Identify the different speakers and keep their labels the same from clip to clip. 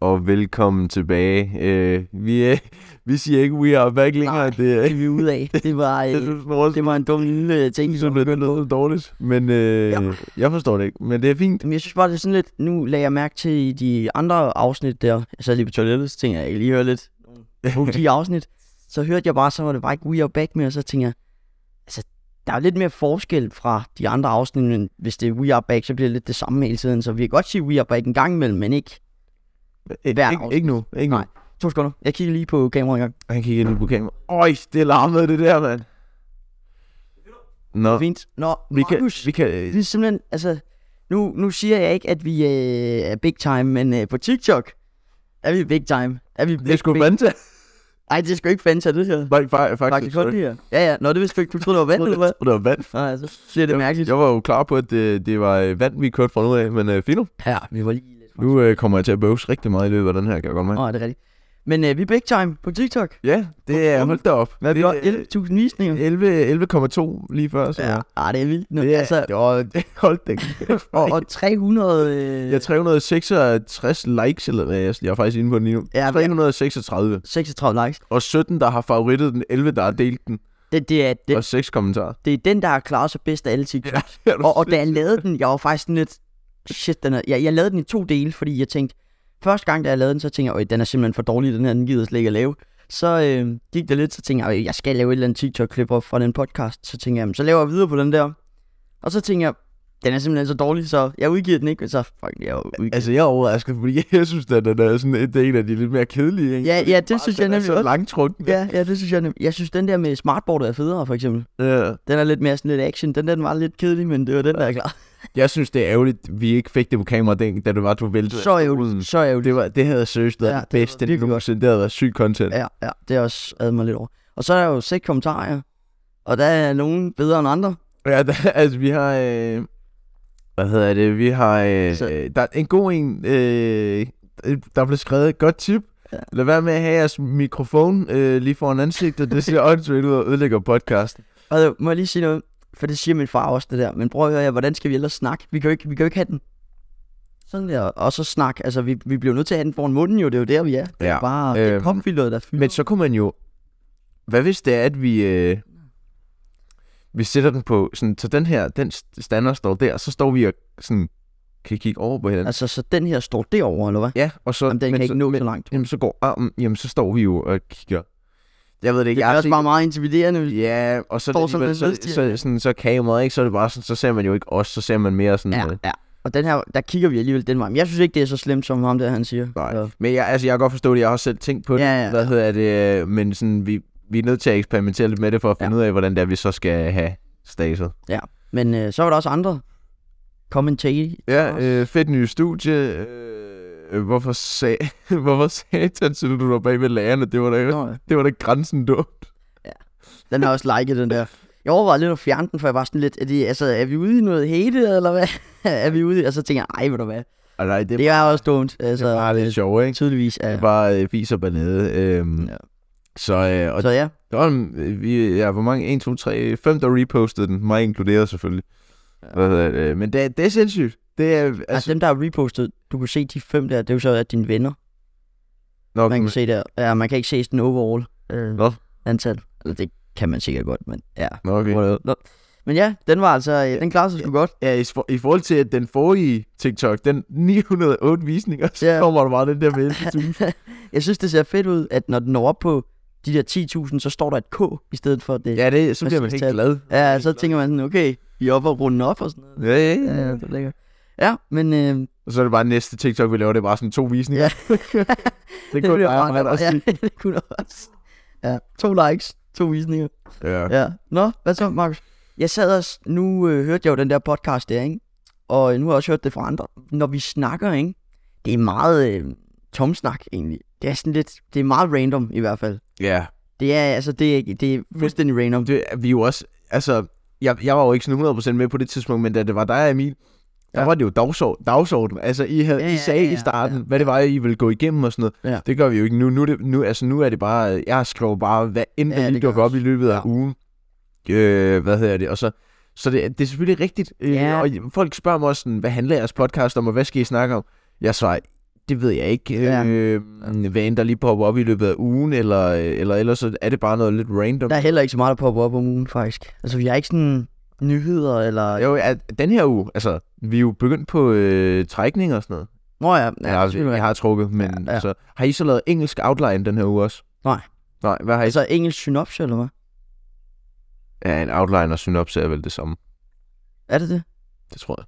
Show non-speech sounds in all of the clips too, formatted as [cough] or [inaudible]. Speaker 1: og velkommen tilbage. Øh, vi, er, vi siger ikke we are back længere.
Speaker 2: Nej,
Speaker 1: det er
Speaker 2: det er vi ude af. Det
Speaker 1: [laughs]
Speaker 2: var,
Speaker 1: det,
Speaker 2: øh,
Speaker 1: du snor,
Speaker 2: det var en dum lille øh, ting.
Speaker 1: så bliver det noget dårligt. Men øh, ja.
Speaker 2: Ja.
Speaker 1: jeg forstår det ikke, men det er fint.
Speaker 2: Jamen, jeg synes bare, det er sådan lidt... Nu lagde jeg mærke til i de andre afsnit der. Jeg sad lige på toilettet, så tænkte jeg, jeg kan lige høre lidt på de afsnit. Så hørte jeg bare, så var det bare ikke We Are Back mere, og så tænkte jeg... Altså, der er lidt mere forskel fra de andre afsnit, men hvis det er We Are Back, så bliver det lidt det samme hele tiden. Så vi kan godt sige We Are Back en gang imellem, men ikke...
Speaker 1: [laughs] Ikke,
Speaker 2: Hver
Speaker 1: ikke, ikke nu. Ikke
Speaker 2: Nej. To sekunder. Jeg kigger lige på kameraet en gang.
Speaker 1: nu. Han kigger nu på kamera. Øj, det larmede det der, mand. Nå,
Speaker 2: Fint. Nå,
Speaker 1: vi kan,
Speaker 2: Markus.
Speaker 1: vi kan, øh,
Speaker 2: Det er simpelthen, altså, nu, nu siger jeg ikke, at vi øh, er big time, men øh, på TikTok er vi big time. Er vi big,
Speaker 1: det er sgu
Speaker 2: big-
Speaker 1: vand til.
Speaker 2: Ej, det er sgu ikke Fanta, det her.
Speaker 1: Nej, fa- faktisk.
Speaker 2: Faktisk kun det her. Ja, ja. Nå, det vidste du ikke. Du troede, det var vand, eller hvad?
Speaker 1: Og det var vand.
Speaker 2: Nej, altså, så bliver det mærkeligt.
Speaker 1: Jeg var jo klar på, at det, det var øh, vand, vi kørte fra nu af, men øh, fint nu.
Speaker 2: Ja, vi var lige lidt.
Speaker 1: Nu øh, kommer jeg til at bøvse rigtig meget i løbet af den her, kan jeg godt mærke.
Speaker 2: Nå, er det rigtigt. Men øh, vi er big time på TikTok.
Speaker 1: Ja, det er holdt da op. Hvad
Speaker 2: Vi har 11.000 visninger.
Speaker 1: 11, 11,2 lige før, så
Speaker 2: [laughs] Ja, ah, det er vildt. Nu.
Speaker 1: Det er-
Speaker 2: Altså,
Speaker 1: det var, hold da [laughs] kæft.
Speaker 2: og, og 300... Øh,
Speaker 1: Jeg har 366 likes, eller hvad jeg jeg er faktisk inde på den lige nu.
Speaker 2: Ja, men-
Speaker 1: 336.
Speaker 2: 36 likes.
Speaker 1: Og 17, der har favoritet den, 11, der har delt den,
Speaker 2: Det, det, er, det,
Speaker 1: og 6 kommentarer.
Speaker 2: det er den, der har klaret sig bedst af alle TikTok.
Speaker 1: Er du
Speaker 2: og, og
Speaker 1: sindssyg?
Speaker 2: da jeg lavede den, jeg var faktisk sådan lidt, shit, den er, jeg, jeg lavede den i to dele, fordi jeg tænkte, første gang, da jeg lavede den, så tænkte jeg, "Øj, den er simpelthen for dårlig, den her, den gider jeg slet ikke at lave. Så øh, gik der lidt, så tænkte jeg, "Øj, jeg skal lave et eller andet TikTok-klip op fra den podcast. Så tænkte jeg, "Jamen, så laver jeg videre på den der. Og så tænkte jeg, den er simpelthen så dårlig, så jeg udgiver den ikke, og så fuck, jeg udgiver den.
Speaker 1: Altså, jeg er overrasket, fordi [laughs] jeg synes, at den er sådan en del af de lidt mere kedelige. Ikke?
Speaker 2: Ja, ja, det synes jeg
Speaker 1: den er
Speaker 2: nemlig
Speaker 1: så
Speaker 2: også.
Speaker 1: langtrukken.
Speaker 2: Ja, ja, det synes jeg nemlig. Jeg synes, den der med smartboardet er federe, for eksempel.
Speaker 1: Ja.
Speaker 2: Den er lidt mere sådan lidt action. Den der, den var lidt kedelig, men det var den, der er klar.
Speaker 1: Jeg synes, det er ærgerligt, vi ikke fik det på kamera, den- da det var, du væltede.
Speaker 2: Så ærgerligt, så ærgerligt.
Speaker 1: Det, var, det havde seriøst været
Speaker 2: Ja,
Speaker 1: ja,
Speaker 2: det
Speaker 1: det bedste, det
Speaker 2: virkelig
Speaker 1: nogensinde. Det havde været sygt content.
Speaker 2: Ja, ja, det er også ad mig lidt over. Og så er der jo seks kommentarer, og der er nogen bedre end andre.
Speaker 1: Ja, der, [laughs] altså vi har... Øh, hvad hedder det? Vi har... Øh,
Speaker 2: Så-
Speaker 1: øh, der er en god en, øh, der blev skrevet et godt tip.
Speaker 2: Ja.
Speaker 1: Ja. Lad være med at have jeres mikrofon øh, lige foran ansigtet. Det ser åndssvagt ud og ødelægger podcasten.
Speaker 2: Og jeg må jeg lige sige noget, for det siger min far også det der, men prøv at høre, jer, hvordan skal vi ellers snakke? Vi kan jo ikke, vi kan jo ikke have den. Sådan der, og så snak. Altså, vi, vi bliver nødt til at have den foran munden jo, det er jo der, vi er. Det er
Speaker 1: Ja,
Speaker 2: bare øh, det er
Speaker 1: øh,
Speaker 2: popfilteret, der fylder.
Speaker 1: Men så kunne man jo... Hvad hvis det er, at vi... Øh, vi sætter den på sådan, så den her, den stander står der, så står vi og sådan, kan kigge over på hinanden.
Speaker 2: Altså, så den her står derovre, eller hvad?
Speaker 1: ja, og så,
Speaker 2: Jamen, den
Speaker 1: men
Speaker 2: kan
Speaker 1: så,
Speaker 2: ikke nå
Speaker 1: men-
Speaker 2: så langt.
Speaker 1: Jamen, så går armen, jamen, så står vi jo og kigger. Jeg ved det ikke.
Speaker 2: Det
Speaker 1: jeg
Speaker 2: er
Speaker 1: har
Speaker 2: også
Speaker 1: set-
Speaker 2: bare meget intimiderende. hvis-
Speaker 1: Ja, og så,
Speaker 2: Står
Speaker 1: alligevel,
Speaker 2: som en
Speaker 1: så, så,
Speaker 2: nedstigning.
Speaker 1: så, sådan, så kameraet, ikke? Så er det bare sådan, så ser man jo ikke os, så ser man mere sådan...
Speaker 2: Ja,
Speaker 1: øh,
Speaker 2: ja. Og den her, der kigger vi alligevel den vej. Men jeg synes ikke, det er så slemt, som ham der, han siger.
Speaker 1: Nej.
Speaker 2: Så-
Speaker 1: Men jeg, altså, jeg kan godt forstå det, jeg har også selv tænkt på det.
Speaker 2: Ja, ja.
Speaker 1: Hvad hedder det? øh, Men sådan, vi, vi er nødt til at eksperimentere lidt med det, for at
Speaker 2: Ja.
Speaker 1: finde ud af, hvordan det er, vi så skal have staset.
Speaker 2: Men øh, så var der også andre kommentarer.
Speaker 1: Ja,
Speaker 2: Også.
Speaker 1: øh, fedt nye studie. Øh, hvorfor, sag, [laughs] hvorfor satan sidder du der bag ved lærerne? Det var da,
Speaker 2: Nå, ja.
Speaker 1: det var da grænsen dumt.
Speaker 2: Den har også liket, den der. Jeg overvejede lidt at fjerne den, for jeg var sådan lidt, er, det, altså, er vi ude i noget hate, eller hvad? [laughs] er vi ude i, og så tænker jeg, ej, ved du hvad,
Speaker 1: Og nej, det,
Speaker 2: det er også dumt. Altså,
Speaker 1: er bare lidt sjovt, ikke?
Speaker 2: tydeligvis.
Speaker 1: Det
Speaker 2: Er,
Speaker 1: er bare øh, vis og banade. Øhm,
Speaker 2: Ja.
Speaker 1: Så, øh, og
Speaker 2: så ja,
Speaker 1: Der var, en- øh, vi, ja, hvor mange? 1, 2, 3, 5, der repostede den. Mig inkluderet selvfølgelig.
Speaker 2: Ja.
Speaker 1: Hvad hedder det? Men det, er- det er sindssygt. Det er, altså,
Speaker 2: altså,
Speaker 1: altså
Speaker 2: dem, der har repostet, du kan se de fem der, det er jo så at dine venner.
Speaker 1: nok,
Speaker 2: Man kan se der, ja, man kan ikke se sådan overall øh,
Speaker 1: Nå.
Speaker 2: antal. Eller det kan man sikkert godt, men ja.
Speaker 1: nok,
Speaker 2: Men ja, den var altså, øh, den klarede sig sgu godt.
Speaker 1: ja, i, for, i forhold til at den forrige TikTok, den 908 visninger, så
Speaker 2: Ja.
Speaker 1: yeah. kommer der bare den der med. 11.000.
Speaker 2: Jeg synes, det ser fedt ud, at når den når op på de der 10.000, så står der et K i stedet for det.
Speaker 1: ja, det, så bliver man
Speaker 2: Præcis,
Speaker 1: helt
Speaker 2: tak.
Speaker 1: glad.
Speaker 2: Ja, så tænker man sådan, okay, vi er oppe og runde op og sådan noget.
Speaker 1: Ja, ja,
Speaker 2: Ja,
Speaker 1: ja.
Speaker 2: det er lækkert. Ja, men øh,
Speaker 1: Og så er det bare næste TikTok, vi laver, det er bare sådan to visninger. [laughs]
Speaker 2: Ja.
Speaker 1: det kunne
Speaker 2: bliver
Speaker 1: jeg
Speaker 2: meget
Speaker 1: ret
Speaker 2: godt.
Speaker 1: også sige.
Speaker 2: [laughs] Ja, det kunne du også. Ja, to likes, to visninger.
Speaker 1: Ja.
Speaker 2: Ja. Nå, hvad så, Markus? Jeg sad også, nu øh, hørte jeg jo den der podcast der, ikke? Og øh, nu har jeg også hørt det fra andre. Når vi snakker, ikke? Det er meget øh, tomsnak, egentlig. Det er sådan lidt, det er meget random i hvert fald.
Speaker 1: ja.
Speaker 2: Det er, altså, det er, ikke- det er fuldstændig random.
Speaker 1: det, vi er jo også, altså, jeg, jeg var jo ikke sådan 100% med på det tidspunkt, men da det var dig og Emil, der
Speaker 2: Ja.
Speaker 1: ja. var det jo dagsorden. dagsorden. Altså, I, havde,
Speaker 2: Ja,
Speaker 1: ja,
Speaker 2: ja,
Speaker 1: I sagde
Speaker 2: ja, ja,
Speaker 1: i starten, hvad det var, I ville gå igennem og sådan noget.
Speaker 2: Ja.
Speaker 1: Det gør vi jo ikke nu. Nu, er det, nu, altså, nu er det bare, øh, jeg skriver bare, hvad end
Speaker 2: Ja,
Speaker 1: ja,
Speaker 2: det
Speaker 1: det dukker
Speaker 2: gør
Speaker 1: op i løbet af
Speaker 2: Ja.
Speaker 1: ugen. Øh, hvad hedder det? Og så, så det, det er selvfølgelig rigtigt. Øh,
Speaker 2: Ja.
Speaker 1: Og folk spørger mig også sådan, hvad handler jeres podcast om, og hvad skal I snakke om? Jeg svarer, det ved jeg ikke,
Speaker 2: Ja.
Speaker 1: ja. øh, hvad end der lige popper op i løbet af ugen, eller, eller ellers så er det bare noget lidt random.
Speaker 2: Der er heller ikke så meget, der popper op om ugen, faktisk. Altså, vi har ikke sådan nyheder eller...
Speaker 1: Jo, at den her uge, altså, vi er jo begyndt på øh, trækning og sådan noget.
Speaker 2: Nå ja, ja,
Speaker 1: Ja, jeg,
Speaker 2: selvfølgelig.
Speaker 1: har, jeg har trukket, men
Speaker 2: Ja,
Speaker 1: ja,
Speaker 2: ja.
Speaker 1: ja. Altså, har I så lavet engelsk outline den her uge også?
Speaker 2: Nej.
Speaker 1: Nej, hvad har I så?
Speaker 2: Altså engelsk synopse, eller hvad?
Speaker 1: Ja, en outline og synopse er vel det samme,
Speaker 2: Er det det?
Speaker 1: det tror jeg.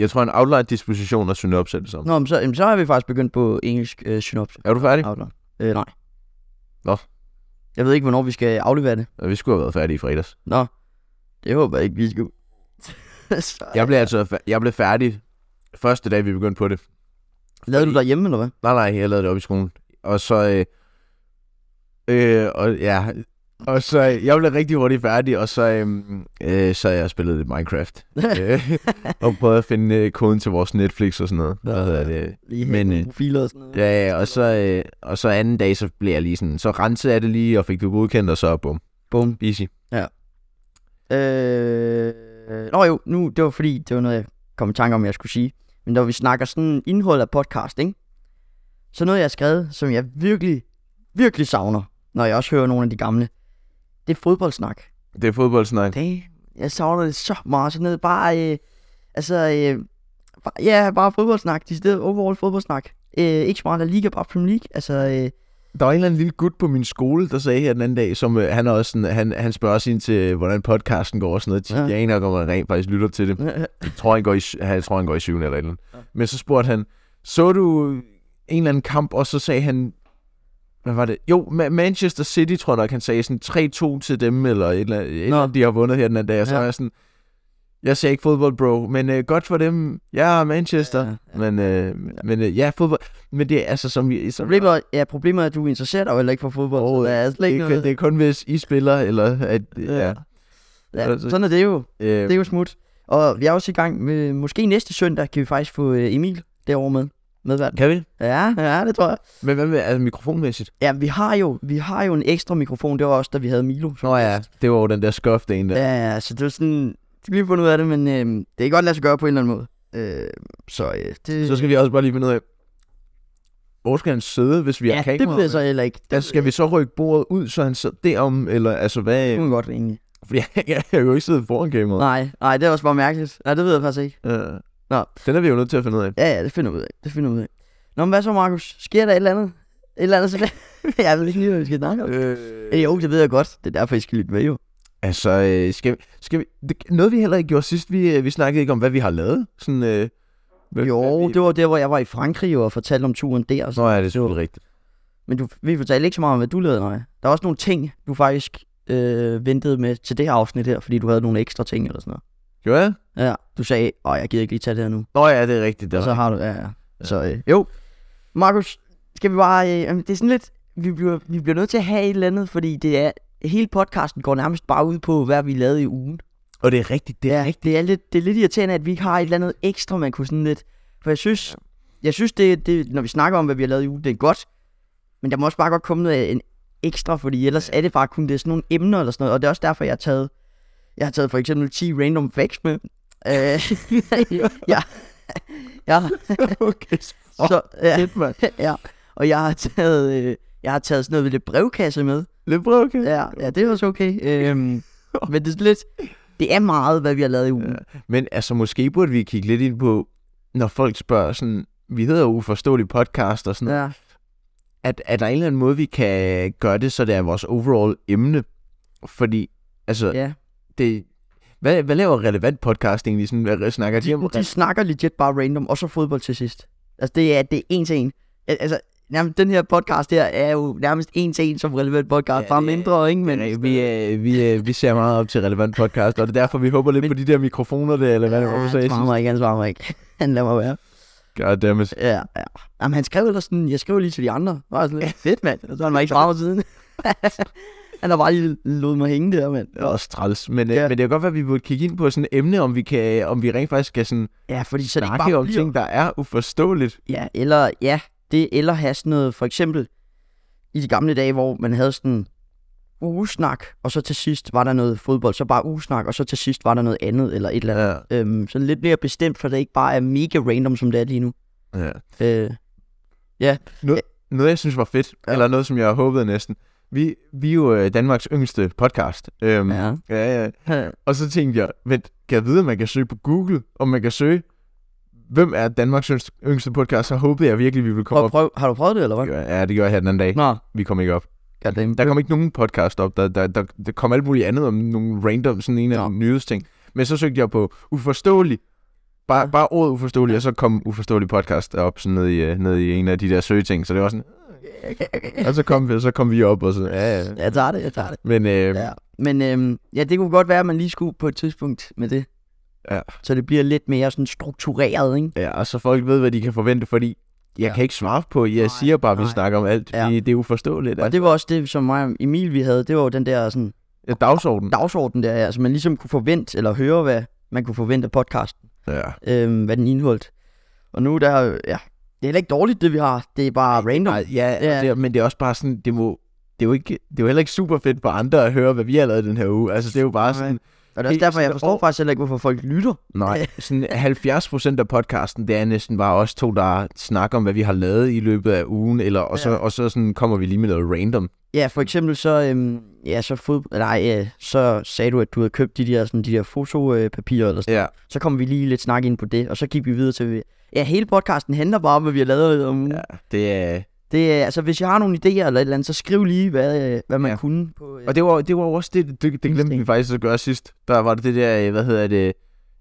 Speaker 1: Jeg tror, en outline, disposition og synopse er det samme.
Speaker 2: Nå, men så, jamen, så har vi faktisk begyndt på engelsk øh, synopse.
Speaker 1: Er du færdig?
Speaker 2: Outline. Øh, nej.
Speaker 1: Nå.
Speaker 2: Jeg ved ikke, hvornår vi skal aflevere det.
Speaker 1: Ja. Vi skulle have været færdige i fredags.
Speaker 2: Nå. Det håber jeg ikke, vi skal. [laughs] så,
Speaker 1: Jeg blev altså fa- jeg blev færdig første dag, vi begyndte på det.
Speaker 2: Lavede du derhjemme, eller hvad?
Speaker 1: Nej, nej, jeg lavede det op i skolen. Og så... Øh, øh, og, ja, og så... øh, Jeg blev rigtig hurtigt færdig, og så... Øh, øh, så jeg spillede lidt Minecraft. øh, og prøvede at finde øh, koden til vores Netflix og sådan noget. Hvad hedder det?
Speaker 2: [laughs] Lige
Speaker 1: Men,
Speaker 2: men,
Speaker 1: øh,
Speaker 2: profiler og sådan noget.
Speaker 1: Ja, ja, og så, øh, og så anden dag, så blev jeg lige sådan... Så rensede jeg det lige, og fik det godkendt, og så bum.
Speaker 2: Bum.
Speaker 1: Easy.
Speaker 2: Øh, nå jo, nu, det var fordi, det var noget, jeg kom i tanke om, jeg skulle sige. Men når vi snakker sådan indhold af podcast, ikke? Så noget, jeg har skrevet, som jeg virkelig, virkelig savner, når jeg også hører nogle af de gamle, det er fodboldsnak.
Speaker 1: Det er fodboldsnak.
Speaker 2: Det, jeg savner det så meget. Sådan noget bare, øh, altså, øh, bare, ja, bare fodboldsnak. De steder overall fodboldsnak. Øh, ikke så meget af Liga, bare Premier League. Altså, øh,
Speaker 1: Der var en eller anden lille gut på min skole, der sagde her den anden dag, som øh, han er også sådan, han, han spørger også ind til, hvordan podcasten går og sådan noget.
Speaker 2: Ja.
Speaker 1: Ja. Jeg aner ikke, om han rent faktisk lytter til det. Jeg tror, han går i, sy- han, jeg tror, han går i syvende eller et eller andet. Men så spurgte han, så du en eller anden kamp, og så sagde han, hvad var det? Jo, Ma- Manchester City, tror jeg nok, han sagde sådan 3-2 til dem, eller et eller andet, et eller andet de har vundet her den anden dag. Og så
Speaker 2: Ja.
Speaker 1: ja. jeg sådan, jeg ser ikke fodbold, bro, men øh, godt for dem. Jeg er Manchester.
Speaker 2: Ja,
Speaker 1: Ja,
Speaker 2: ja.
Speaker 1: ja. Men, øh, men øh, ja, fodbold. Men det er altså, som vi... Som,
Speaker 2: problemet, ja, problemet er, at du er interesseret og heller ikke for fodbold. Oh, så der er slet ikke
Speaker 1: det,
Speaker 2: noget.
Speaker 1: kan, det er kun hvis I spiller, eller at...
Speaker 2: Ja.
Speaker 1: Ja.
Speaker 2: Ja, sådan er det jo.
Speaker 1: Øh,
Speaker 2: Det er jo smut. Og vi er også i gang med, måske næste søndag kan vi faktisk få øh, Emil derovre med. Medvært.
Speaker 1: kan vi?
Speaker 2: Ja, ja, det tror jeg.
Speaker 1: Men hvad med altså, mikrofonmæssigt?
Speaker 2: Ja, vi har jo, vi har jo en ekstra mikrofon. Det var også, da vi havde Milo. som
Speaker 1: Nå ja,
Speaker 2: gæst.
Speaker 1: det var jo den der skuffede en der.
Speaker 2: Ja, ja, så det var sådan... Jeg skal lige finde ud af det, men øh, det kan godt lade sig gøre på en eller anden måde. Øh, så øh, det...
Speaker 1: Så skal vi også bare lige finde ud af, hvor skal han sidde, hvis vi
Speaker 2: ja,
Speaker 1: har kamera?
Speaker 2: det bliver så heller ikke. Det,
Speaker 1: Altså, skal vi så rykke bordet ud, så han sidder derom, eller altså hvad?
Speaker 2: det kunne godt egentlig.
Speaker 1: Fordi [laughs] jeg, jeg kan jo ikke sidde foran kameraet.
Speaker 2: Mm. Nej, nej, det er også bare mærkeligt. Nej, det ved jeg faktisk ikke.
Speaker 1: Øh,
Speaker 2: Nå.
Speaker 1: Den er vi jo nødt til at finde ud af.
Speaker 2: Ja, ja, det finder vi ud af. Det finder vi ud af. Nå, men hvad så, Markus? Sker der et eller andet? Et eller andet, så [laughs] jeg ved ikke lige, hvad vi skal snakke om. Øh,
Speaker 1: Øh,
Speaker 2: jo, det ved jeg godt. Det er derfor, I skal lytte med, jo.
Speaker 1: altså, øh, skal, vi- skal vi, det, noget vi heller ikke gjorde sidst, vi, øh, vi snakkede ikke om, hvad vi har lavet. Sådan, øh, hvad,
Speaker 2: Jo,
Speaker 1: hvad vi,
Speaker 2: det var der, hvor jeg var i Frankrig jo, og fortalte om turen der. Og sådan.
Speaker 1: Nå ja, det er selvfølgelig rigtigt.
Speaker 2: Men du, vi fortalte ikke så meget om, hvad du lavede, nej. Der var også nogle ting, du faktisk øh, ventede med til det her afsnit her, fordi du havde nogle ekstra ting eller sådan noget.
Speaker 1: Gjorde jeg?
Speaker 2: Ja, du sagde, åh, jeg gider ikke lige tage det her nu.
Speaker 1: Nå ja, det er rigtigt. Det
Speaker 2: Og
Speaker 1: er
Speaker 2: så har du, ja, ja. Så øh, jo, Markus, skal vi bare, øh, jamen, det er sådan lidt, vi bliver, vi bliver nødt til at have et eller andet, fordi det er, hele podcasten går nærmest bare ud på, hvad vi lavede i ugen.
Speaker 1: Og det er rigtigt, det er rigtigt.
Speaker 2: Det er, lidt, det er lidt irriterende, at vi ikke har et eller andet ekstra, man kunne sådan lidt... For jeg synes, jeg synes det, det, når vi snakker om, hvad vi har lavet i ugen, det er godt. Men der må også bare godt komme noget en ekstra, fordi ellers er det bare kun det er sådan nogle emner eller sådan noget. Og det er også derfor, jeg har taget, jeg har taget for eksempel 10 random
Speaker 1: [laughs]
Speaker 2: facts med. Øh, ja. ja.
Speaker 1: okay.
Speaker 2: [laughs] Så, ja.
Speaker 1: Lidt, mand.
Speaker 2: [laughs] ja. Og jeg har taget, øh, jeg har taget sådan noget ved det brevkasse med.
Speaker 1: Lidt bro, okay.
Speaker 2: Ja, ja det er også okay.
Speaker 1: [laughs]
Speaker 2: Øhm, men det er sådan lidt, det er meget, hvad vi har lavet i ugen.
Speaker 1: Men altså, måske burde vi kigge lidt ind på, når folk spørger sådan, vi hedder jo uforståelig podcast og sådan noget,
Speaker 2: Ja.
Speaker 1: at, at der er en eller anden måde, vi kan gøre det, så det er vores overall emne. Fordi, altså,
Speaker 2: ja.
Speaker 1: det... Hvad, hvad laver relevant podcast egentlig? Sådan, hvad snakker de om?
Speaker 2: De
Speaker 1: [laughs]
Speaker 2: snakker legit bare random, og så fodbold til sidst. Altså, det er, det er en til en. Al- Altså, nærmest, den her podcast her er jo nærmest en til en som relevant podcast. Ja,
Speaker 1: Ja,
Speaker 2: bare
Speaker 1: det er-
Speaker 2: mindre, ikke? Men,
Speaker 1: Nej, vi, øh, vi, øh, vi ser meget op til relevant podcast, og det er derfor, vi håber lidt på de der mikrofoner, der, eller hvad det var, du
Speaker 2: han
Speaker 1: sagde.
Speaker 2: svarer mig ikke, han svarer mig ikke. [laughs] Han lader mig være.
Speaker 1: Goddammit.
Speaker 2: Ja, ja. Jamen, han skrev ellers sådan, jeg skrev lige til de andre. Var jeg sådan
Speaker 1: [laughs]
Speaker 2: lidt, fedt, mand. Og så har han mig ikke svaret mig siden. [laughs] han har bare lige lod mig hænge der, mand.
Speaker 1: Det er også træls. Men,
Speaker 2: Ja.
Speaker 1: ja. men det kan godt være, at vi burde kigge ind på sådan et emne, om vi, kan, om vi rent faktisk skal sådan
Speaker 2: Ja, fordi så det ikke
Speaker 1: snakke
Speaker 2: bare
Speaker 1: om
Speaker 2: bliver...
Speaker 1: ting, der er uforståeligt.
Speaker 2: Ja, eller ja, det eller have sådan noget, for eksempel i de gamle dage, hvor man havde sådan ugesnak, og så til sidst var der noget fodbold, så bare ugesnak, og så til sidst var der noget andet, eller et eller andet.
Speaker 1: Ja.
Speaker 2: Øhm, sådan lidt mere bestemt, for det ikke bare er mega random, som det er lige nu.
Speaker 1: ja.
Speaker 2: Øh, Ja.
Speaker 1: Noget, noget, jeg synes var fedt, ja.
Speaker 2: Ja.
Speaker 1: eller noget, som jeg håbede næsten. Vi, vi er jo øh, Danmarks yngste podcast. Øhm, ja.
Speaker 2: Ja.
Speaker 1: Ja, ja. Og så tænkte jeg, vent, kan jeg vide, om man kan søge på Google, om man kan søge, hvem er Danmarks yngste- yngste podcast? Så håbede jeg virkelig, vi ville komme
Speaker 2: Prøv,
Speaker 1: op.
Speaker 2: prøv, har du prøvet det, eller hvad?
Speaker 1: Ja, det gjorde jeg her den anden dag.
Speaker 2: Nå,
Speaker 1: Vi kom ikke op.
Speaker 2: goddamn.
Speaker 1: Der kom ikke nogen podcast op. Der, der, der, der kom alt muligt andet om nogle random, sådan en af
Speaker 2: Nå.
Speaker 1: ja. nyhedsting. Men så søgte jeg på uforståelig. Bare,
Speaker 2: Ja.
Speaker 1: bare ordet uforståelig, og så kom uforståelig podcast op sådan ned, i, øh, ned i en af de der søgeting. Så det var sådan, [laughs] og så kom vi, så kom vi op og så, ja, ja.
Speaker 2: [laughs] Jeg tager det, jeg tager det.
Speaker 1: Men øh, ja.
Speaker 2: Ja. Men øhm, ja, det kunne godt være, at man lige skulle på et tidspunkt med det.
Speaker 1: Ja.
Speaker 2: Så det bliver lidt mere sådan struktureret, ikke?
Speaker 1: ja, og så folk ved, hvad de kan forvente, fordi jeg ja.
Speaker 2: Ja.
Speaker 1: kan ikke svare på, jeg
Speaker 2: Nej,
Speaker 1: siger bare, at vi
Speaker 2: nej.
Speaker 1: snakker om alt,
Speaker 2: Ja.
Speaker 1: fordi det er uforståeligt. altså.
Speaker 2: Og det var også det, som mig og Emil vi havde. Det var jo den der sådan,
Speaker 1: Ja, dagsordenen.
Speaker 2: dagsorden der, altså man ligesom kunne forvente, eller høre, hvad man kunne forvente af podcasten,
Speaker 1: Ja.
Speaker 2: øhm, hvad den indeholdt. Og nu der, ja, det er heller ikke dårligt, det vi har. Det er bare random.
Speaker 1: Nej, ja, ja.
Speaker 2: Ja.
Speaker 1: Det, er- men det er også bare sådan, det må... Det er, jo ikke, det er jo heller ikke super fedt for andre at høre, hvad vi har lavet den her uge. Altså, det er jo bare sådan...
Speaker 2: Og det er også
Speaker 1: helt
Speaker 2: derfor, jeg
Speaker 1: sådan
Speaker 2: forstår
Speaker 1: år-
Speaker 2: faktisk heller ikke, hvorfor folk lytter.
Speaker 1: Nej, sådan 70 procent af podcasten, det er næsten bare os to, der snakker om, hvad vi har lavet i løbet af ugen, eller, og, så,
Speaker 2: Ja.
Speaker 1: og så sådan kommer vi lige med noget random.
Speaker 2: Ja, for eksempel så, øhm, ja, så, fod, nej, øh, så sagde du, at du havde købt de der, sådan, de der fotopapirer, eller sådan.
Speaker 1: Ja,
Speaker 2: så kom vi lige lidt snak ind på det, og så gik vi videre til, ja, hele podcasten handler bare om, hvad vi har lavet om ugen.
Speaker 1: ja det er...
Speaker 2: Det er, altså, hvis jeg har nogle idéer eller et eller andet, så skriv lige, hvad, øh, hvad man
Speaker 1: Ja.
Speaker 2: ja. kunne. På, øh,
Speaker 1: Og det var, det var jo også det, det, det glemte vi
Speaker 2: Instinkt.
Speaker 1: faktisk at gøre sidst. Der var det det der, øh, hvad hedder det...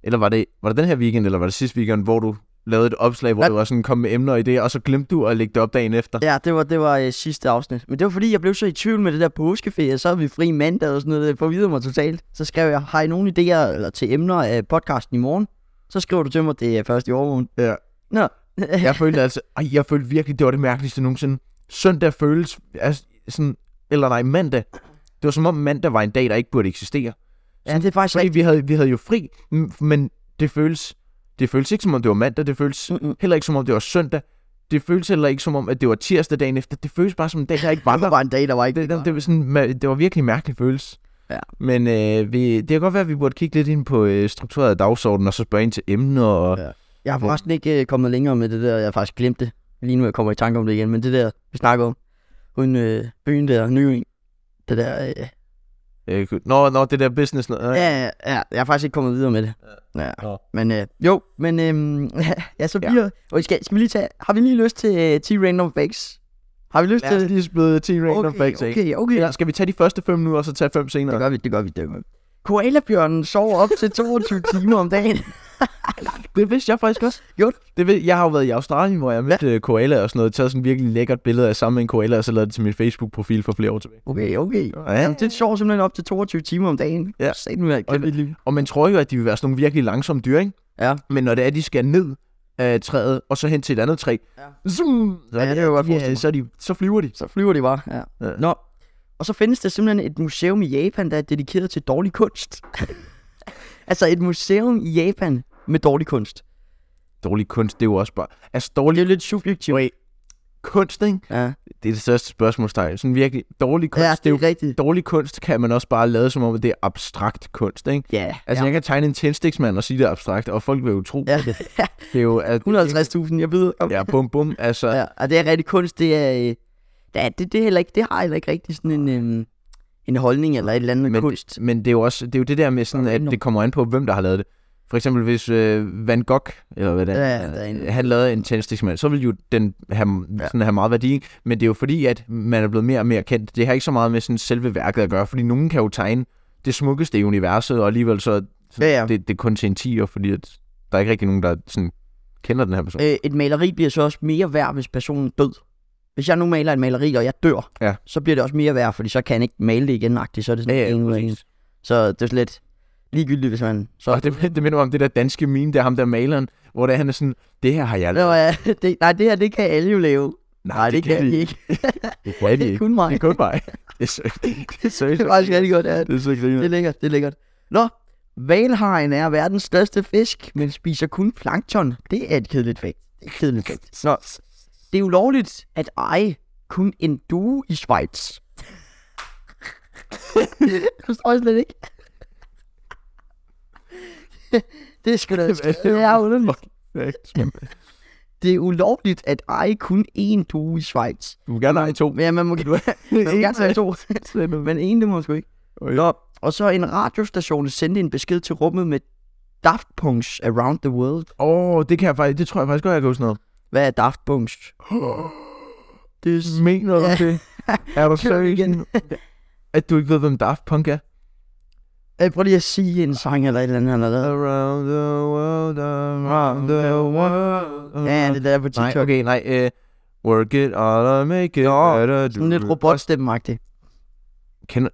Speaker 1: Eller var det, var det den her weekend, eller var det sidste weekend, hvor du lavede et opslag, hvor
Speaker 2: Hvad?
Speaker 1: du var sådan kom med emner og idéer, og så glemte du at lægge det op dagen efter.
Speaker 2: Ja, det var, det var øh, sidste afsnit. Men det var fordi, jeg blev så i tvivl med det der påskeferie, så er vi fri mandag og sådan noget, øh, det forvidede mig totalt. Så skrev jeg, har I nogle idéer eller til emner af podcasten i morgen? Så skriver du til mig, det er først i overmorgen. Øh,
Speaker 1: Ja.
Speaker 2: Nå,
Speaker 1: jeg følte altså, ej, jeg følte virkelig, det var det mærkeligste nogensinde. Søndag føles, altså, sådan, eller nej, mandag. Det var som om mandag var en dag, der ikke burde eksistere.
Speaker 2: [laughs] ja, det er faktisk
Speaker 1: Fordi
Speaker 2: rigtigt.
Speaker 1: vi havde, vi havde jo fri, m- men det føles, det føles ikke som om det var mandag, det føles
Speaker 2: Mm-mm.
Speaker 1: heller ikke som om det var søndag. Det føles heller ikke som om, at det var tirsdag dagen efter. Det føles bare som en dag, der ikke var
Speaker 2: Det
Speaker 1: der.
Speaker 2: var en dag, der var ikke...
Speaker 1: Det, det, det, var sådan, ma- det var virkelig en mærkelig følelse.
Speaker 2: Ja.
Speaker 1: Men øh, vi, det kan godt være, at vi burde kigge lidt ind på øh, struktureret dagsorden, og så spørge ind til emner. Og,
Speaker 2: Ja. Jeg har forresten ikke øh, kommet længere med det der, jeg har faktisk glemt det. Lige nu jeg kommer i tanke om det igen, men det der, vi snakker om, hun øh, byen der, Nyøen, det der, øh,
Speaker 1: øh, nå, nå, det der business. Nå, øh,
Speaker 2: ja, ja, jeg er faktisk ikke kommet videre med det. Ja.
Speaker 1: Nå.
Speaker 2: Men øh, jo, men øh, [laughs] ja, så
Speaker 1: Ja.
Speaker 2: bliver... Og skal, skal vi lige tage... Har vi lige lyst til øh, 10 random facts? Har vi lyst
Speaker 1: Lad
Speaker 2: til
Speaker 1: os
Speaker 2: det?
Speaker 1: lige splide 10 random
Speaker 2: Okay,
Speaker 1: facts af.
Speaker 2: okay, okay.
Speaker 1: Ja, skal vi tage de første fem nu, og så tage fem senere?
Speaker 2: Det gør vi, det gør vi, det gør vi. Koalabjørnen sover op
Speaker 1: [laughs]
Speaker 2: til 22 timer om dagen.
Speaker 1: Det vidste jeg faktisk også.
Speaker 2: Jo.
Speaker 1: Det ved, jeg har jo været i Australien, hvor jeg mødte ja. koala og sådan noget. Taget sådan et virkelig lækkert billede af sammen med en koala, og så lavede det til min Facebook-profil for flere år tilbage.
Speaker 2: Okay, okay.
Speaker 1: Ja.
Speaker 2: Jamen, det sover simpelthen op til 22 timer om dagen.
Speaker 1: Ja.
Speaker 2: Sæt nu, jeg
Speaker 1: Og- Og man tror jo, at de vil være sådan nogle virkelig langsomme dyr, ikke?
Speaker 2: Ja.
Speaker 1: Men når det er, at de skal ned af træet, og så hen til et andet træ.
Speaker 2: Ja.
Speaker 1: Zoom, så,
Speaker 2: Ja, det kan jeg godt forestille
Speaker 1: ja,
Speaker 2: mig.
Speaker 1: så, er de, så flyver de.
Speaker 2: Så flyver de bare, ja.
Speaker 1: Ja.
Speaker 2: Nå. Og så findes der simpelthen et museum i Japan, der er dedikeret til dårlig kunst. [laughs] altså et museum i Japan med dårlig kunst.
Speaker 1: Dårlig kunst, det er jo også bare... Altså
Speaker 2: Det er
Speaker 1: dårlig
Speaker 2: lidt subjektivt.
Speaker 1: kunst, ikke?
Speaker 2: Ja.
Speaker 1: Det er det største spørgsmålstegn. Sådan virkelig dårlig kunst.
Speaker 2: ja,
Speaker 1: det er jo,
Speaker 2: rigtigt.
Speaker 1: dårlig kunst kan man også bare lade som om, at det er abstrakt kunst, ikke?
Speaker 2: Ja,
Speaker 1: Altså,
Speaker 2: ja.
Speaker 1: jeg kan tegne en tændstiksmand og sige det er abstrakt, og folk vil jo tro,
Speaker 2: Ja.
Speaker 1: ja. det er jo...
Speaker 2: [laughs]
Speaker 1: At,
Speaker 2: 150.000, jeg ved. om-
Speaker 1: Ja, bum bum, altså... Ja.
Speaker 2: ja. Og det er rigtig kunst, det er... øh, Ja, det, det, er heller ikke, det har heller ikke rigtig sådan en, øhm, en holdning eller et eller andet
Speaker 1: Men-
Speaker 2: kunst.
Speaker 1: Men det er jo også det, er jo det der med sådan, at det kommer an på, hvem der har lavet det. For eksempel hvis øh, Van Gogh, eller hvad det er,
Speaker 2: Ja, der er en-
Speaker 1: øh, han lavede en tændstiksmand, så ville jo den have,
Speaker 2: Ja.
Speaker 1: sådan have meget værdi. ikke? Men det er jo fordi, at man er blevet mere og mere kendt. Det har ikke så meget med sådan selve værket at gøre, fordi nogen kan jo tegne det smukkeste i universet, og alligevel så
Speaker 2: Ja, ja.
Speaker 1: det, det er kun til en 10'er, fordi at der er ikke rigtig nogen, der sådan kender den her person.
Speaker 2: Øh, et maleri bliver så også mere værd, hvis personen er død. Hvis jeg nu maler et maleri, og jeg dør,
Speaker 1: Ja.
Speaker 2: så bliver det også mere værd, fordi så kan jeg ikke male det igen, agtigt, så er det sådan
Speaker 1: Ja, ja,
Speaker 2: en ud af
Speaker 1: præcis.
Speaker 2: en. Så det er slet ligegyldigt, hvis man... Så,
Speaker 1: Og det, [laughs] det minder mig om det der danske meme, der ham der maleren, hvor det, han er sådan, det her har jeg
Speaker 2: Nå,
Speaker 1: lavet.
Speaker 2: ja, [laughs] det, nej, det her, det kan alle jo lave. Nej, det, kan de ikke.
Speaker 1: Det kan de
Speaker 2: Det er
Speaker 1: ikke. [laughs]
Speaker 2: kun mig.
Speaker 1: Det er kun mig. Det er så, det er så,
Speaker 2: Det er faktisk rigtig godt, ja.
Speaker 1: det er så
Speaker 2: Det er
Speaker 1: griner.
Speaker 2: lækkert, det er lækkert. Nå, valhajen er verdens største fisk, men spiser kun plankton. Det er et kedeligt fakt. Det er et kedeligt fakt. Nå, det er ulovligt at eje kun en due i [laughs] Schweiz. det forstår jeg slet ikke. [laughs] det er sgu da det er underligt. det er ulovligt at eje kun én due i Schweiz.
Speaker 1: Du må gerne eje to.
Speaker 2: Men ja, [laughs] man må, man må gerne tage to, men en det må man sgu ikke.
Speaker 1: Okay.
Speaker 2: Nå, og så en radiostation sendte en besked til rummet med Daft Punk's Around the World.
Speaker 1: Åh, oh, det kan jeg faktisk, det tror jeg faktisk godt, jeg kan huske noget.
Speaker 2: Hvad er Daft [gasps] Punk's? Det er s-
Speaker 1: Mener du
Speaker 2: Ja.
Speaker 1: det? Er du
Speaker 2: [laughs] Kør
Speaker 1: seriøs?
Speaker 2: igen.
Speaker 1: At du ikke ved, hvem Daft Punk er?
Speaker 2: Øh, Prøv lige at sige en sang eller et eller andet, han har lavet.
Speaker 1: Around the world, around the world.
Speaker 2: Ja, det der på
Speaker 1: Nej,
Speaker 2: TikTok.
Speaker 1: okay, nej. Uh, work it all and make it
Speaker 2: Nå,
Speaker 1: better.
Speaker 2: Sådan lidt robotstemmeagtigt.
Speaker 1: Kender...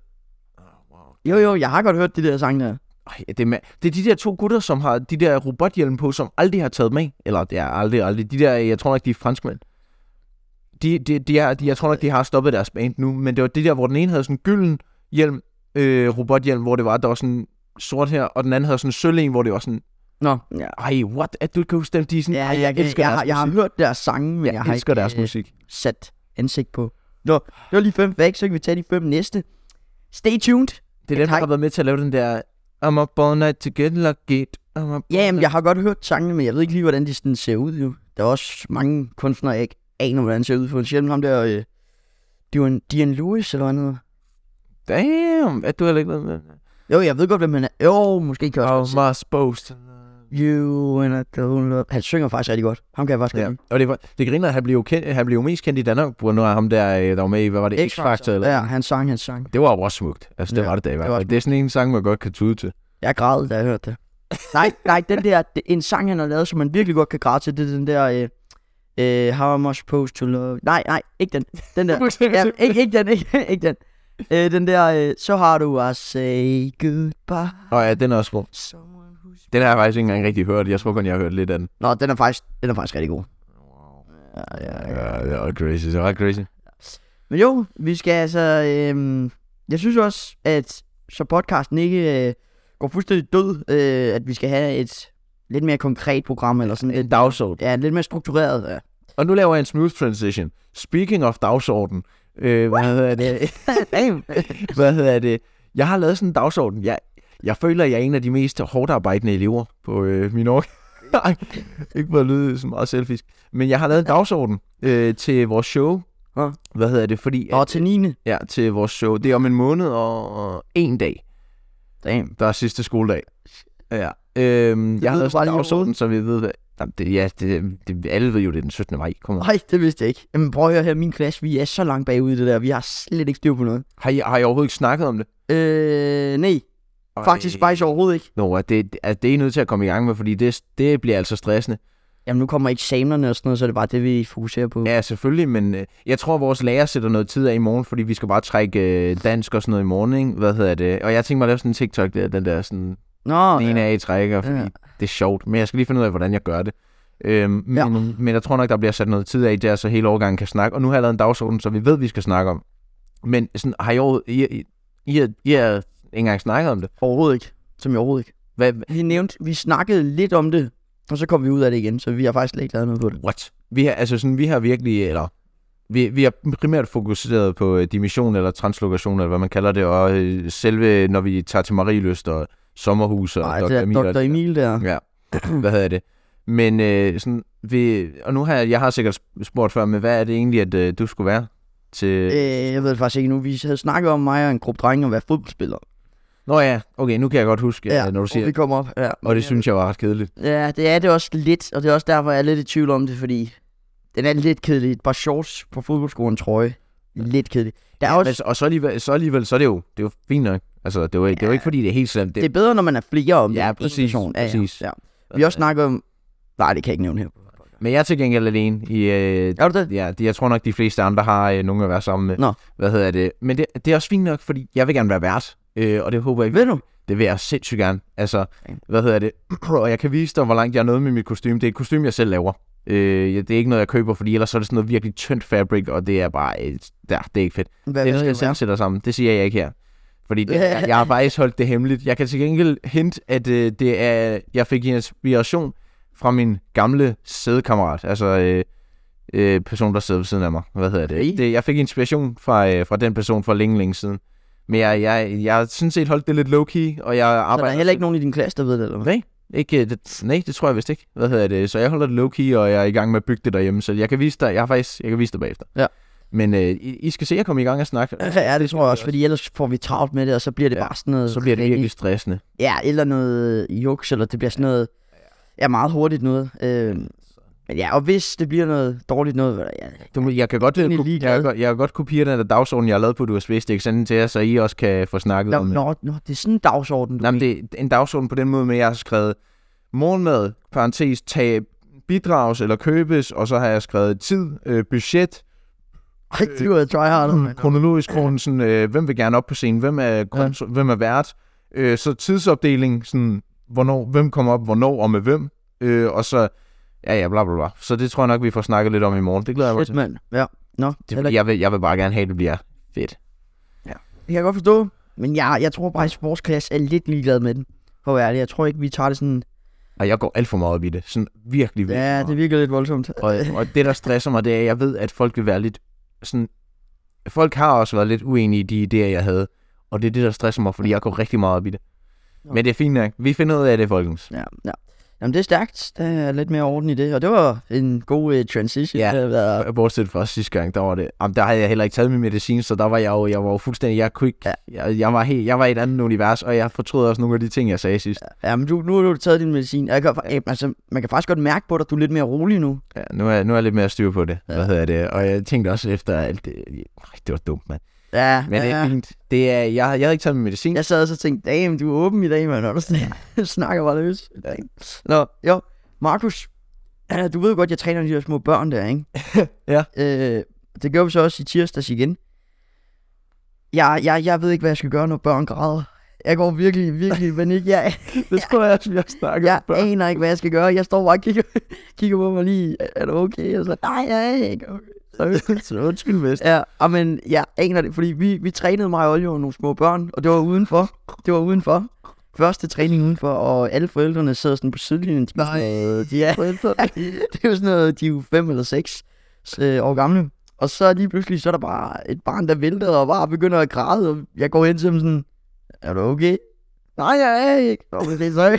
Speaker 2: Jo, jo, jeg har godt hørt de der sange der.
Speaker 1: Ej, det, er ma- det er de der to gutter, som har de der robothjelme på, som aldrig har taget med. Eller det er aldrig, aldrig. De der, jeg tror nok, de er franskmænd. De, de, de er, de, jeg tror nok, de har stoppet deres band nu, men det var det der, hvor den ene havde sådan en gylden hjelm, øh, robothjelm, hvor det var, der var sådan sort her, og den anden havde sådan en sølv en, hvor det var sådan,
Speaker 2: Nå, ja.
Speaker 1: ej, what, at du ikke kan huske dem, de er sådan,
Speaker 2: Ja,
Speaker 1: ej,
Speaker 2: jeg, jeg,
Speaker 1: elsker
Speaker 2: jeg, har,
Speaker 1: deres
Speaker 2: jeg har
Speaker 1: musik.
Speaker 2: hørt deres sange, men jeg,
Speaker 1: jeg,
Speaker 2: har
Speaker 1: elsker
Speaker 2: ikke
Speaker 1: deres
Speaker 2: øh,
Speaker 1: musik.
Speaker 2: sat ansigt på. Nå, det var lige fem facts, så kan vi tage de fem næste. Stay tuned.
Speaker 1: Det er dem, der
Speaker 2: tak.
Speaker 1: har været med til at lave den der, I'm up all night to get lucky, I'm up
Speaker 2: Ja, jamen, jeg har godt hørt sangene, men jeg ved ikke lige, hvordan de sådan ser ud jo. Der er også mange kunstnere, jeg ikke aner, hvordan de ser ud. For eksempel ham der, øh, Dion, Dion Lewis eller hvad han hedder.
Speaker 1: Damn, at du heller ikke været med.
Speaker 2: Jo, jeg ved godt, hvem han er. Jo, måske kan jeg også.
Speaker 1: How am I supposed to love
Speaker 2: Oh, you and I don't love. Han synger faktisk rigtig godt. Ham kan jeg faktisk
Speaker 1: Ja,
Speaker 2: godt
Speaker 1: og det, var, det griner, at han blev, jo kendt, han blev jo mest kendt i Danmark, på grund af ham der, øh, der var med i, hvad var
Speaker 2: lide.
Speaker 1: det, X-Factor? Eller?
Speaker 2: Ja, han sang, han sang.
Speaker 1: Det var jo også smukt. Altså, det
Speaker 2: Ja,
Speaker 1: var det da i hvert
Speaker 2: var
Speaker 1: fald. Det er sådan en sang, man godt kan tude til.
Speaker 2: Jeg græd, da jeg hørte det. nej, nej, den der, det- en sang, han har lavet, som man virkelig godt kan græde til, det er den der, øh, øh, How am I supposed to love? Nej, nej, ikke den.
Speaker 1: [laughs]
Speaker 2: Den der. ja, ikke, ikke den, ikke, ikke den. Øh, den der, øh, så har du at say goodbye.
Speaker 1: Og ja, den er også smuk.
Speaker 2: Someone who's...
Speaker 1: Den har jeg faktisk ikke engang rigtig hørt. Jeg tror kun, jeg har hørt lidt af den.
Speaker 2: Nå, den er faktisk, den er faktisk rigtig god. Ja, ja, ja.
Speaker 1: Ja, det er ret crazy. Det er ret crazy.
Speaker 2: Men jo, vi skal altså... Øh, jeg synes også, at så podcasten ikke øh, går fuldstændig død, øh, at vi skal have et lidt mere konkret program, eller sådan et,
Speaker 1: Dagsorden.
Speaker 2: ja, lidt mere struktureret. Ja.
Speaker 1: Og nu laver jeg en smooth transition. Speaking of dagsorden. Øh, hvad hedder det?
Speaker 2: Damn.
Speaker 1: hvad hedder det? Jeg har lavet sådan en dagsorden. Jeg, jeg føler, jeg er en af de mest hårdt arbejdende elever på øh, min år. [laughs] Nej, ikke for at lyde så meget selfisk. Men jeg har lavet en dagsorden øh, til vores show.
Speaker 2: Ja.
Speaker 1: Hvad hedder det? Fordi,
Speaker 2: Og til 9.
Speaker 1: ja, til vores show. Det er om en måned og, og en dag.
Speaker 2: Damn.
Speaker 1: Der er sidste skoledag. Ja. Øhm, jeg har
Speaker 2: du
Speaker 1: lavet
Speaker 2: bare
Speaker 1: sådan en
Speaker 2: lige om
Speaker 1: dagsorden, så vi ved, hvad... Jamen, det, ja, det, det, alle ved jo, det er den 17. maj. Kom on.
Speaker 2: Nej, det vidste jeg ikke. Jamen prøv at høre her, min klasse, vi er så langt bagud i det der. Vi har slet ikke styr på noget.
Speaker 1: Har I, har I overhovedet ikke snakket om det?
Speaker 2: Øh, nej. Faktisk faktisk overhovedet ikke.
Speaker 1: Nå, at det, at det er I nødt til at komme i gang med, fordi det, det bliver altså stressende.
Speaker 2: Jamen nu kommer eksamenerne og sådan noget, så er det bare det, vi fokuserer på.
Speaker 1: Ja, selvfølgelig, men øh, jeg tror, vores lærer sætter noget tid af i morgen, fordi vi skal bare trække øh, dansk og sådan noget i morgen, ikke? Hvad hedder det? Og jeg tænkte mig at lave sådan en TikTok der, den der sådan,
Speaker 2: Nå,
Speaker 1: den ene
Speaker 2: ja.
Speaker 1: af I trækker, fordi
Speaker 2: Ja.
Speaker 1: det er sjovt. Men jeg skal lige finde ud af, hvordan jeg gør det. Øhm, men,
Speaker 2: Ja.
Speaker 1: men jeg tror nok, der bliver sat noget tid af der, så hele årgangen kan snakke. Og nu har jeg lavet en dagsorden, så vi ved, vi skal snakke om. Men sådan, har I, overhovedet- I, I, I, har- I har ikke engang snakket om det.
Speaker 2: overhovedet ikke. Som jeg overhovedet ikke.
Speaker 1: Hvad,
Speaker 2: Vi nævnte, vi snakkede lidt om det, og så kom vi ud af det igen, så vi har faktisk slet ikke lavet noget på det.
Speaker 1: What? Vi har, altså sådan, vi har virkelig, eller vi, vi har primært fokuseret på øh, dimission eller translokation, eller hvad man kalder det, og øh, selve, når vi tager til Marieløst og sommerhus og
Speaker 2: Nej,
Speaker 1: Dr.
Speaker 2: det er
Speaker 1: Emil og alt
Speaker 2: Dr.
Speaker 1: det
Speaker 2: Emil der.
Speaker 1: der. Ja, [clears throat] hvad hedder det? Men øh, sådan, vi, og nu har jeg, jeg har sikkert spurgt før, men hvad er det egentlig, at øh, du skulle være til... Øh.
Speaker 2: Øh, jeg ved det faktisk ikke nu. Vi havde snakket om mig og en gruppe drenge om at være fodboldspiller.
Speaker 1: Nå ja, okay, nu kan jeg godt huske, ja, når du
Speaker 2: og
Speaker 1: siger
Speaker 2: vi
Speaker 1: det.
Speaker 2: kom op. Ja,
Speaker 1: Og det synes jeg var ret kedeligt.
Speaker 2: Ja, det er det også lidt, og det er også derfor, jeg er lidt i tvivl om det, fordi den er lidt kedelig. Et par shorts på fodboldskolen, trøje. Lidt kedelig. Der er ja,
Speaker 1: Ja,
Speaker 2: også,
Speaker 1: men, så- og så alligevel, så alligevel, så er det jo, det er jo fint nok. Altså, det er jo, det er jo ikke, fordi det er helt slemt.
Speaker 2: det er bedre, når man er flere om
Speaker 1: Ja,
Speaker 2: det. En
Speaker 1: præcis,
Speaker 2: person.
Speaker 1: præcis.
Speaker 2: Ja, ja. Vi har også snakket om... Nej, det kan jeg ikke nævne her.
Speaker 1: Men jeg er til gengæld alene i øh,
Speaker 2: Er du det?
Speaker 1: Ja, de, jeg tror nok, de fleste andre har øh, nogen at være sammen med.
Speaker 2: Nå.
Speaker 1: Hvad hedder det? Men det, det er også fint nok, fordi jeg vil gerne være vært, øh, og det håber jeg
Speaker 2: Ved du?
Speaker 1: Det vil jeg sindssygt gerne. Altså,
Speaker 2: Okay.
Speaker 1: hvad hedder det? [clears throat] og jeg kan vise dig, hvor langt jeg er nået med mit kostume. Det er et kostume, jeg selv laver. Øh, ja, det er ikke noget, jeg køber, fordi ellers så er det sådan noget virkelig tyndt fabric, og det er bare... Øh, der, det er ikke fedt.
Speaker 2: Hvad,
Speaker 1: Det er noget,
Speaker 2: hvad
Speaker 1: jeg
Speaker 2: skal
Speaker 1: selv
Speaker 2: det
Speaker 1: sætter sammen. Det siger jeg ikke her. Fordi det, jeg, jeg har faktisk holdt det hemmeligt. Jeg kan til gengæld hint, at øh, det er, jeg fik inspiration fra min gamle sædekammerat. Altså øh, øh, person, der sidder ved siden af mig. Hvad hedder
Speaker 2: Okay.
Speaker 1: det? det jeg fik inspiration fra, øh, fra den person for længe, længe siden. Men jeg, jeg, jeg har sådan set holdt det lidt low-key, og jeg
Speaker 2: være? Så der
Speaker 1: arbejder...
Speaker 2: er heller ikke nogen i din klasse, der ved det, eller hvad?
Speaker 1: Nej, Ikke, øh, det, nej, det tror jeg vist ikke. Hvad hedder det? Så jeg holder det low-key, og jeg er i gang med at bygge det derhjemme, så jeg kan vise dig, jeg har faktisk, jeg kan vise dig bagefter.
Speaker 2: Ja.
Speaker 1: Men øh, I, I, skal se, at jeg kommer i gang og snakke.
Speaker 2: Altså, Ja, det tror jeg også, fordi ellers får vi travlt med det, og så bliver det
Speaker 1: Ja,
Speaker 2: bare sådan noget...
Speaker 1: Så bliver det virkelig stressende.
Speaker 2: Ja, eller noget juks, eller det bliver sådan noget... Ja, meget hurtigt noget. Øh, men ja, og hvis det bliver noget dårligt noget... hvad der- Ja,
Speaker 1: Du, jeg kan godt,
Speaker 2: egentlig
Speaker 1: jeg, jeg,
Speaker 2: ligeglad.
Speaker 1: kan, godt- jeg kan godt kopiere den der dagsorden, jeg har lavet på et USB-stik, sende den til jer, så I også kan få snakket
Speaker 2: nå,
Speaker 1: om
Speaker 2: nå, nå, det er sådan en dagsorden, du
Speaker 1: Nej, men det er en dagsorden på den måde med, at jeg har skrevet morgenmad, parentes, tag bidrages eller købes, og så har jeg skrevet tid, øh, budget,
Speaker 2: Ej, det var tryhardet, mand.
Speaker 1: kronologisk grund, sådan, øh, hvem vil gerne op på scenen, hvem er, grund, ja. hvem er vært, øh, så tidsopdeling, sådan, hvornår, hvem kommer op, hvornår og med hvem, øh, og så, ja ja, bla bla bla. Så det tror jeg nok, vi får snakket lidt om i morgen. Det glæder jeg mig
Speaker 2: Shit,
Speaker 1: til.
Speaker 2: mand. Ja. Nå,
Speaker 1: Det, er
Speaker 2: heller
Speaker 1: fordi, jeg, vil, jeg vil bare gerne have, at det bliver fedt.
Speaker 2: Det kan jeg godt forstå. Men jeg, jeg tror bare, at sportsklasse er lidt ligeglad med den. For at være ærlig. Jeg tror ikke, vi tager det sådan...
Speaker 1: Og jeg går alt for meget op i det. Sådan virkelig, virkelig
Speaker 2: Ja,
Speaker 1: meget.
Speaker 2: det virker lidt voldsomt.
Speaker 1: Og, og det, der stresser mig, det er, at jeg ved, at folk vil være lidt sådan... Folk har også været lidt uenige i de idéer, jeg havde. Og det er det, der stresser mig, fordi jeg går rigtig meget op i det.
Speaker 2: Nå.
Speaker 1: Men det er fint nok. Vi finder ud af det, folkens.
Speaker 2: Ja, ja. Jamen, det er stærkt. Der er lidt mere orden i det. Og det var en god uh, transition.
Speaker 1: Ja.
Speaker 2: Det har været-
Speaker 1: Bortset fra sidste gang, der var det... Jamen, der havde jeg heller ikke taget min medicin, så der var jeg jo, jeg var jo fuldstændig... Jeg, kunne ikke,
Speaker 2: Ja.
Speaker 1: jeg, jeg, var helt, jeg var i et andet univers, og jeg fortryder også nogle af de ting, jeg sagde sidst.
Speaker 2: Ja, men du, nu har du taget din medicin. Og Jeg kan, ja. altså, man kan faktisk godt mærke på dig, at du er lidt mere rolig nu.
Speaker 1: Ja, nu er, nu er jeg lidt mere styr på det.
Speaker 2: Ja.
Speaker 1: Hvad hedder det? Og jeg tænkte også efter alt det... Ej, det var dumt, mand.
Speaker 2: Ja,
Speaker 1: Men
Speaker 2: ja,
Speaker 1: det er
Speaker 2: ja.
Speaker 1: fint. Det er, jeg, jeg havde ikke taget min medicin.
Speaker 2: Jeg sad også og tænkte, damn, du er åben i dag, mand. Og du sådan- [laughs] snakker bare løs. Nå, jo. Markus, ja, du ved jo godt, jeg træner de her små børn der, ikke?
Speaker 1: [laughs] Ja.
Speaker 2: Øh, det gjorde vi så også i tirsdags igen. Jeg, jeg, jeg ved ikke, hvad jeg skal gøre, når børn græder. Jeg går virkelig, virkelig i panik.
Speaker 1: [laughs]
Speaker 2: Jeg,
Speaker 1: Det tror jeg, at vi har snakket
Speaker 2: jeg
Speaker 1: om
Speaker 2: [laughs]
Speaker 1: før.
Speaker 2: aner ikke, hvad jeg skal gøre. Jeg står bare og kigger, kigger på mig lige. Er du okay? Og så, nej, jeg er ikke okay.
Speaker 1: Så undskyld, Vest.
Speaker 2: Ja, og men jeg aner det, fordi vi, vi trænede mig og Oljo nogle små børn, og det var udenfor. Det var udenfor. Første træning udenfor, og alle forældrene sidder sådan på sidelinjen. De, er sådan noget- de er, [laughs] det er jo sådan noget, de er jo fem eller seks øh, år gamle. Og så lige pludselig, så er der bare et barn, der vælter og bare begynder at græde, og jeg går hen til dem sådan, er du okay? Nej, jeg er ikke. [laughs] Nå, men det er sorry.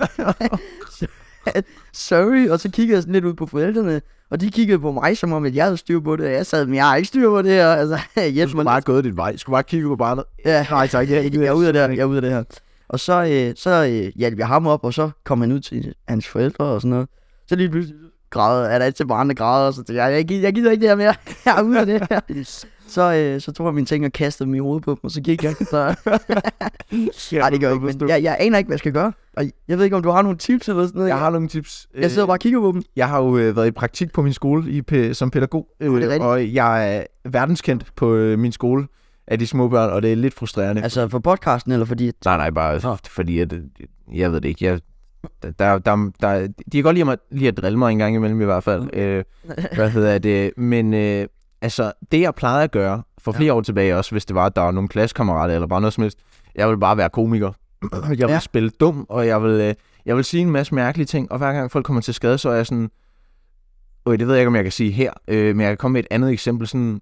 Speaker 2: sorry. Og så kiggede jeg sådan lidt ud på forældrene, og de kiggede på mig, som om at jeg havde styr på det, og jeg sad, men jeg har ikke styr på det her. Altså, [laughs]
Speaker 1: Du
Speaker 2: hjælp
Speaker 1: skulle
Speaker 2: mig.
Speaker 1: bare have gået dit vej. Du skulle bare kigge på barnet.
Speaker 2: Ja,
Speaker 1: Nej, tak. Jeg,
Speaker 2: jeg er ude af det her, jeg er ude af det her. Og så, øh, så øh, hjalp jeg ham op, og så kom han ud til hans forældre og sådan noget. Så lige pludselig græder, er der et til barnet græder, og så tænkte jeg, jeg gider, jeg gider ikke det her mere, [laughs] jeg er ude af det her. Så, øh, så tog jeg mine ting og kastede dem i hovedet på dem, og så gik [laughs] jeg. Så, nej, det gør jeg ikke, men jeg, jeg aner ikke, hvad jeg skal gøre. Og jeg ved ikke, om du har nogle tips eller sådan noget.
Speaker 1: Jeg har nogle tips. Øh,
Speaker 2: jeg sidder bare og kigger på dem.
Speaker 1: jeg har jo øh, været i praktik på min skole i, p- som pædagog, øh,
Speaker 2: det er rigtigt.
Speaker 1: og jeg er verdenskendt på øh, min skole af de små børn, og det er lidt frustrerende.
Speaker 2: Altså for podcasten, eller [laughs] fordi...
Speaker 1: Nej, nej, bare
Speaker 2: Nå.
Speaker 1: f- fordi, at, øh, jeg ved det ikke, jeg, der, der, der, der, de kan godt lide, mig, lige at drille mig en gang imellem i hvert fald. Øh, hvad hedder det? Men øh, altså, det jeg plejede at gøre for flere ja. år tilbage også, hvis det var, at der var nogle klassekammerater eller bare noget som helst, jeg ville bare være komiker. [clears throat] Jeg ville
Speaker 2: Ja.
Speaker 1: ja. spille dum, og jeg ville, øh, jeg ville sige en masse mærkelige ting, og hver gang folk kommer til skade, så er jeg sådan, øh, det ved jeg ikke, om jeg kan sige her, øh, men jeg kan komme med et andet eksempel, sådan,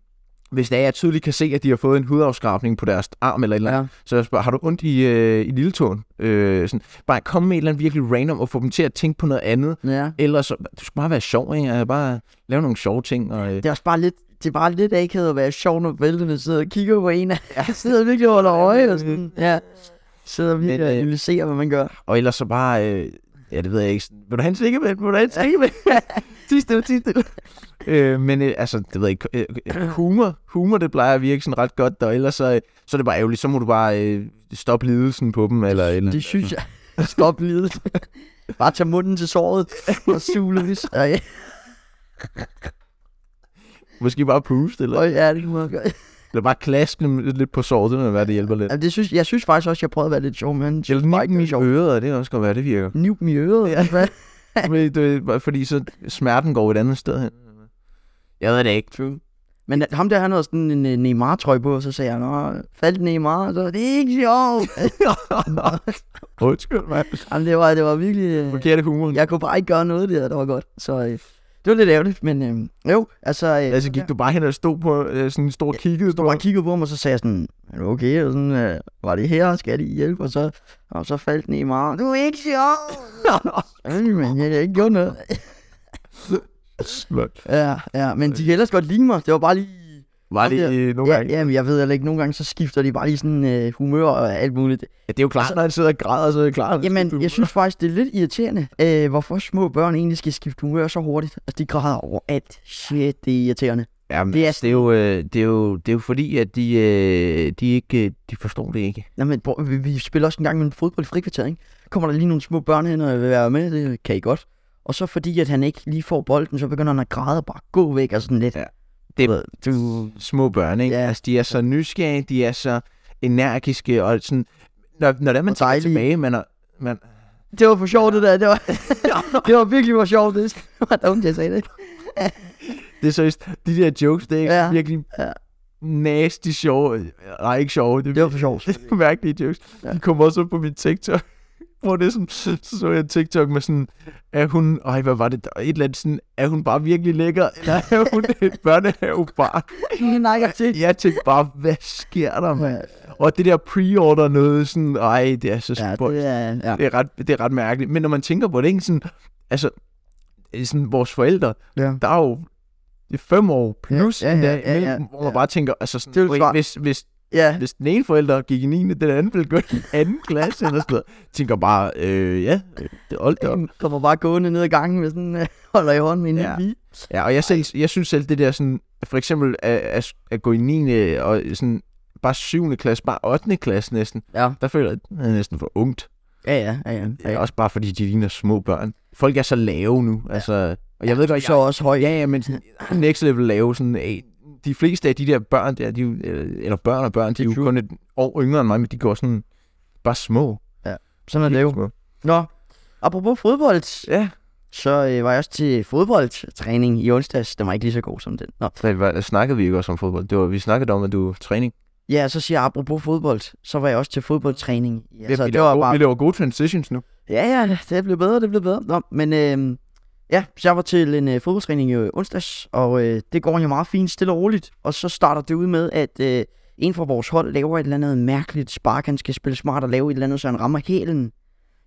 Speaker 1: hvis det er, jeg tydeligt kan se, at de har fået en hudafskrabning på deres arm eller et eller andet,
Speaker 2: Ja.
Speaker 1: så jeg spørger, har du ondt i, øh, i lilletåen? Øh, sådan, bare kom med et eller andet virkelig random og få dem til at tænke på noget andet.
Speaker 2: ja.
Speaker 1: Ellers, så, du skal bare være sjov, ikke? Altså, Bare lave nogle sjove ting. Og, øh,
Speaker 2: Det er også bare lidt, det er bare lidt akavet at være sjov, når vælterne sidder og kigger på en. Jeg [laughs] sidder virkelig og holder øje og sådan. Ja. Sidder virkelig og
Speaker 1: øh,
Speaker 2: analyserer, hvad man [laughs] gør.
Speaker 1: og ellers så bare, øh, ja, det ved jeg ikke. sådan, Vil du have en sikkevend? Vil du have en
Speaker 2: [laughs]
Speaker 1: sikkevend? Tis stille, tis stille. Øh, men øh, altså, det ved jeg ikke, øh, humor, humor, det plejer at virke sådan ret godt, og ellers så, øh, så er det bare ærgerligt, så må du bare øh, stoppe lidelsen på dem, eller, eller
Speaker 2: Det synes jeg. Stop lidet. [laughs] Bare tage munden til såret og sule [laughs] lidt. Ja,
Speaker 1: måske bare puste, eller,
Speaker 2: ja, det kunne man gøre.
Speaker 1: eller bare klaske dem lidt på såret, det må være, det hjælper lidt.
Speaker 2: Jamen, det synes, jeg synes faktisk også, jeg prøvede at være lidt sjov, men
Speaker 1: Eller
Speaker 2: bare ikke
Speaker 1: nippen
Speaker 2: Altså, sjov.
Speaker 1: i øret, det kan også godt være, det virker.
Speaker 2: Niv dem i øret. Ja.
Speaker 1: Fordi, det, fordi så smerten går et andet sted hen. Jeg ved det ikke.
Speaker 2: [laughs] True. Men at ham der, han havde sådan en øh, Neymar-trøje på, og så sagde jeg, Nå, faldt Neymar, så det er ikke [laughs] sjovt.
Speaker 1: Undskyld mig.
Speaker 2: Jamen, det var, det var virkelig... øh,
Speaker 1: Forkerte humor.
Speaker 2: Jeg kunne bare ikke gøre noget der, der var godt. Så øh, det var lidt ærgerligt, men øh, jo, altså... Øh,
Speaker 1: Altså gik du bare hen og stod på øh, sådan en stor kiggede
Speaker 2: stod bare og kiggede på mig, og så sagde jeg sådan, er du okay? Og sådan, øh, var det her? Skal jeg lige hjælpe? Og så, og så faldt den i mig. Du er ikke
Speaker 1: [laughs]
Speaker 2: sjov! men jeg har ikke gjort noget.
Speaker 1: Slot.
Speaker 2: Ja, ja, men de kan ellers godt lide mig. Det var bare lige...
Speaker 1: Var det øh, nogle
Speaker 2: ja,
Speaker 1: gange?
Speaker 2: Ja, men jeg ved heller ikke, nogle gange så skifter de bare lige sådan øh, humør og alt muligt.
Speaker 1: Ja, det er jo klart, når han sidder og græder, så er det klart.
Speaker 2: Jamen, jeg synes faktisk, det er lidt irriterende, øh, hvorfor små børn egentlig skal skifte humør så hurtigt. Altså, de græder over alt. Shit, det er irriterende.
Speaker 3: Jamen,
Speaker 2: Det
Speaker 3: det,
Speaker 2: er
Speaker 3: er
Speaker 1: altså,
Speaker 3: det, er jo, øh, det, er jo, det er jo fordi, at de, øh, de, ikke, øh, de forstår det ikke.
Speaker 2: Nå, men bror, vi, vi spiller også en gang med en fodbold i frikvarteret, ikke? Kommer der lige nogle små børn hen og vil være med, det kan I godt. Og så fordi, at han ikke lige får bolden, så begynder han at græde og bare gå væk og sådan lidt.
Speaker 3: Ja.
Speaker 2: Det
Speaker 3: Det-
Speaker 2: ved, du...
Speaker 1: små børn, ikke?
Speaker 2: Ja.
Speaker 1: Ja. Altså, de er så nysgerrige, de er så energiske, og sådan... Når, når det er, man
Speaker 2: Og
Speaker 1: tager
Speaker 2: dejlige.
Speaker 1: tilbage, man er... Man,
Speaker 2: Det var for sjovt, det der. Det var, [laughs] det var virkelig for sjovt, det. Det var dumt, jeg [laughs] sagde det.
Speaker 1: det er seriøst, de der jokes, det er
Speaker 2: Ja.
Speaker 1: ja. virkelig
Speaker 2: Ja.
Speaker 1: ja. nasty sjove. Nej, ikke sjove, det
Speaker 2: Det var for sjovt.
Speaker 1: er [laughs] mærkelige jokes.
Speaker 2: Ja.
Speaker 1: Ja. De kommer også op på min TikTok, [laughs] hvor det er sådan, så så jeg en TikTok med sådan, er hun, ej, hvad var det, der var et eller andet sådan, er hun bare virkelig lækker, [laughs] eller er hun et børnehavebarn? [laughs]
Speaker 2: Ingen nakker til.
Speaker 1: Jeg tænkte bare, hvad sker der,
Speaker 2: Ja,
Speaker 1: mand? Og det der pre-order noget, sådan, ej, det er så
Speaker 2: ja,
Speaker 1: spøjst.
Speaker 2: det er... Ja.
Speaker 1: Det er, ret, det er ret mærkeligt. Men når man tænker på det, ikke sådan, altså, øh, sådan vores forældre,
Speaker 2: Ja.
Speaker 1: der er jo det er fem år plus
Speaker 2: Ja,
Speaker 1: ja,
Speaker 2: ja,
Speaker 1: ja,
Speaker 2: ja,
Speaker 1: ja,
Speaker 2: ja,
Speaker 1: ja, ja, hvor man
Speaker 2: ja.
Speaker 1: bare tænker, altså sådan,
Speaker 2: Det er jo
Speaker 1: okay,
Speaker 2: svar-
Speaker 1: hvis, hvis,
Speaker 2: ja.
Speaker 1: hvis den ene forælder gik i 9. den anden ville gå i anden klasse eller sådan noget, tænker bare, øh, ja, øh, det er oldt op.
Speaker 2: Den kommer bare gående ned ad gangen med sådan... øh, holder i hånden med en lille
Speaker 1: Ja.
Speaker 2: pige.
Speaker 1: Ja, og jeg, selv, jeg synes selv, det der sådan, for eksempel at, at, at gå i 9. og sådan, bare 7. klasse, bare 8. klasse næsten,
Speaker 2: Ja.
Speaker 1: der føler jeg, at det er næsten for ungt.
Speaker 2: Ja, ja, ja, ja.
Speaker 1: Ja. Også bare fordi de ligner små børn. Folk er så lave nu, ja. altså. Og jeg ved
Speaker 2: Du
Speaker 1: godt,
Speaker 2: er så også høj.
Speaker 1: Ja, ja, men sådan, next level lave sådan af. De fleste af de der børn der, de, er jo- øh, eller børn og børn, de er jo kun et år yngre end mig, men de går sådan bare små.
Speaker 2: Sådan er det jo.
Speaker 1: små.
Speaker 2: Nå, apropos fodbold,
Speaker 1: Ja,
Speaker 2: så øh, var jeg også til fodboldtræning i onsdags. Den var ikke lige så god som den. Nå.
Speaker 1: så var, snakkede vi ikke også om fodbold. Det var, vi snakkede om, at du er træning.
Speaker 2: Ja, så siger jeg apropos fodbold, så var jeg også til fodboldtræning. Ja, så
Speaker 1: vi,
Speaker 2: det var
Speaker 1: gode, vi
Speaker 2: bare...
Speaker 1: laver gode transitions nu.
Speaker 2: Ja, ja, det blev bedre, det blev bedre. Nå, men øh, ja, så jeg var til en øh, fodboldtræning i øh, onsdags, og øh, det går jo meget fint, stille og roligt. Og så starter det ud med, at øh, en fra vores hold laver et eller andet mærkeligt spark. Han skal spille smart og lave et eller andet, så han rammer hælen.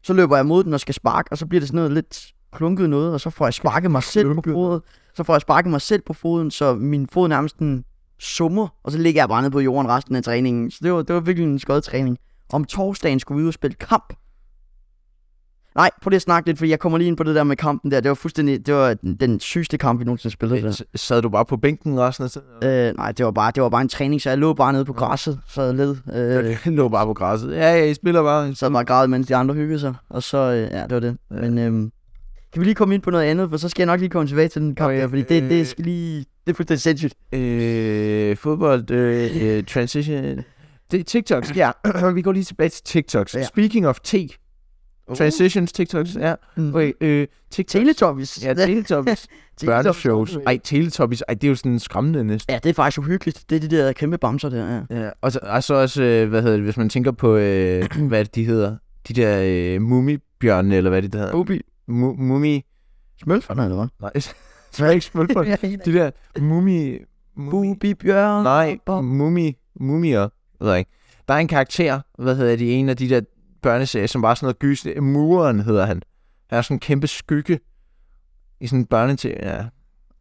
Speaker 2: Så løber jeg mod den og skal sparke, og så bliver det sådan noget lidt klunket noget, og så får jeg sparket mig selv
Speaker 1: Klunket.
Speaker 2: på foden. Så får jeg sparket mig selv på foden, så min fod nærmest den summer, og så ligger jeg bare nede på jorden resten af træningen. Så det var, det var virkelig en skød træning. Om torsdagen skulle vi ud og spille kamp. Nej, prøv lige at snakke lidt, for jeg kommer lige ind på det der med kampen der. Det var fuldstændig, det var den, den sygeste kamp, vi nogensinde spillede. der.
Speaker 1: S- Sad du bare på bænken resten af tiden?
Speaker 2: Øh, nej, det var, bare, det var bare en træning, så jeg lå bare nede på græsset, så jeg led. Øh,
Speaker 1: Øh. [laughs] lå bare på græsset. Ja, ja, I spiller bare.
Speaker 2: så bare græd, mens de andre hyggede sig, og så, øh, ja, det var det. Men øhm, kan vi lige komme ind på noget andet, for så skal jeg nok lige komme tilbage til den kamp
Speaker 1: Nå,
Speaker 2: der,
Speaker 1: ja,
Speaker 2: fordi det,
Speaker 1: øh.
Speaker 2: det skal lige, det er fuldstændig sindssygt.
Speaker 1: Øh, fodbold, øh, øh, transition. Det er TikToks, ja. [clears throat] vi går lige tilbage til TikToks.
Speaker 2: Ja. Uh.
Speaker 1: Ja. Speaking of T. Transitions, TikToks, ja. Uh. Okay, øh, TikToks.
Speaker 2: Teletubbies.
Speaker 1: Ja, Teletubbies.
Speaker 2: Teletubbies.
Speaker 1: Børneshows. Ej, Teletubbies. Ej, det er jo sådan skræmmende næsten.
Speaker 2: Ja, det er faktisk uhyggeligt. Det er de der kæmpe bamser der, ja.
Speaker 1: Ja, og så, og så også, øh, hvad hedder det, hvis man tænker på, øh, [clears throat] hvad er det, de hedder? De der øh, mumibjørne, eller hvad det hedder?
Speaker 2: Bubi.
Speaker 1: Mu- mumi...
Speaker 2: Smølferne, eller hvad?
Speaker 1: Nej, [laughs] det er ikke [laughs] smølferne. De der mumi... mumi-
Speaker 2: Bubi Bjørn.
Speaker 1: Nej,
Speaker 2: Bob.
Speaker 1: mumi, mumier, ved jeg ikke. Der er en karakter, hvad hedder de, en af de der børneserier, som var sådan noget gysende. Muren hedder han. Han er sådan en kæmpe skygge i sådan en børneserie. Ja.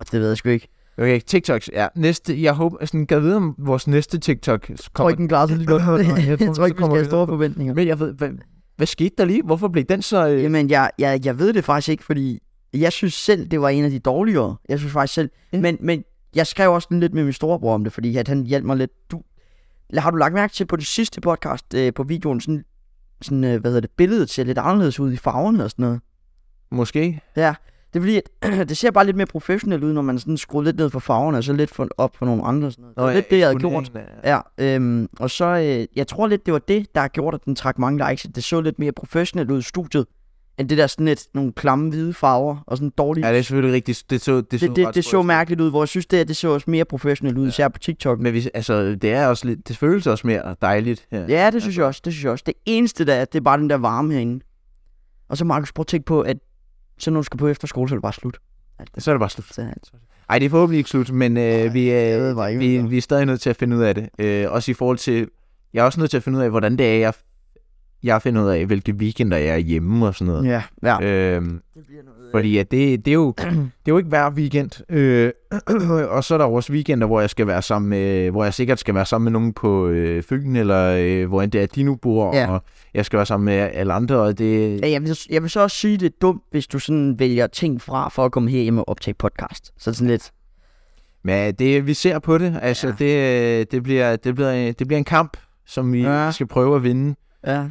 Speaker 2: Det ved jeg sgu ikke.
Speaker 1: Okay, TikToks, ja. Næste, jeg håber, sådan, kan vide, om vores næste TikTok
Speaker 2: Jeg tror
Speaker 1: kommer.
Speaker 2: ikke, den klarer sig lige godt. [laughs] jeg tror ikke, vi skal have store forventninger.
Speaker 1: Men jeg ved, hvad, hvad skete der lige? Hvorfor blev den så... Øh,
Speaker 2: Jamen, jeg, jeg, jeg ved det faktisk ikke, fordi jeg synes selv, det var en af de dårligere. Jeg synes faktisk selv.
Speaker 1: Ja.
Speaker 2: Men, men jeg skrev også sådan lidt med min storebror om det, fordi at han hjalp mig lidt. Du, har du lagt mærke til på det sidste podcast øh, på videoen, sådan, sådan øh, hvad hedder det, billedet ser lidt anderledes ud i farverne og sådan noget?
Speaker 1: måske?
Speaker 2: Det er fordi, at [clears throat] det ser bare lidt mere professionelt ud, når man sådan skruer lidt ned for farverne, og så lidt for, op for nogle andre. og Sådan noget. det var lidt det, jeg havde gjort. Ja, øhm, og så, øh, jeg tror lidt, det var det, der har gjort, at den trak mange likes. at Det så lidt mere professionelt ud i studiet, end det der sådan lidt, nogle klamme hvide farver, og sådan dårlige...
Speaker 1: Ja, det er selvfølgelig rigtigt. Det så, det så,
Speaker 2: det, det,
Speaker 1: ret
Speaker 2: det så
Speaker 1: spøjst ud.
Speaker 2: mærkeligt ud, hvor jeg synes, det, her, det så også mere professionelt ud, ja. især på TikTok.
Speaker 1: Men vi, altså, det er også lidt, det føles også mere dejligt her.
Speaker 2: Ja, det synes jeg også, det synes jeg også. Det eneste, der er, det er bare den der varme herinde. Og så, Markus, prøv at tænke på, at så når du skal på efterskole, så er det bare slut.
Speaker 1: Så er det bare slut.
Speaker 2: Så,
Speaker 1: Ej, det er forhåbentlig ikke slut, men øh, vi,
Speaker 2: jeg ved
Speaker 1: øh,
Speaker 2: bare ikke,
Speaker 1: vi,
Speaker 2: hvad-
Speaker 1: vi er stadig nødt til at finde ud af det. Øh, også i forhold til... Jeg er også nødt til at finde ud af, hvordan det er, jeg, jeg finder ud af, hvilke weekender jeg er hjemme og sådan noget.
Speaker 2: ja, ja.
Speaker 1: Ja. Øh,
Speaker 2: Det bliver noget.
Speaker 1: fordi at det, det, er
Speaker 2: [clears throat]
Speaker 1: jo, det er jo ikke hver weekend. Øh, [clears throat] og så er der jo også weekender, hvor jeg skal være sammen med, hvor jeg sikkert skal være sammen med nogen på øh, Fyn, eller øh, hvor end det er, de nu bor,
Speaker 2: Ja.
Speaker 1: og jeg skal være sammen med alle andre, og det...
Speaker 2: Ja, jeg, vil, jeg vil så også sige, det er dumt, hvis du sådan vælger ting fra, for at komme herhjemme og optage podcast. Så sådan lidt,
Speaker 1: Men øh, det, vi ser på det. Altså,
Speaker 2: Ja.
Speaker 1: ja. det, øh, det, bliver, det, bliver, det bliver en kamp, som vi
Speaker 2: Ja.
Speaker 1: ja. skal prøve at vinde.
Speaker 2: ja,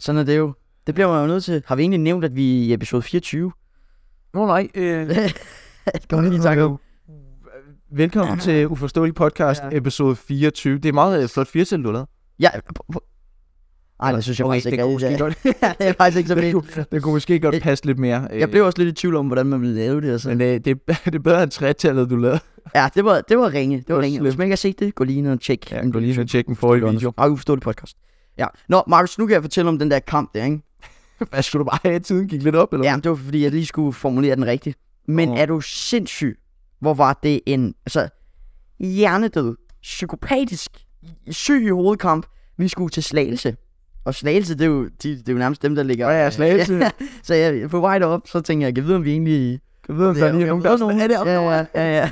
Speaker 2: sådan er det jo. Det bliver man jo nødt til. Har vi egentlig nævnt, at vi er i episode 24?
Speaker 1: Nå nej,
Speaker 2: [laughs]
Speaker 1: øh,
Speaker 2: Kom lige tak.
Speaker 1: velkommen til
Speaker 2: [clears throat]
Speaker 1: Uforståelig Podcast
Speaker 2: Ja.
Speaker 1: ja. episode 24. Det er meget øh, flot 24 du har lavet.
Speaker 2: Ja, p- p- ej, det synes jeg
Speaker 1: Okay,
Speaker 2: faktisk ikke
Speaker 1: det kunne
Speaker 2: er- [laughs]
Speaker 1: måske godt,
Speaker 2: det er faktisk ikke så
Speaker 1: det,
Speaker 2: fedt.
Speaker 1: kunne, det kunne måske godt passe lidt mere. Øh,
Speaker 2: Jeg blev også lidt i tvivl om, hvordan man ville lave det. Altså.
Speaker 1: Men øh, det, [laughs] det er bedre end tretallet, du lavede.
Speaker 2: Ja, det var, det var ringe. Det var
Speaker 1: var
Speaker 2: ringe.
Speaker 1: slemt.
Speaker 2: Hvis man ikke har set det, gå lige ind og tjek.
Speaker 1: Ja, gå lige ind og tjek den forrige video.
Speaker 2: Meget uforståelig podcast. Ja. Nå, Markus, nu kan jeg fortælle om den der kamp der, ikke?
Speaker 1: [laughs] Hvad skulle du bare have, at tiden gik lidt op? Eller?
Speaker 2: Ja, men det var fordi, jeg lige skulle formulere den rigtigt. Men
Speaker 1: Åh.
Speaker 2: er du sindssyg? Hvor var det en, altså, hjernedød, psykopatisk, syg i hovedkamp. Vi skulle til Slagelse. Og Slagelse, det er jo, de, det er jo nærmest dem, der ligger...
Speaker 1: Nå ja, Slagelse.
Speaker 2: Ja, [laughs] så jeg, på vej derop, så tænker jeg, kan jeg vide, om vi egentlig...
Speaker 1: Jeg ved, om
Speaker 2: Det
Speaker 1: der lige er
Speaker 2: jo-
Speaker 1: nogen,
Speaker 2: jo
Speaker 1: der
Speaker 2: nogen.
Speaker 1: er det op.
Speaker 2: Ja, ja, [laughs] ja, ja.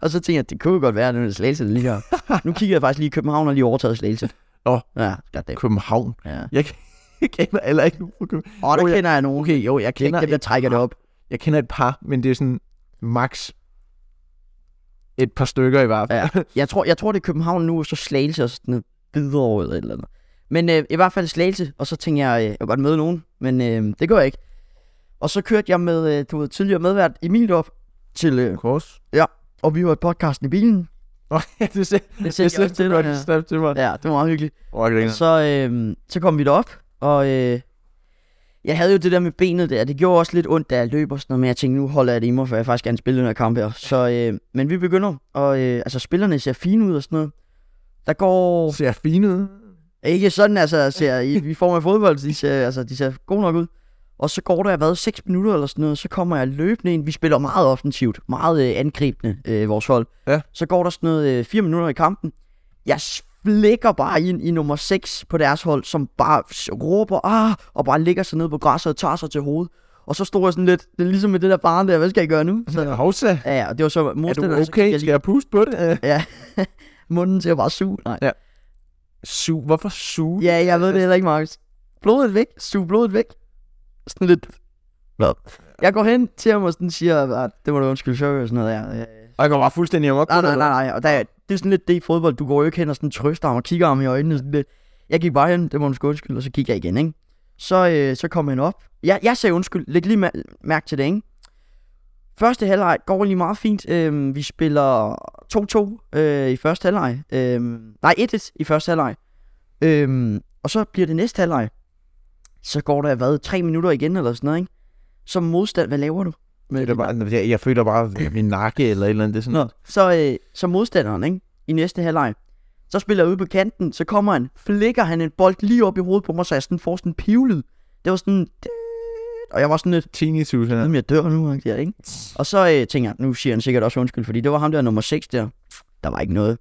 Speaker 2: og så tænkte jeg, det kunne jo godt være, at det er Slagelse, der ligger. nu kigger jeg faktisk lige i København og lige overtaget Slagelse.
Speaker 1: Nå.
Speaker 2: Ja, goddammit.
Speaker 1: København. [laughs]
Speaker 2: Ja.
Speaker 1: Jeg, jeg kender heller ikke nogen fra København.
Speaker 2: Og der
Speaker 1: Jo, jeg-
Speaker 2: kender Ah. jeg nogen. Okay, jo, jeg
Speaker 1: kender
Speaker 2: Dem, der
Speaker 1: et
Speaker 2: trækker det op.
Speaker 1: Jeg kender et par, men det er sådan max et par stykker i hvert fald.
Speaker 2: Ja. Jeg tror, jeg tror, det er København nu, og så Slagelse og sådan noget Hvidovre eller et eller andet. Men øh, i hvert fald Slagelse, og så tænkte jeg, øh, jeg vil godt møde nogen, men øh, det går jeg ikke. Og så kørte jeg med, øh, du ved, tidligere medvært Emil op til, øh,
Speaker 1: Kors.
Speaker 2: og vi hørte podcasten i bilen.
Speaker 1: [laughs] Nå, ja, det ser
Speaker 2: Det
Speaker 1: det ser til mig.
Speaker 2: ja.
Speaker 1: Det ser til mig.
Speaker 2: ja, det var meget hyggeligt.
Speaker 1: Åh, jeg griner.
Speaker 2: Så, øh, så kom vi derop, og øh, jeg havde jo det der med benet der. Det gjorde også lidt ondt, da jeg løb og sådan noget, men jeg tænkte, nu holder jeg det i mig, for jeg faktisk gerne spille den her kamp her. Så, øh, men vi begynder, og øh, altså spillerne ser fine ud og sådan noget. Der går
Speaker 1: Ser jeg fin ud?
Speaker 2: Ikke sådan, altså, ser i, i form af fodbold, de ser, altså, de ser gode nok ud. Og så går der, hvad, 6 minutter eller sådan noget, så kommer jeg løbende ind. Vi spiller meget offensivt, meget øh, angribende, øh, vores hold.
Speaker 1: Ja.
Speaker 2: Så går der sådan noget øh, 4 minutter i kampen. Jeg flækker bare ind i nummer 6 på deres hold, som bare s- råber, ah, og bare ligger sig ned på græsset og tager sig til hovedet. Og så stod jeg sådan lidt, det er ligesom med det der barn der, hvad skal jeg gøre nu? Så,
Speaker 1: Ja, Hovsa,
Speaker 2: ja, ja, og det var så
Speaker 1: er du
Speaker 2: modstanderen, så
Speaker 1: okay?
Speaker 2: kiggede Jeg
Speaker 1: Skal
Speaker 2: lige,
Speaker 1: jeg puste på det? Øh,
Speaker 2: munden til at bare suge. Nej.
Speaker 1: Su, hvorfor su?
Speaker 2: Ja, jeg ved det heller ikke, Markus. Blodet væk. Sug blodet væk. Sådan lidt... Hvad? Jeg går hen til ham og sådan siger, at det må du undskylde, så og sådan noget der. Øh,
Speaker 1: Og jeg går bare fuldstændig om op på
Speaker 2: Nej,
Speaker 1: det,
Speaker 2: nej,
Speaker 1: eller?
Speaker 2: nej, nej. Og der, det er sådan lidt det i fodbold. Du går jo ikke hen og sådan trøster ham og kigger ham i øjnene. Sådan lidt. Jeg gik bare hen, det må du sgu undskylde, og så gik jeg igen, ikke? Så, øh, så kom han op. Jeg, jeg sagde undskyld. Læg lige mær- mærke til det, ikke? Første halvleg går lige meget fint. Øhm, vi spiller 2-2 øh, i første halvleg. Øhm, nej, 1-1 i første halvleg. Øhm, og så bliver det næste halvleg. Så går der, hvad, tre minutter igen eller sådan noget, ikke? Som modstand, hvad laver du? Med
Speaker 1: Det er bare, jeg, jeg føler bare min nakke eller et eller andet. Det er sådan,
Speaker 2: Nå, så, øh, så modstanderen, ikke? I næste halvleg. Så spiller jeg ude på kanten, så kommer han, flikker han en bold lige op i hovedet på mig, så jeg sådan får sådan en pivlyd. Det var sådan... Og jeg var sådan lidt,
Speaker 1: tinnitus. Eller?
Speaker 2: om jeg dør nu, agtig, ikke? Og så øh, tænker jeg, nu siger han sikkert også undskyld, fordi det var ham der nummer 6 der. Der var ikke noget.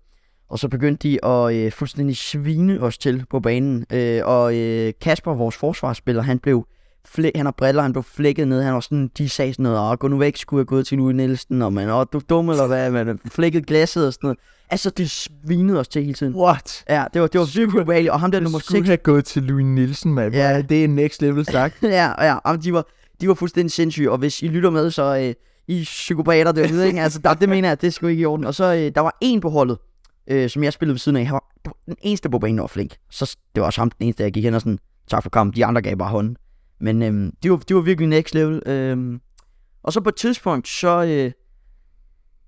Speaker 2: Og så begyndte de at øh, fuldstændig svine os til på banen. Øh, og øh, Kasper, vores forsvarsspiller, han blev flæ- han har briller, han blev flækket ned, han var sådan, de sagde sådan noget, åh, gå nu væk, skulle jeg gå til Louis Nielsen, og man, åh, du er dum, eller hvad, man [laughs] flækket glasset og sådan noget. Altså, det svinede os til hele tiden.
Speaker 1: What?
Speaker 2: Ja, det var, det var virkelig ubehageligt, og ham der nummer
Speaker 1: Jeg
Speaker 2: 6,
Speaker 1: skulle have gået til Louis Nielsen, mand.
Speaker 2: Ja.
Speaker 1: Ja. Det er next level
Speaker 2: [laughs]
Speaker 1: sagt.
Speaker 2: ja, ja, jamen, de var, de var fuldstændig sindssyge, og hvis I lytter med, så øh, I er psykopater derude, ikke? Altså, der, det mener jeg, det skulle ikke i orden. Og så, øh, der var en på holdet, øh, som jeg spillede ved siden af, han var det var den eneste på banen, der var flink. Så s- det var også ham den eneste, jeg gik hen og sådan, tak for kampen, de andre gav bare hånden. Men øh, de, var, de var virkelig next level. Øh. Og så på et tidspunkt, så, øh,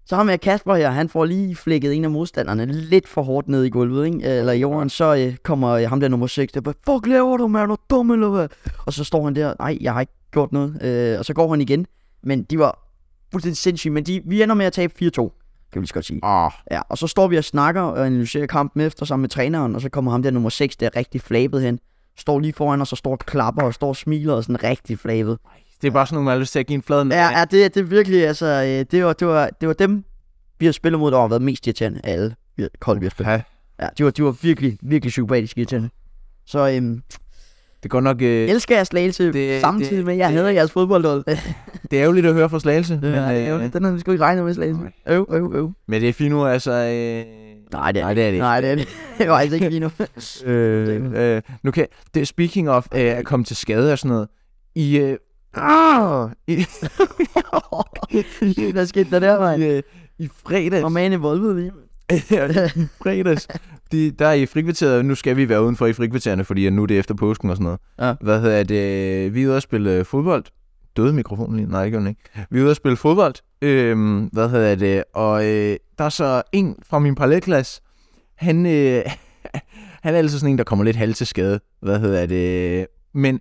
Speaker 2: så har med Kasper her, han får lige flækket en af modstanderne lidt for hårdt ned i gulvet, ikke? Øh, eller i jorden, så øh, kommer øh, ham der nummer 6, der bare, fuck laver du, man, er du dum eller hvad? Og så står han der, nej, jeg har ikke gjort noget. Øh, og så går han igen. Men de var fuldstændig sindssyge. Men de, vi ender med at tabe 4-2, kan vi lige så godt sige.
Speaker 1: Åh,
Speaker 2: Ja, og så står vi og snakker og analyserer kampen efter sammen med træneren. Og så kommer ham der nummer 6, der er rigtig flabet hen. Står lige foran os og står og klapper og står og smiler og sådan rigtig flabet.
Speaker 1: Det er bare sådan nogle, man har lyst til at give en flad
Speaker 2: Ja, ja det, det er virkelig, altså, øh, det, var, det, var, det var dem, vi har spillet mod, der har været mest irriterende af alle vi- hold, vi har spillet.
Speaker 1: ja.
Speaker 2: Ja, de var, de var virkelig, virkelig psykopatiske irriterende. Så øhm,
Speaker 1: Det er godt nok... Øh,
Speaker 2: elsker jeg slagelse
Speaker 1: det-
Speaker 2: det, samtidig
Speaker 1: det-
Speaker 2: med, at jeg
Speaker 1: det-
Speaker 2: hader jeres fodboldhold.
Speaker 1: det er ærgerligt at høre fra Slagelse,
Speaker 2: [laughs]
Speaker 1: men,
Speaker 2: Men, øh,
Speaker 1: øh,
Speaker 2: den havde vi sgu ikke regnet med, Slagelse. Øv, øv, øv.
Speaker 1: men det er fint nu, altså... Øh,
Speaker 2: Nej, det er
Speaker 1: Nej, det er det ikke.
Speaker 2: Nej, det er det. Det var altså ikke lige nu. [laughs]
Speaker 1: Øh, øh, nu kan det, speaking of øh, at komme til skade og sådan noget, i, øh, ah, i,
Speaker 2: Hvad skete der der, mand?
Speaker 1: i, øh, i fredags, [laughs]
Speaker 2: Og man i Volvo lige.
Speaker 1: i fredags de, der er i frikvarteret, nu skal vi være udenfor i frikvartererne, fordi at nu er det efter påsken og sådan noget.
Speaker 2: Ja.
Speaker 1: Hvad hedder det? Øh, vi er ude og spille øh, fodbold. Døde mikrofonen lige? Nej, det gjorde den ikke. Vi er ude og spille fodbold. Øhm, hvad hedder det? Og øh, der er så en fra min parallelklasse, han, øh, [laughs] han er altså sådan en, der kommer lidt halv til skade. Hvad hedder det? Men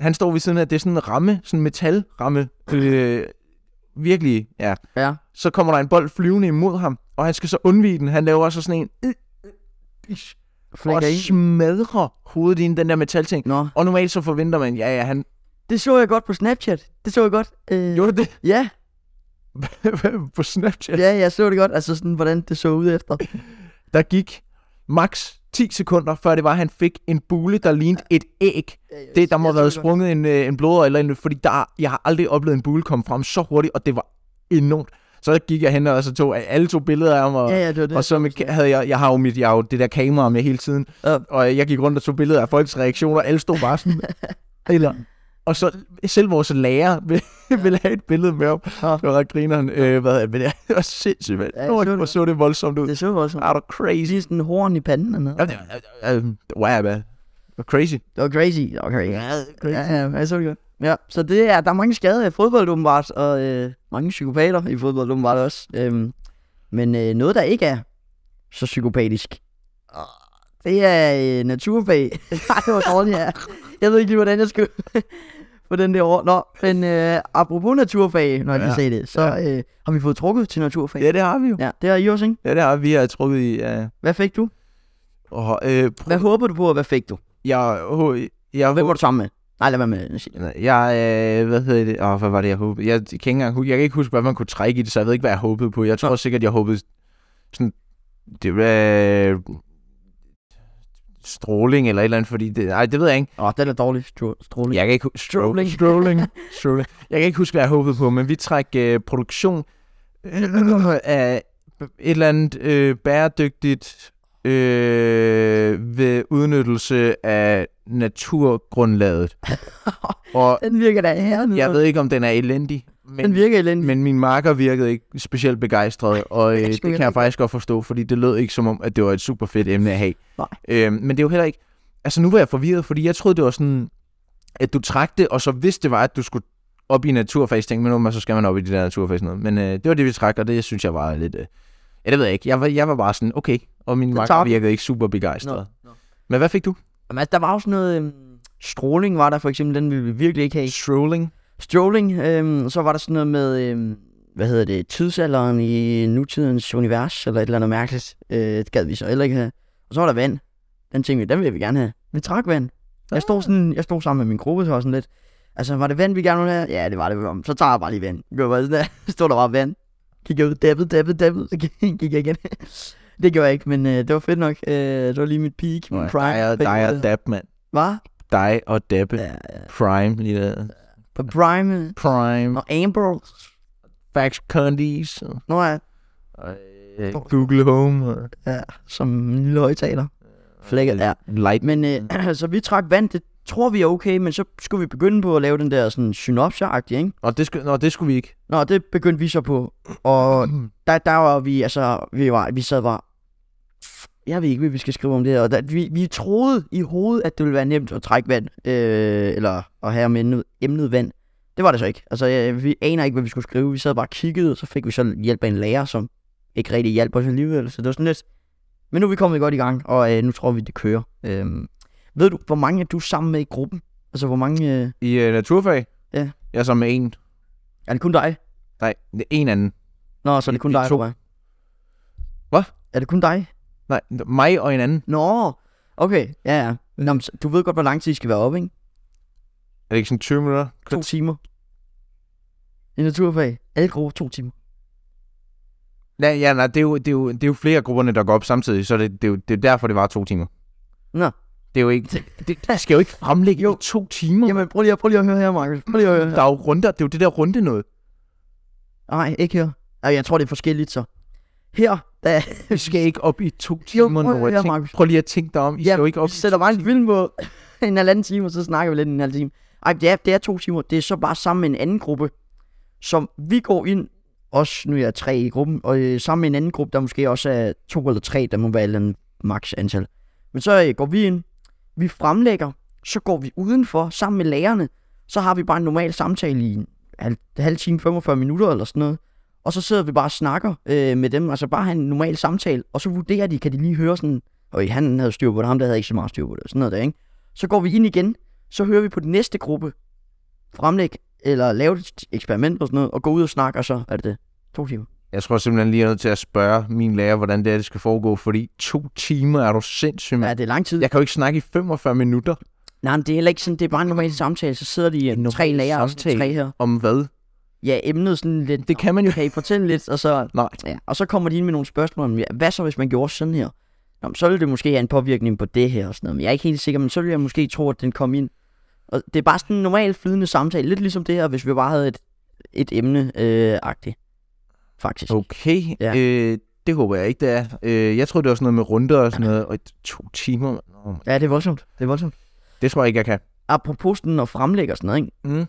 Speaker 1: han står ved siden af, det er sådan en ramme, sådan en metalramme. Øh, virkelig, ja.
Speaker 2: Ja.
Speaker 1: Så kommer der en bold flyvende imod ham, og han skal så undvige den. Han laver også sådan en, øh, øh, og
Speaker 2: Flækker i.
Speaker 1: smadrer hovedet i den der metalting.
Speaker 2: Nå,
Speaker 1: Og normalt så forventer man, ja, ja, han [laughs]
Speaker 2: det så jeg godt på Snapchat. Det så jeg godt. Øh,
Speaker 1: gjorde det [laughs]
Speaker 2: Ja,
Speaker 1: på Snapchat.
Speaker 2: ja, jeg så det godt. Altså sådan, hvordan det så ud efter.
Speaker 1: Der gik max 10 sekunder, før det var, at han fik en bule, der lignede et æg. Det, der må have været sprunget en, øh, en blodår eller en, fordi der, jeg har aldrig oplevet en bule komme frem så hurtigt, og det var enormt. Så gik jeg hen og så tog alle to billeder af ham, og,
Speaker 2: Ja, ja, det var det.
Speaker 1: og så med, havde jeg, jeg har jo mit, jeg har jo det der kamera med hele tiden,
Speaker 2: Ja.
Speaker 1: og jeg gik rundt og tog billeder af folks reaktioner, alle stod bare sådan, eller, og så selv vores lærer vil, [laughs] ville have et billede med ham,
Speaker 2: Ja.
Speaker 1: det var ret grineren, øh, hvad er det, men det var sindssygt, mand.
Speaker 2: Ja, jeg
Speaker 1: Nå,
Speaker 2: så det
Speaker 1: hvor så det voldsomt ud,
Speaker 2: Det så også.
Speaker 1: out of crazy,
Speaker 2: Lige sådan en horn i panden eller noget.
Speaker 1: Ja, det var- øh, øh, wow, man, det var crazy,
Speaker 2: Det var crazy. Det var crazy. Ja, ja, jeg så det godt. Ja, så det er, der er mange skader i fodbold åbenbart, og øh, mange psykopater i fodbold åbenbart også. Øhm, men øh, noget, der ikke er så psykopatisk, åh, det er øh, naturfag. [laughs] Nej, det var dårligt, ja. Jeg ved ikke lige, hvordan jeg skulle [laughs] på den der år. Nå, men øh, apropos naturfag, når jeg lige
Speaker 1: Ja,
Speaker 2: sagde det, så øh, har vi fået trukket til naturfag.
Speaker 1: ja, det har vi jo,
Speaker 2: Ja, det har I også, ikke?
Speaker 1: ja, det har vi, har trukket i, ja.
Speaker 2: Hvad fik du?
Speaker 1: og, øh, pr-
Speaker 2: Hvad håber du på, og hvad fik du?
Speaker 1: jeg, hå- jeg,
Speaker 2: Hvem var du sammen med? Nej, lad være med at sige det.
Speaker 1: Jeg, øh, hvad hedder det? Åh, hvad var det, jeg håbede? Jeg kan, ikke engang, hu- jeg kan ikke huske, hvad man kunne trække i det, så jeg ved ikke, hvad jeg håbede på. Jeg tror sikkert, jeg håbede sådan... Det var... Øh, stråling eller et eller andet, fordi det... Ej, det ved jeg ikke.
Speaker 2: Åh, den er dårlig, stro- stråling.
Speaker 1: Jeg kan ikke... hu-
Speaker 2: Stråling.
Speaker 1: Stråling. Stråling. Jeg kan ikke huske, hvad jeg håbede på, men vi træk øh, produktion af et eller andet øh, bæredygtigt øh, ved udnyttelse af naturgrundlaget. Og
Speaker 2: Den virker da hernede.
Speaker 1: jeg ved ikke, om den er elendig,
Speaker 2: Den
Speaker 1: men,
Speaker 2: virker elendig.
Speaker 1: men min marker virkede ikke specielt begejstret, og øh, det kan jeg faktisk godt forstå, fordi det lød ikke som om, at det var et super fedt emne at have.
Speaker 2: Nej.
Speaker 1: Øhm, men det er jo heller ikke... Altså, nu var jeg forvirret, fordi jeg troede, det var sådan, at du trak det, og så hvis det var, at du skulle op i naturfase, tænkte man, "Nå, men så skal man op i det der naturfase noget. Men øh, det var det, vi trak, og det synes jeg var lidt... Øh, ja, det ved jeg ikke. Jeg var, jeg var bare sådan, okay, og min marker
Speaker 2: tager vi.
Speaker 1: virkede ikke super begejstret.
Speaker 2: Nå,
Speaker 1: Men hvad fik du?
Speaker 2: Jamen, altså, der var jo sådan noget... Øhm, stråling var der for eksempel, den ville vi virkelig ikke have.
Speaker 1: Strolling.
Speaker 2: Stråling, øhm, så var der sådan noget med... Øhm, hvad hedder det? Tidsalderen i nutidens univers, eller et eller andet mærkeligt. Øh, det gad vi så heller ikke have. Og så var der vand. Den tænkte vi, den vil vi gerne have. Vi trak vand. Jeg
Speaker 1: Ah.
Speaker 2: stod, sådan, jeg stod sammen med min gruppe, så var sådan lidt... Altså, var det vand, vi gerne ville have? Ja, det var det. vel. Så tager jeg bare lige vand. Det var bare sådan der. [laughs] Stod der bare vand. Gik jeg ud, dabbede, dabbede, dabbede. Så gik jeg igen. [laughs] Det gjorde jeg ikke, men øh, det var fedt nok. Øh, det var lige mit peak, min prime.
Speaker 1: Dig og, dig og dab, mand.
Speaker 2: Hvad?
Speaker 1: Dig og dabbe.
Speaker 2: Ja, ja.
Speaker 1: Prime, lige der.
Speaker 2: På Prime.
Speaker 1: Prime,
Speaker 2: Nå, Amber.
Speaker 1: Fax Condis, og,
Speaker 2: Nå ja,
Speaker 1: øh, Google Home, og
Speaker 2: som en lille højtaler. Flækket, ja.
Speaker 1: Light.
Speaker 2: Men øh, [clears throat] så vi trak vand, det tror vi er okay, men så skulle vi begynde på at lave den der sådan synopser-agtige, ikke?
Speaker 1: Og det, skulle, nå, det skulle vi ikke.
Speaker 2: Nå, det begyndte vi så på, og der, der var vi, altså, vi, var, vi sad bare, jeg ved ikke, hvad vi skal skrive om det her, og der, vi, vi troede i hovedet, at det ville være nemt at trække vand, øh, eller at have om emnet, emnet vand. Det var det så ikke. Altså, jeg, vi aner ikke, hvad vi skulle skrive. Vi sad bare og kiggede, og så fik vi så hjælp af en lærer, som ikke rigtig hjalp os alligevel, så det var sådan lidt. Men nu er vi kommet godt i gang, og øh, nu tror vi, det kører. Øh, ved du, hvor mange er du sammen med i gruppen? Altså, hvor mange... Øh,
Speaker 1: I øh, naturfag?
Speaker 2: Ja.
Speaker 1: Jeg er sammen med en.
Speaker 2: er det kun dig?
Speaker 1: Nej, det er en anden.
Speaker 2: Nå, så er det kun
Speaker 1: Vi- vi
Speaker 2: dig,
Speaker 1: to.
Speaker 2: tror jeg.
Speaker 1: Hvad?
Speaker 2: Er det kun dig?
Speaker 1: Nej, mig og en anden.
Speaker 2: Nå, okay, ja, ja. Nå, men, så- du ved godt, hvor lang tid I skal være oppe, ikke?
Speaker 1: Er det ikke sådan 20 minutter?
Speaker 2: To timer. i naturfag. Alle grupper to timer.
Speaker 1: Nej, ja, nej, det er, jo, det, er jo, det er jo flere af grupperne, der går op samtidig, så det, det, er, jo, det er derfor, det var to timer.
Speaker 2: Nå.
Speaker 1: Det er jo ikke... Det, der skal jo ikke fremlægge jo. i to timer. Jamen,
Speaker 2: Jamen, prøv lige, at- prøv lige at høre her, Markus. Prøv lige at høre her.
Speaker 1: der er jo runder. Det er jo det der runde noget.
Speaker 2: Nej, ikke her. Ej, jeg tror, det er forskelligt så. Her, der
Speaker 1: Vi [laughs] skal ikke op i to
Speaker 2: Jo,
Speaker 1: timer.
Speaker 2: prøv at
Speaker 1: Jo, prøv,
Speaker 2: høre,
Speaker 1: jeg
Speaker 2: Markus.
Speaker 1: tænk, prøv lige at tænke dig om. I ja, skal jo ikke op
Speaker 2: vi sætter bare en film på [laughs] en halvanden time, og så snakker vi lidt en halv time. Ej, det er, det er to timer. Det er så bare sammen med en anden gruppe, som vi går ind, også nu er jeg tre i gruppen, og øh, sammen med en anden gruppe, der måske også er to eller tre, der må være et eller andet max antal. Men så øh, går vi ind, vi fremlægger, så går vi udenfor sammen med lærerne, så har vi bare en normal samtale i en halv, halv time, 45 minutter eller sådan noget. Og så sidder vi bare og snakker øh, med dem, altså bare have en normal samtale, og så vurderer de, kan de lige høre sådan, og han havde styr på det, ham der havde ikke så meget styr på det, og sådan noget der, ikke? Så går vi ind igen, så hører vi på den næste gruppe fremlæg, eller lave et eksperiment og sådan noget, og gå ud og snakke, og så er det det. To timer.
Speaker 1: Jeg tror simpelthen lige, jeg er nødt til at spørge min lærer, hvordan det er, det skal foregå, fordi to timer er du sindssyg,
Speaker 2: Ja,
Speaker 1: mand.
Speaker 2: det er lang tid. Ja.
Speaker 1: Jeg kan jo ikke snakke i 45 minutter
Speaker 2: Nej, men det er heller ikke sådan, det er bare en normal samtale, så sidder de en
Speaker 1: normal
Speaker 2: tre lærere og sådan
Speaker 1: samtale.
Speaker 2: tre her.
Speaker 1: om hvad.
Speaker 2: Ja, emnet sådan lidt,
Speaker 1: Det kan man jo
Speaker 2: kan I fortælle lidt, og så,
Speaker 1: Nej.
Speaker 2: ja. og så kommer de ind med nogle spørgsmål om, ja, hvad så hvis man gjorde sådan her? Nå, men så ville det måske have en påvirkning på det her og sådan noget, men jeg er ikke helt sikker, men så ville jeg måske tro, at den kom ind. Og det er bare sådan en normal flydende samtale, lidt ligesom det her, hvis vi bare havde et, et emne-agtigt, faktisk.
Speaker 1: Okay,
Speaker 2: Ja.
Speaker 1: ja. øh, det håber jeg ikke, det er. Øh, jeg tror det var sådan noget med runder og sådan noget, og et- to timer. mand. Nå, mand.
Speaker 2: Ja, det er voldsomt, det er voldsomt.
Speaker 1: Det tror jeg ikke, jeg kan.
Speaker 2: Apropos den og fremlægge og sådan noget, ikke?
Speaker 1: Mm.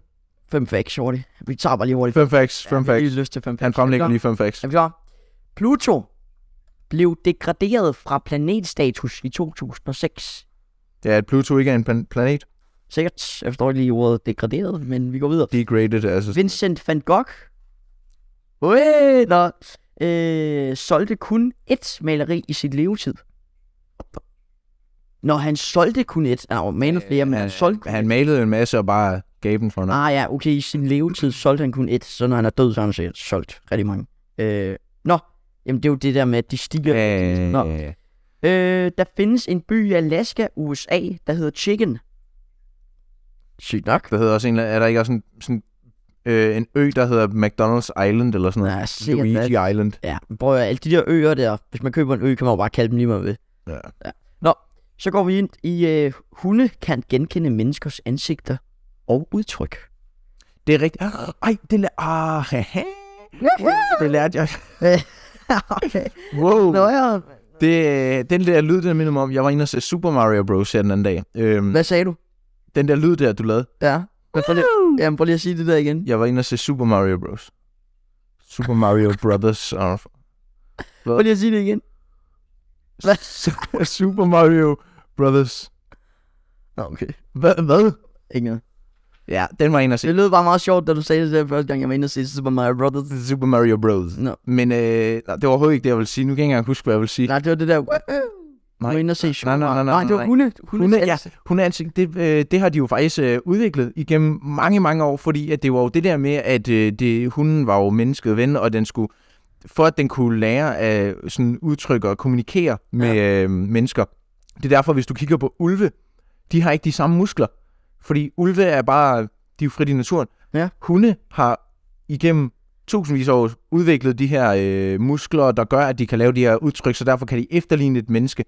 Speaker 2: Fem facts hurtigt. Vi tager bare lige hurtigt.
Speaker 1: Fem facts, fem
Speaker 2: Ja, vi har
Speaker 1: facts.
Speaker 2: lige lyst til fem facts.
Speaker 1: Han fremlægger
Speaker 2: Er vi
Speaker 1: lige fem facts.
Speaker 2: klar? Er vi klar? Pluto blev degraderet fra planetstatus i 2006.
Speaker 1: Det er, at Pluto ikke er en plan- planet.
Speaker 2: Sikkert. Jeg forstår ikke lige ordet degraderet, men vi går videre.
Speaker 1: Degraded, altså.
Speaker 2: Vincent van Gogh. Øh, nå. Øh, solgte kun ét maleri i sit levetid. Når han solgte kun ét. Han har jo malet flere, men han solgte kun
Speaker 1: Øh, han
Speaker 2: ét.
Speaker 1: malede en masse og bare gav dem for noget.
Speaker 2: Ah ja, okay, i sin levetid solgte han kun ét. Så når han er død, så har han sikkert solgt rigtig mange. Øh, nå, jamen det er jo det der med, at de stiger.
Speaker 1: Øh,
Speaker 2: Ah, Nå. Øh, der findes en by i Alaska, USA, der hedder Chicken. Sygt nok.
Speaker 1: Der hedder også en, eller- er der ikke også en, sådan, øh, en ø, der hedder McDonald's Island eller sådan noget?
Speaker 2: Ja, sikkert.
Speaker 1: Luigi
Speaker 2: hvad?
Speaker 1: Island.
Speaker 2: Ja, men prøv at høre, alle de der øer der, hvis man køber en ø, kan man jo bare kalde dem lige meget ved.
Speaker 1: Ja.
Speaker 2: Så går vi ind i, øh, hunde kan genkende menneskers ansigter og udtryk.
Speaker 1: Det er rigtigt. Ej, det lærte... Ah, [laughs] haha.
Speaker 2: [laughs]
Speaker 1: det lærte jeg.
Speaker 2: okay.
Speaker 1: Wow.
Speaker 2: Nå ja,
Speaker 1: Det, den der lyd, der minder mig om, jeg var inde og se Super Mario Bros. her den anden dag. Øhm,
Speaker 2: hvad sagde du?
Speaker 1: den der lyd der, du lavede.
Speaker 2: Ja. Men prøv lige, jamen, prøv lige at sige det der igen.
Speaker 1: Jeg var inde og se Super Mario Bros. Super Mario Brothers. Og...
Speaker 2: Prøv lige at sige det igen. Hvad?
Speaker 1: Super Mario Brothers.
Speaker 2: Nå, okay.
Speaker 1: Hvad? Hvad?
Speaker 2: Ikke noget.
Speaker 1: Ja, den var jeg inde og se.
Speaker 2: Det lød bare meget sjovt, da du sagde det der første gang, jeg var inde og se Super Mario Brothers.
Speaker 1: Super Mario Bros.
Speaker 2: Nå.
Speaker 1: Men øh, nej, det var overhovedet ikke det, jeg ville sige. Nu kan jeg ikke engang huske, hvad jeg ville sige.
Speaker 2: Nej, det var det der... Nej.
Speaker 1: Nej.
Speaker 2: Du var inde og se Super
Speaker 1: Nej, nej, nej,
Speaker 2: Mario-
Speaker 1: nej,
Speaker 2: nej, det var
Speaker 1: nej.
Speaker 2: hunde. Hunde,
Speaker 1: Hunde, ja, hundeansigt, det, øh, det har de jo faktisk øh, udviklet igennem mange, mange år, fordi at det var jo det der med, at øh, det, hunden var jo mennesket ven, og den skulle, for at den kunne lære at sådan udtrykke og kommunikere med øh, mennesker. Det er derfor, hvis du kigger på ulve, de har ikke de samme muskler, fordi ulve er bare, de er jo frit i naturen.
Speaker 2: Ja.
Speaker 1: Hunde har igennem tusindvis af år udviklet de her øh, muskler, der gør, at de kan lave de her udtryk, så derfor kan de efterligne et menneske.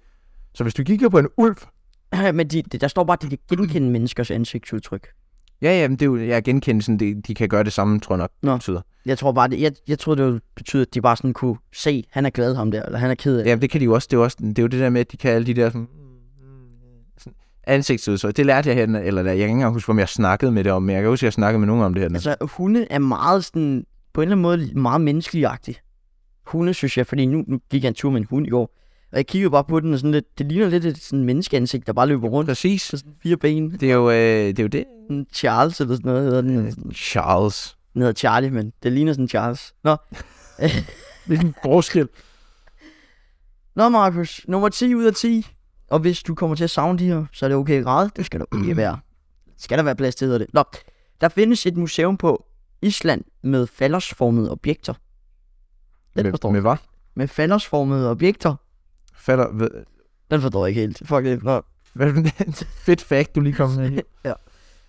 Speaker 1: Så hvis du kigger på en ulv,
Speaker 2: Ja, [laughs] men de, der står bare, at de kan genkende menneskers ansigtsudtryk.
Speaker 1: Ja, ja, men det er jo ja, genkendelsen, de, de kan gøre det samme, tror jeg nok,
Speaker 2: Nå.
Speaker 1: Nå. betyder.
Speaker 2: Jeg tror bare, det, jeg, jeg troede, det ville betyde, at de bare sådan kunne se, han er glad ham der, eller han er ked af det.
Speaker 1: Ja, men det kan de jo også, det er, jo også, det er jo det der med, at de kan alle de der sådan, sådan ansigtsudtryk. Det lærte jeg her, den- eller jeg kan ikke engang huske, om jeg snakkede med det om, men jeg kan huske, at jeg snakkede med nogen om det her. den-
Speaker 2: Altså, hunde er meget sådan, på en eller anden måde, meget menneskeligagtig. Hunde, synes jeg, fordi nu, nu gik jeg en tur med en hund i går, og jeg kiggede bare på den, og sådan lidt, det ligner lidt et sådan menneskeansigt, der bare løber rundt,
Speaker 1: Præcis.
Speaker 2: så sådan fire ben.
Speaker 1: Det er jo, øh, det, er jo det.
Speaker 2: Sådan Charles eller sådan noget hedder den. Den
Speaker 1: Charles.
Speaker 2: hedder Charlie, men det ligner sådan Charles. Nå,
Speaker 1: Hvilken [laughs] forskel.
Speaker 2: Nå Markus, nummer 10 ud af 10. Og hvis du kommer til at savne de her, så er det okay at græde. Det skal der ikke være. Skal der være plads til, hedder det. Nå, der findes et museum på Island med faldersformede objekter. Den med, forstår
Speaker 1: Med,
Speaker 2: med,
Speaker 1: med hvad?
Speaker 2: med faldersformede objekter.
Speaker 1: Fatter, hvad,
Speaker 2: Den forstår jeg ikke helt. Fuck det. Nå.
Speaker 1: hvad, fedt fact, du lige kom med. her.
Speaker 2: Ja.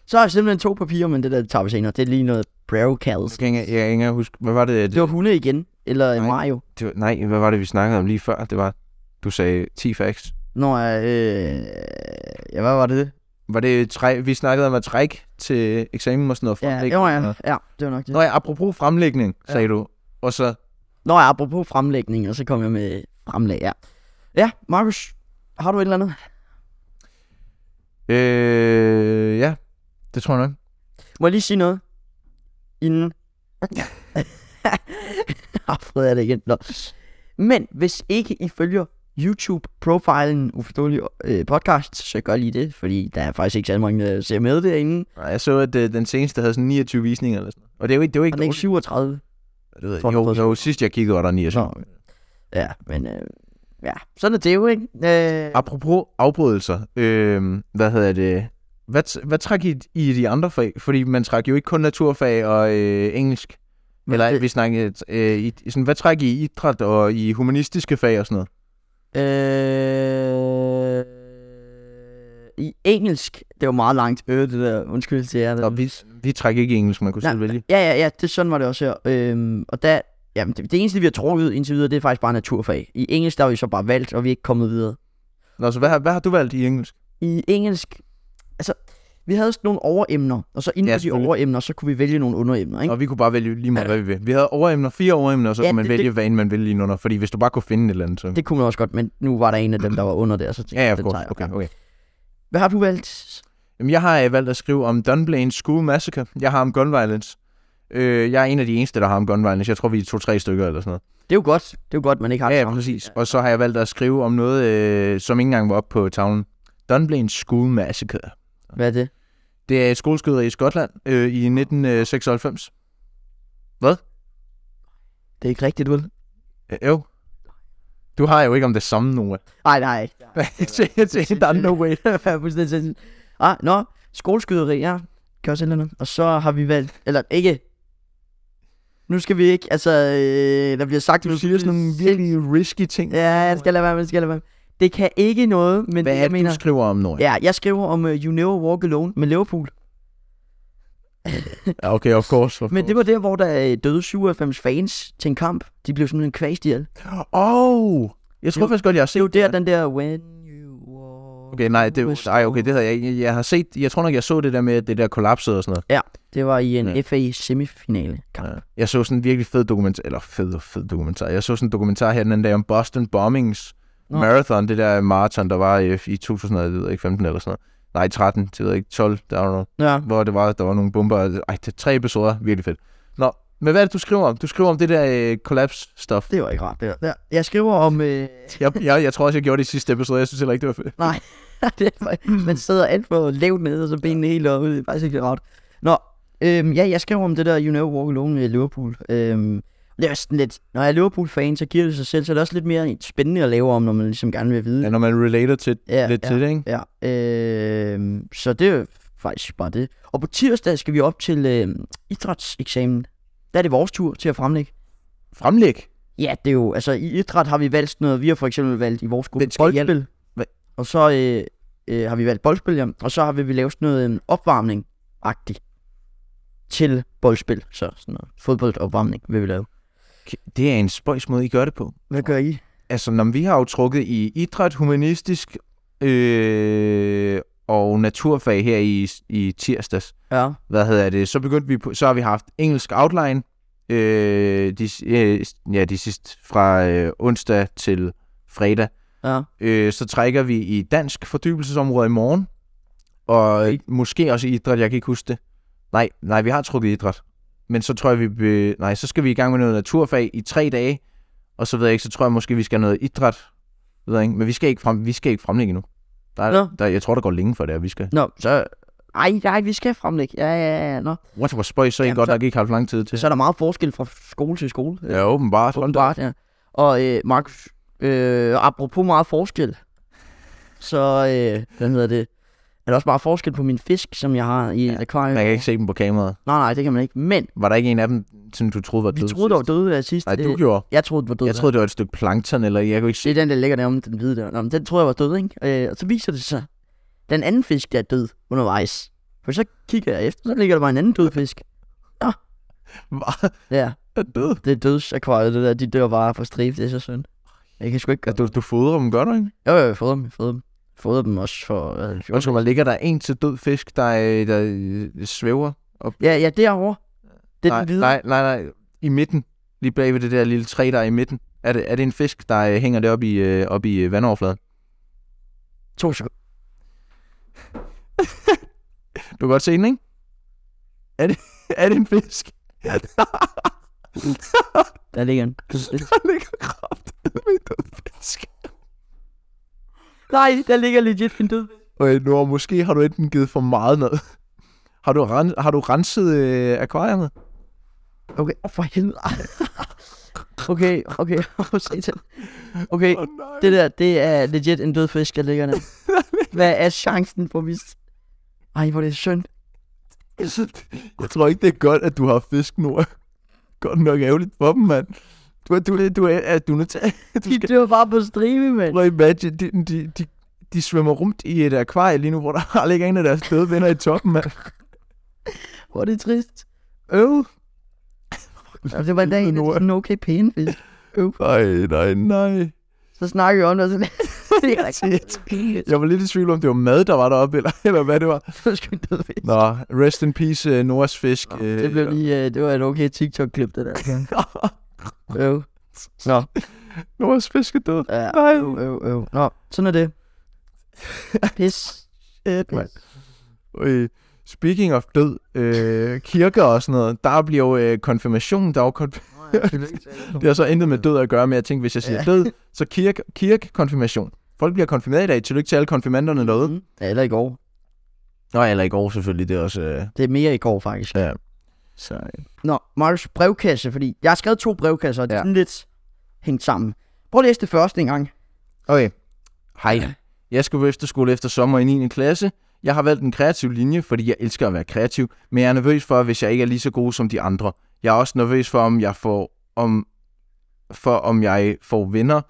Speaker 2: Så har jeg simpelthen to papirer, men det der det tager vi senere. Det er lige noget browcals.
Speaker 1: Jeg kan ikke, jeg kan ikke engang huske, hvad var det?
Speaker 2: Det var hunde igen, eller
Speaker 1: Nej.
Speaker 2: Nej. Mario.
Speaker 1: det var, nej, hvad var det, vi snakkede om lige før? Det var, du sagde 10 facts.
Speaker 2: Når jeg, øh, ja, hvad var det?
Speaker 1: Var det tre, vi snakkede om at trække til eksamen og sådan noget
Speaker 2: Ja,
Speaker 1: fremlægning?
Speaker 2: jo, ja, ja, det var nok det.
Speaker 1: Nå ja, apropos fremlægning, sagde du. Og så,
Speaker 2: Nå, ja, apropos fremlægning, og så kom jeg med fremlæg, ja. Ja, Markus, har du et eller andet?
Speaker 1: øh, ja, det tror jeg nok.
Speaker 2: Må jeg lige sige noget? Inden. [laughs] Ah, Fred er det igen. Nå. Men hvis ikke I følger YouTube-profilen Uforståelig øh, Podcast, så gør lige det, fordi der er faktisk ikke så mange, der ser med derinde.
Speaker 1: Nej, Jeg så, at øh, den seneste havde sådan 29 visninger eller sådan noget. Og det er jo ikke, det er jo
Speaker 2: Og
Speaker 1: ikke
Speaker 2: den er ikke
Speaker 1: dårligt.
Speaker 2: 37.
Speaker 1: Det ved jeg
Speaker 2: tror, den
Speaker 1: ikke.
Speaker 2: er
Speaker 1: Jo, jo, sidst jeg kiggede, var der 29.
Speaker 2: Nå. Ja, men øh, ja, sådan er det jo, ikke? Øh,
Speaker 1: Apropos afbrydelser, øh, hvad hedder det? Hvad, t- hvad trak I i de andre fag? Fordi man trak jo ikke kun naturfag og øh, engelsk.
Speaker 2: Men
Speaker 1: Eller
Speaker 2: det-
Speaker 1: vi snakkede, øh, i, sådan, hvad trak I i idræt og i humanistiske fag og sådan noget?
Speaker 2: øh, I engelsk, det var meget langt øh, det der, undskyld til jer.
Speaker 1: Nå, vi, vi trak ikke i engelsk, man kunne
Speaker 2: Øhm, Nej,
Speaker 1: selv vælge.
Speaker 2: Ja, ja, ja, det sådan var det også her. Øhm, og der, jamen, det, det eneste, vi har trukket indtil videre, det er faktisk bare naturfag. I engelsk, der har vi så bare valgt, og vi er ikke kommet videre.
Speaker 1: Nå, så hvad, har- hvad har du valgt i engelsk?
Speaker 2: I engelsk, altså, vi havde sådan nogle overemner, og så inden
Speaker 1: Ja,
Speaker 2: for de
Speaker 1: selvfølgelig.
Speaker 2: overemner, så kunne vi vælge nogle underemner, ikke?
Speaker 1: Og vi kunne bare vælge lige meget, hvad vi vil. Vi havde overemner, fire overemner, og så ja,
Speaker 2: Ja,
Speaker 1: kunne man
Speaker 2: det-
Speaker 1: vælge,
Speaker 2: det-
Speaker 1: hvad end man ville lige under. Fordi hvis du bare kunne finde et eller andet, så...
Speaker 2: Det kunne man også godt, men nu var der en af dem, der var under der, så tænkte
Speaker 1: ja, ja,
Speaker 2: jeg,
Speaker 1: of
Speaker 2: den tager
Speaker 1: course.
Speaker 2: jeg.
Speaker 1: Okay,
Speaker 2: Ja.
Speaker 1: okay.
Speaker 2: Hvad har du valgt?
Speaker 1: Jamen, jeg har øh, valgt at skrive om Dunblane School Massacre. Jeg har om gun violence. Øh, jeg er en af de eneste, der har om gun violence. Jeg tror, vi er to-tre stykker eller sådan noget.
Speaker 2: Det er jo godt. Det er jo godt, man ikke har
Speaker 1: Ja,
Speaker 2: det
Speaker 1: ja,
Speaker 2: samme.
Speaker 1: præcis. Og så har jeg valgt at skrive om noget, øh, som ikke engang var oppe på tavlen. Dunblane School Massacre.
Speaker 2: Hvad er det?
Speaker 1: Det er et skoleskyderi i Skotland øh, i 1996.
Speaker 2: Det er ikke rigtigt, vel?
Speaker 1: Øh, jo. Du har jo ikke om det samme,
Speaker 2: [laughs]
Speaker 1: Noah.
Speaker 2: Nej, nej.
Speaker 1: [laughs] der er no
Speaker 2: [laughs]
Speaker 1: way.
Speaker 2: Det er fuldstændig sindssygt. Ah, nå, skoleskyderi, ja. Gør også et eller andet. Og så har vi valgt, eller ikke. Nu skal vi ikke, altså, øh, der bliver sagt,
Speaker 1: Du siger sådan nogle virkelig risky ting.
Speaker 2: Ja, jeg skal lade være med, jeg skal lade være med. Det kan ikke noget, men
Speaker 1: Hvad
Speaker 2: det,
Speaker 1: er det,
Speaker 2: jeg
Speaker 1: du
Speaker 2: mener...
Speaker 1: skriver om, Noah?
Speaker 2: Ja, jeg skriver om uh, You Never Walk Alone
Speaker 1: [laughs]
Speaker 2: med Liverpool.
Speaker 1: Ja, okay, of course. Of
Speaker 2: Men det var der, hvor der øh, døde 97 fans til en kamp. De blev simpelthen kvæst ihjel. Det
Speaker 1: Oh, jeg tror
Speaker 2: Det-
Speaker 1: faktisk godt, jeg har set
Speaker 2: er jo der, den der When you walk
Speaker 1: Okay, nej, det,
Speaker 2: with
Speaker 1: nej, okay, det havde jeg ikke. Jeg har set, jeg tror nok, jeg så det der med, at det der kollapsede og sådan noget.
Speaker 2: Det var i en
Speaker 1: Ja.
Speaker 2: ja. FA semifinale kamp.
Speaker 1: Ja. Jeg så sådan en virkelig fed dokumentar, eller fed, fed dokumentar. Jeg så sådan en dokumentar her den anden dag om Boston Bombings Nå.
Speaker 2: Nå.
Speaker 1: Marathon, det der marathon, der var i, i 2015 eller sådan noget. Nej, 13, det ved jeg ikke, 12, der var noget,
Speaker 2: Ja.
Speaker 1: hvor det var, der var nogle bomber. Ej, det er tre episoder, virkelig fedt. Nå, men hvad er det, du skriver om? Du skriver om det der øh, collapse-stuff.
Speaker 2: Det var ikke rart, det der. Jeg skriver
Speaker 1: [laughs]
Speaker 2: om... Øh...
Speaker 1: Jeg, jeg, jeg tror også, jeg gjorde det i sidste episode, jeg synes heller ikke, det var fedt.
Speaker 2: Nej, [laughs] det var... man sidder alt for lavt nede, og så benene helt oppe. Det er faktisk ikke rart. Nå, øhm, ja, jeg skriver om det der You Know Walk Alone i Liverpool. Øhm, det er sådan lidt... Når jeg er Liverpool-fan, så giver det sig selv, så er det også lidt mere spændende at lave om, når man ligesom gerne vil vide.
Speaker 1: Ja, når man relater til,
Speaker 2: Ja,
Speaker 1: lidt
Speaker 2: ja.
Speaker 1: til det, ikke?
Speaker 2: Ja, øh, så det er faktisk bare det. Og på tirsdag skal vi op til øh, idrætseksamen. Der er det vores tur til at fremlægge.
Speaker 1: Fremlæg.
Speaker 2: Ja, det er jo, altså i idræt har vi valgt sådan noget, vi har for eksempel valgt i vores gruppe
Speaker 1: Hvem skal hjælpe?
Speaker 2: boldspil,
Speaker 1: Hva-
Speaker 2: og så øh, øh, har vi valgt boldspil, ja. og så har vi, vi lavet sådan noget øh, opvarmning-agtigt til boldspil, så sådan noget fodboldopvarmning vil vi lave.
Speaker 1: Det er en spøjs måde, I gør det på.
Speaker 2: Hvad gør I?
Speaker 1: Altså, når vi har jo trukket i idræt, humanistisk øh, og naturfag her i, i tirsdags.
Speaker 2: Ja,
Speaker 1: Hvad hedder det? Så begyndte vi på, så har vi haft engelsk outline. Øh, de, øh, ja, de sidste fra øh, onsdag til fredag.
Speaker 2: ja.
Speaker 1: Øh, så trækker vi i dansk fordybelsesområde i morgen. Og øh, måske også i idræt, jeg kan ikke huske det. Nej, nej, vi har trukket idræt. Men så tror jeg, vi... Be... Nej, så skal vi i gang med noget naturfag i tre dage. Og så ved jeg ikke, så tror jeg måske, vi skal have noget idræt. Ved jeg ikke. Men vi skal ikke, frem... vi skal ikke fremlægge nu. Der,
Speaker 2: Nå.
Speaker 1: der, jeg tror, der går længe for det, at vi skal.
Speaker 2: Nå, så... Ej, nej, vi skal fremlægge. Ja, ja, ja, nå.
Speaker 1: What was spøjs, så er I
Speaker 2: Jamen,
Speaker 1: godt
Speaker 2: så-
Speaker 1: nok ikke haft lang tid til.
Speaker 2: Så er der meget forskel fra skole til skole.
Speaker 1: Ja, åbenbart. Hold da.
Speaker 2: Åbenbart, ja. Og øh, Markus, øh, apropos meget forskel, så, øh, hvad hedder det, er der også meget forskel på min fisk, som jeg har i ja, akvariet.
Speaker 1: Man kan ikke se dem på kameraet.
Speaker 2: Nej, nej, det kan man ikke. Men
Speaker 1: Var der ikke en af dem, som du troede var
Speaker 2: vi
Speaker 1: død?
Speaker 2: troede, der var døde af sidst.
Speaker 1: Nej, du
Speaker 2: Øh,
Speaker 1: gjorde.
Speaker 2: Jeg troede, den var død.
Speaker 1: Jeg troede, det var et stykke plankton, eller jeg kunne ikke
Speaker 2: det
Speaker 1: se.
Speaker 2: er den, der ligger deromme, den hvide der. Nå, men den troede jeg var død, ikke? Øh, og så viser det sig, den anden fisk, der er død undervejs. For så kigger jeg efter, så ligger der bare en anden død fisk.
Speaker 1: Hvad?
Speaker 2: Ja,
Speaker 1: Er død?
Speaker 2: det er dødsakvariet, det der. De dør bare for strif, det er så synd. Jeg kan sgu ikke
Speaker 1: Ja,
Speaker 2: gøre
Speaker 1: du, du fodrer dem, gør du ikke?
Speaker 2: Jo, jo, jeg fodrer dem, jeg fodrer dem. Fodrer dem også for... Øh, 14.
Speaker 1: Undskyld mig, ligger der en til død fisk, der, øh, der øh, svæver?
Speaker 2: Ja, ja, derovre. Det er
Speaker 1: nej,
Speaker 2: den hvide.
Speaker 1: nej, nej, nej. I midten. Lige bag ved det der lille træ, der er i midten. Er det, er det en fisk, der øh, hænger det op i, øh, op i øh, vandoverfladen?
Speaker 2: To sekunder.
Speaker 1: Du kan godt se den, ikke? Er det, [laughs] er det en fisk?
Speaker 2: Der ligger en.
Speaker 1: Der [laughs] ligger kraft med en død fisk.
Speaker 2: nej, der ligger legit en død.
Speaker 1: Okay, Nora, måske har du enten givet for meget ned. Har du, ren, har du renset øh, akvarierne?
Speaker 2: Okay, oh, for helvede. okay, okay. Satan. okay,
Speaker 1: Åh oh, nej.
Speaker 2: det der, det er legit en død fisk, der ligger der. Hvad er chancen for mis? Ej, hvor er det synd.
Speaker 1: [laughs] Jeg tror ikke, det er godt, at du har fisk, Nora. Godt nok ærgerligt for dem, mand. Du, du, du, er, er du er nødt til... Du
Speaker 2: De dør bare på stribe, mand.
Speaker 1: Prøv at imagine, de, de, de, de svømmer rundt i et akvarie lige nu, hvor der [laughs] ligger en af deres døde venner i toppen, mand.
Speaker 2: Hvor er det trist. Øv. Og det var en dag, en
Speaker 1: Nora.
Speaker 2: sådan en okay pæn fisk.
Speaker 1: Nej, nej, nej.
Speaker 2: Så snakker jeg om det, og så... det er rigtigt.
Speaker 1: Jeg var lidt i tvivl om, det var mad, der var deroppe, eller, eller hvad det var.
Speaker 2: Så skal en død fisk.
Speaker 1: Nå, rest in peace, uh, Noras fisk. Nå,
Speaker 2: Det blev lige, øh, det var et okay TikTok-klip,
Speaker 1: [laughs]
Speaker 2: det der. øv. Nå,
Speaker 1: Noras fisk er død.
Speaker 2: ja,
Speaker 1: Nej.
Speaker 2: øv, øv, øv. Nå, sådan er det. Pis.
Speaker 1: Shit, mand. Øh, Speaking of død, øh, kirker og sådan noget, der bliver jo øh, konfirmation, der er jo konf-
Speaker 2: Mm.
Speaker 1: det har så intet med død at gøre, men jeg tænkte, hvis jeg siger
Speaker 2: Ja.
Speaker 1: død, så kirke, kirke, konfirmation. Folk bliver konfirmeret i dag, tillykke til alle konfirmanderne derude.
Speaker 2: Mhm. Ja, eller i går.
Speaker 1: Nå, eller i går selvfølgelig, det er også... Øh,
Speaker 2: Det er mere i går, faktisk.
Speaker 1: ja.
Speaker 2: Så. øh. Nå, Markus, brevkasse, fordi jeg har skrevet to brevkasser, og det er
Speaker 1: Ja.
Speaker 2: sådan lidt hængt sammen. Prøv at læse det første en gang.
Speaker 1: Okay. Hej. Jeg skal på efterskole efter sommer i 9. klasse. Jeg har valgt en kreativ linje, fordi jeg elsker at være kreativ, men jeg er nervøs for, hvis jeg ikke er lige så god som de andre. Jeg er også nervøs for, om jeg får, om, for, om jeg får venner,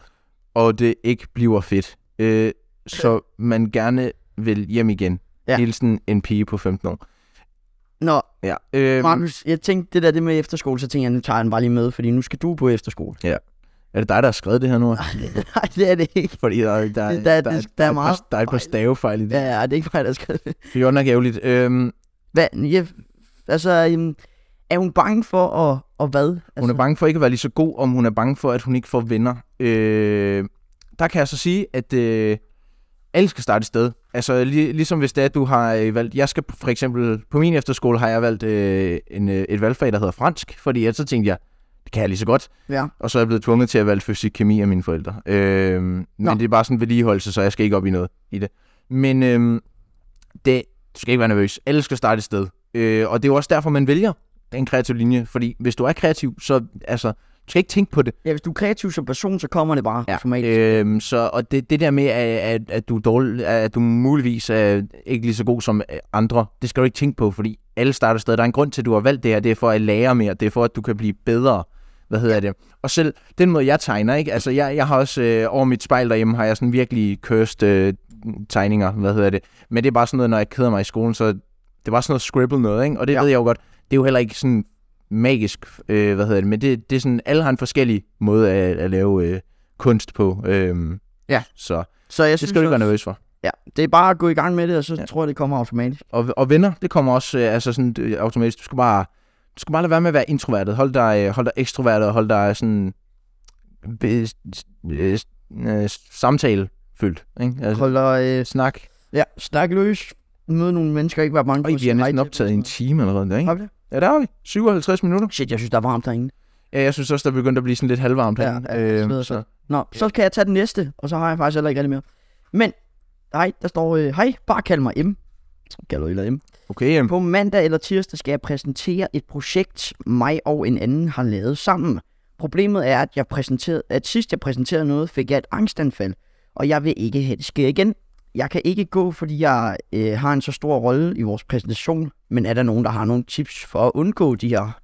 Speaker 1: og det ikke bliver fedt. Øh, så man gerne vil hjem igen.
Speaker 2: Ja.
Speaker 1: Ja. Hilsen en pige på 15 år.
Speaker 2: Nå,
Speaker 1: Ja. Øh,
Speaker 2: Markus, jeg tænkte det der det med efterskole, så tænkte jeg, nu tager jeg den bare lige med, fordi nu skal du på efterskole. [laughs]
Speaker 1: er det dig, der har skrevet det her nu?
Speaker 2: Nej, det er det ikke.
Speaker 1: Fordi der, der, der,
Speaker 2: Det- der er- der er
Speaker 1: et par-
Speaker 2: meget
Speaker 1: der er et par
Speaker 2: fejl.
Speaker 1: stavefejl i det.
Speaker 2: Ja, ja, det er ikke mig, der har skrevet det.
Speaker 1: Det er jo nok ærgerligt. Øhm,
Speaker 2: Hvad? Ja, altså, øhm, er hun bange for at, og hvad? Altså,
Speaker 1: Hun er bange for ikke at være lige så god, om hun er bange for, at hun ikke får venner. Øh, der kan jeg så sige, at øh, alle skal starte et sted. Altså lige, ligesom hvis det er, at du har øh, valgt... Jeg skal for eksempel... På min efterskole har jeg valgt øh, en, øh, et valgfag, der hedder fransk, fordi jeg, så tænkte jeg, det kan jeg lige så godt.
Speaker 2: Ja.
Speaker 1: Og så er jeg blevet tvunget til at valge fysik kemi af mine forældre. Øh, men
Speaker 2: Nå.
Speaker 1: det er bare sådan vedligeholdelse, så jeg skal ikke op i noget i det. Men øh, det, du skal ikke være nervøs. Alle skal starte et sted. Øh, og det er jo også derfor, man vælger en kreativ linje. Fordi hvis du er kreativ, så altså, du skal ikke tænke på det.
Speaker 2: Ja, hvis du er kreativ som person, så kommer det bare ja. automatisk.
Speaker 1: Øhm, så, og det, det der med, at, at, at, du er dårlig, at du muligvis er ikke lige så god som øh, andre, det skal du ikke tænke på, fordi alle starter stadig. Der er en grund til, at du har valgt det her. Det er for at lære mere. Det er for, at du kan blive bedre. Hvad hedder det? Og selv den måde, jeg tegner, ikke? Altså, jeg, jeg har også øh, over mit spejl derhjemme, har jeg sådan virkelig cursed øh, tegninger. Hvad hedder det? Men det er bare sådan noget, når jeg keder mig i skolen, så det var sådan noget scribble noget, ikke? Og det
Speaker 2: Ja.
Speaker 1: ja. ved jeg jo godt. Det er jo heller ikke sådan magisk, øh, hvad hedder det, men det, det er sådan, alle har en forskellig måde at, at lave øh, kunst på. Øh,
Speaker 2: Ja.
Speaker 1: Så
Speaker 2: Så jeg
Speaker 1: det
Speaker 2: synes
Speaker 1: skal du ikke
Speaker 2: også-
Speaker 1: være nervøs for.
Speaker 2: Ja, det er bare at gå i gang med det, og så ja.
Speaker 1: Ja. Altså-
Speaker 2: tror jeg, det kommer automatisk.
Speaker 1: Og, og venner, det kommer også øh, altså sådan, øh, automatisk. Du skal bare, du skal bare lade være med at være introvertet. Hold dig, øh, hold dig ekstrovert og hold dig sådan be, øh, øh, samtalefyldt. Ikke? Altså,
Speaker 2: Hold dig, øh,
Speaker 1: snak.
Speaker 2: ja, snak løs. Møde nogle mennesker, ikke være bange
Speaker 1: Og vi
Speaker 2: sige
Speaker 1: har næsten
Speaker 2: nej til
Speaker 1: optaget i
Speaker 2: dem.
Speaker 1: en time allerede, der, ikke?
Speaker 2: Har vi det?
Speaker 1: Ja, der er vi. 57 minutter.
Speaker 2: Shit, jeg synes, der er varmt derinde.
Speaker 1: Ja, jeg synes også, der er begyndt at blive sådan lidt halvvarmt Øhm,
Speaker 2: Ja,
Speaker 1: herinde.
Speaker 2: ja, det sveder sig. Nå, så kan jeg tage den næste, og så har jeg faktisk heller ikke rigtig mere. Men, nej, der står, øh, hej, bare kald mig M. Så Kalder du eller M.
Speaker 1: Okay, øhm,
Speaker 2: På mandag eller tirsdag skal jeg præsentere et projekt, mig og en anden har lavet sammen. Problemet er, at, jeg præsenterede, at sidst jeg præsenterede noget, fik jeg et angstanfald, og jeg vil ikke have det sker igen. Jeg kan ikke gå, fordi jeg øh, har en så stor rolle i vores præsentation, men er der nogen, der har nogle tips for at undgå de her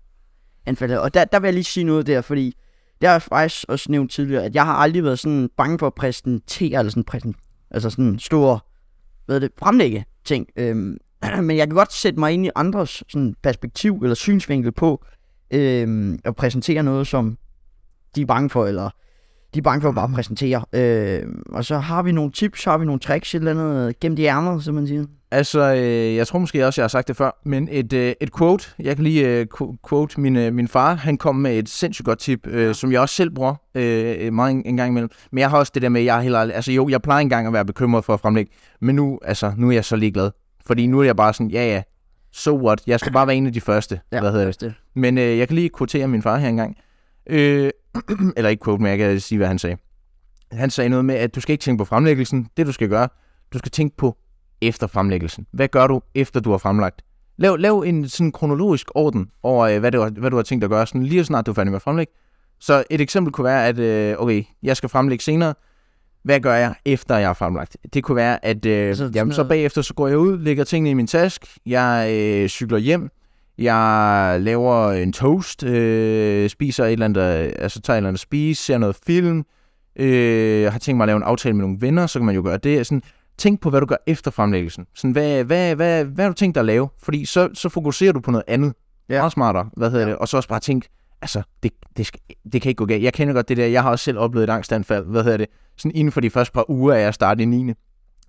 Speaker 2: anfald? her? Og der, der vil jeg lige sige noget der, fordi der har jeg faktisk også nævnt tidligere, at jeg har aldrig været sådan bange for at præsentere, eller sådan, præsen, altså sådan stor, hvad er det, fremlægge ting. Øhm, [clears throat] men jeg kan godt sætte mig ind i andres sådan, perspektiv eller synsvinkel på øh, at præsentere noget, som de er bange for, eller de er bange for at
Speaker 1: Mm.
Speaker 2: bare præsentere. Øh, og så har vi nogle tips, har vi nogle tricks, et eller andet øh, gennem de ærmer, som man siger.
Speaker 1: Altså, øh, jeg tror måske også, jeg har sagt det før, men et, øh, et quote, jeg kan lige øh, qu- quote min, øh, min far, han kom med et sindssygt godt tip, øh, som jeg også selv bruger øh, øh, meget en, en gang imellem. Men jeg har også det der med, at jeg er helt ærlig, altså jo, jeg plejer engang at være bekymret for at fremlægge, men nu, altså, nu er jeg så ligeglad. Fordi nu er jeg bare sådan, ja ja, so what, jeg skal bare være en af de første.
Speaker 2: Ja,
Speaker 1: hvad hedder det?
Speaker 2: det?
Speaker 1: Men øh, jeg kan lige quotere min far her engang. Øh, [clears throat] eller ikke quote, men jeg kan sige, hvad han sagde. Han sagde noget med, at du skal ikke tænke på fremlæggelsen. Det, du skal gøre, du skal tænke på efter fremlæggelsen. Hvad gør du, efter du har fremlagt? Lav, lav en sådan kronologisk orden over, øh, hvad, du, har- hvad du har tænkt at gøre, sådan lige så snart du er færdig med at fremlægge. Så et eksempel kunne være, at øh, okay, jeg skal fremlægge senere. Hvad gør jeg, efter jeg har fremlagt? Det kunne være, at øh,
Speaker 2: Altså, sådan
Speaker 1: jamen, så
Speaker 2: noget-
Speaker 1: bagefter så går jeg ud, lægger tingene i min task, jeg øh, cykler hjem, jeg laver en toast, øh, spiser et eller andet, øh, altså tager et eller andet at spise, ser noget film, øh, har tænkt mig at lave en aftale med nogle venner, så kan man jo gøre det. Sådan, tænk på, hvad du gør efter fremlæggelsen. Sådan, hvad, hvad, hvad, hvad har du tænkt dig at lave? Fordi så, så fokuserer du på noget andet.
Speaker 2: Ja.
Speaker 1: Ja. Meget smartere, hvad hedder ja. det? Og så også bare tænk, altså, det, det, skal, det kan ikke gå galt. Jeg kender godt det der, jeg har også selv oplevet et angstanfald, hvad hedder det? Sådan inden for de første par uger, af jeg startede i 9.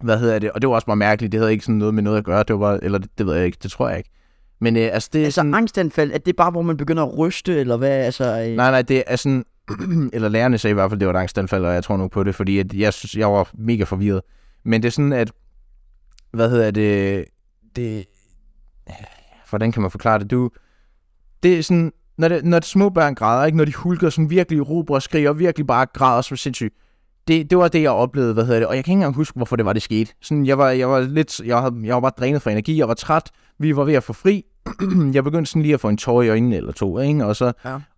Speaker 1: Hvad hedder det? Og det var også bare mærkeligt, det havde ikke sådan noget med noget at gøre, det var bare, eller det, det ved jeg ikke, det tror jeg ikke. Men øh, altså, det er
Speaker 2: Altså
Speaker 1: sådan...
Speaker 2: angstanfald, er det bare, hvor man begynder at ryste, eller hvad? Altså, [laughs] øh,
Speaker 1: Nej, nej, det er sådan... [clears throat] eller lærerne sagde i hvert fald, det var et angstanfald, og jeg tror nu på det, fordi at jeg, synes, jeg var mega forvirret. Men det er sådan, at... Hvad hedder det... Det... Hvordan kan man forklare det? Du... Det er sådan... Når, det, når det små børn græder, ikke? når de hulker sådan virkelig råber og skriger, og virkelig bare græder som sindssygt, det, det var det, jeg oplevede, hvad hedder det, og jeg kan ikke engang huske, hvorfor det var, det skete. Sådan, jeg var, jeg var lidt, jeg, havde, jeg var bare drænet for energi, jeg var træt, vi var ved at få fri, [clears throat] jeg begyndte sådan lige at få en tår i øjnene eller to, ikke? og så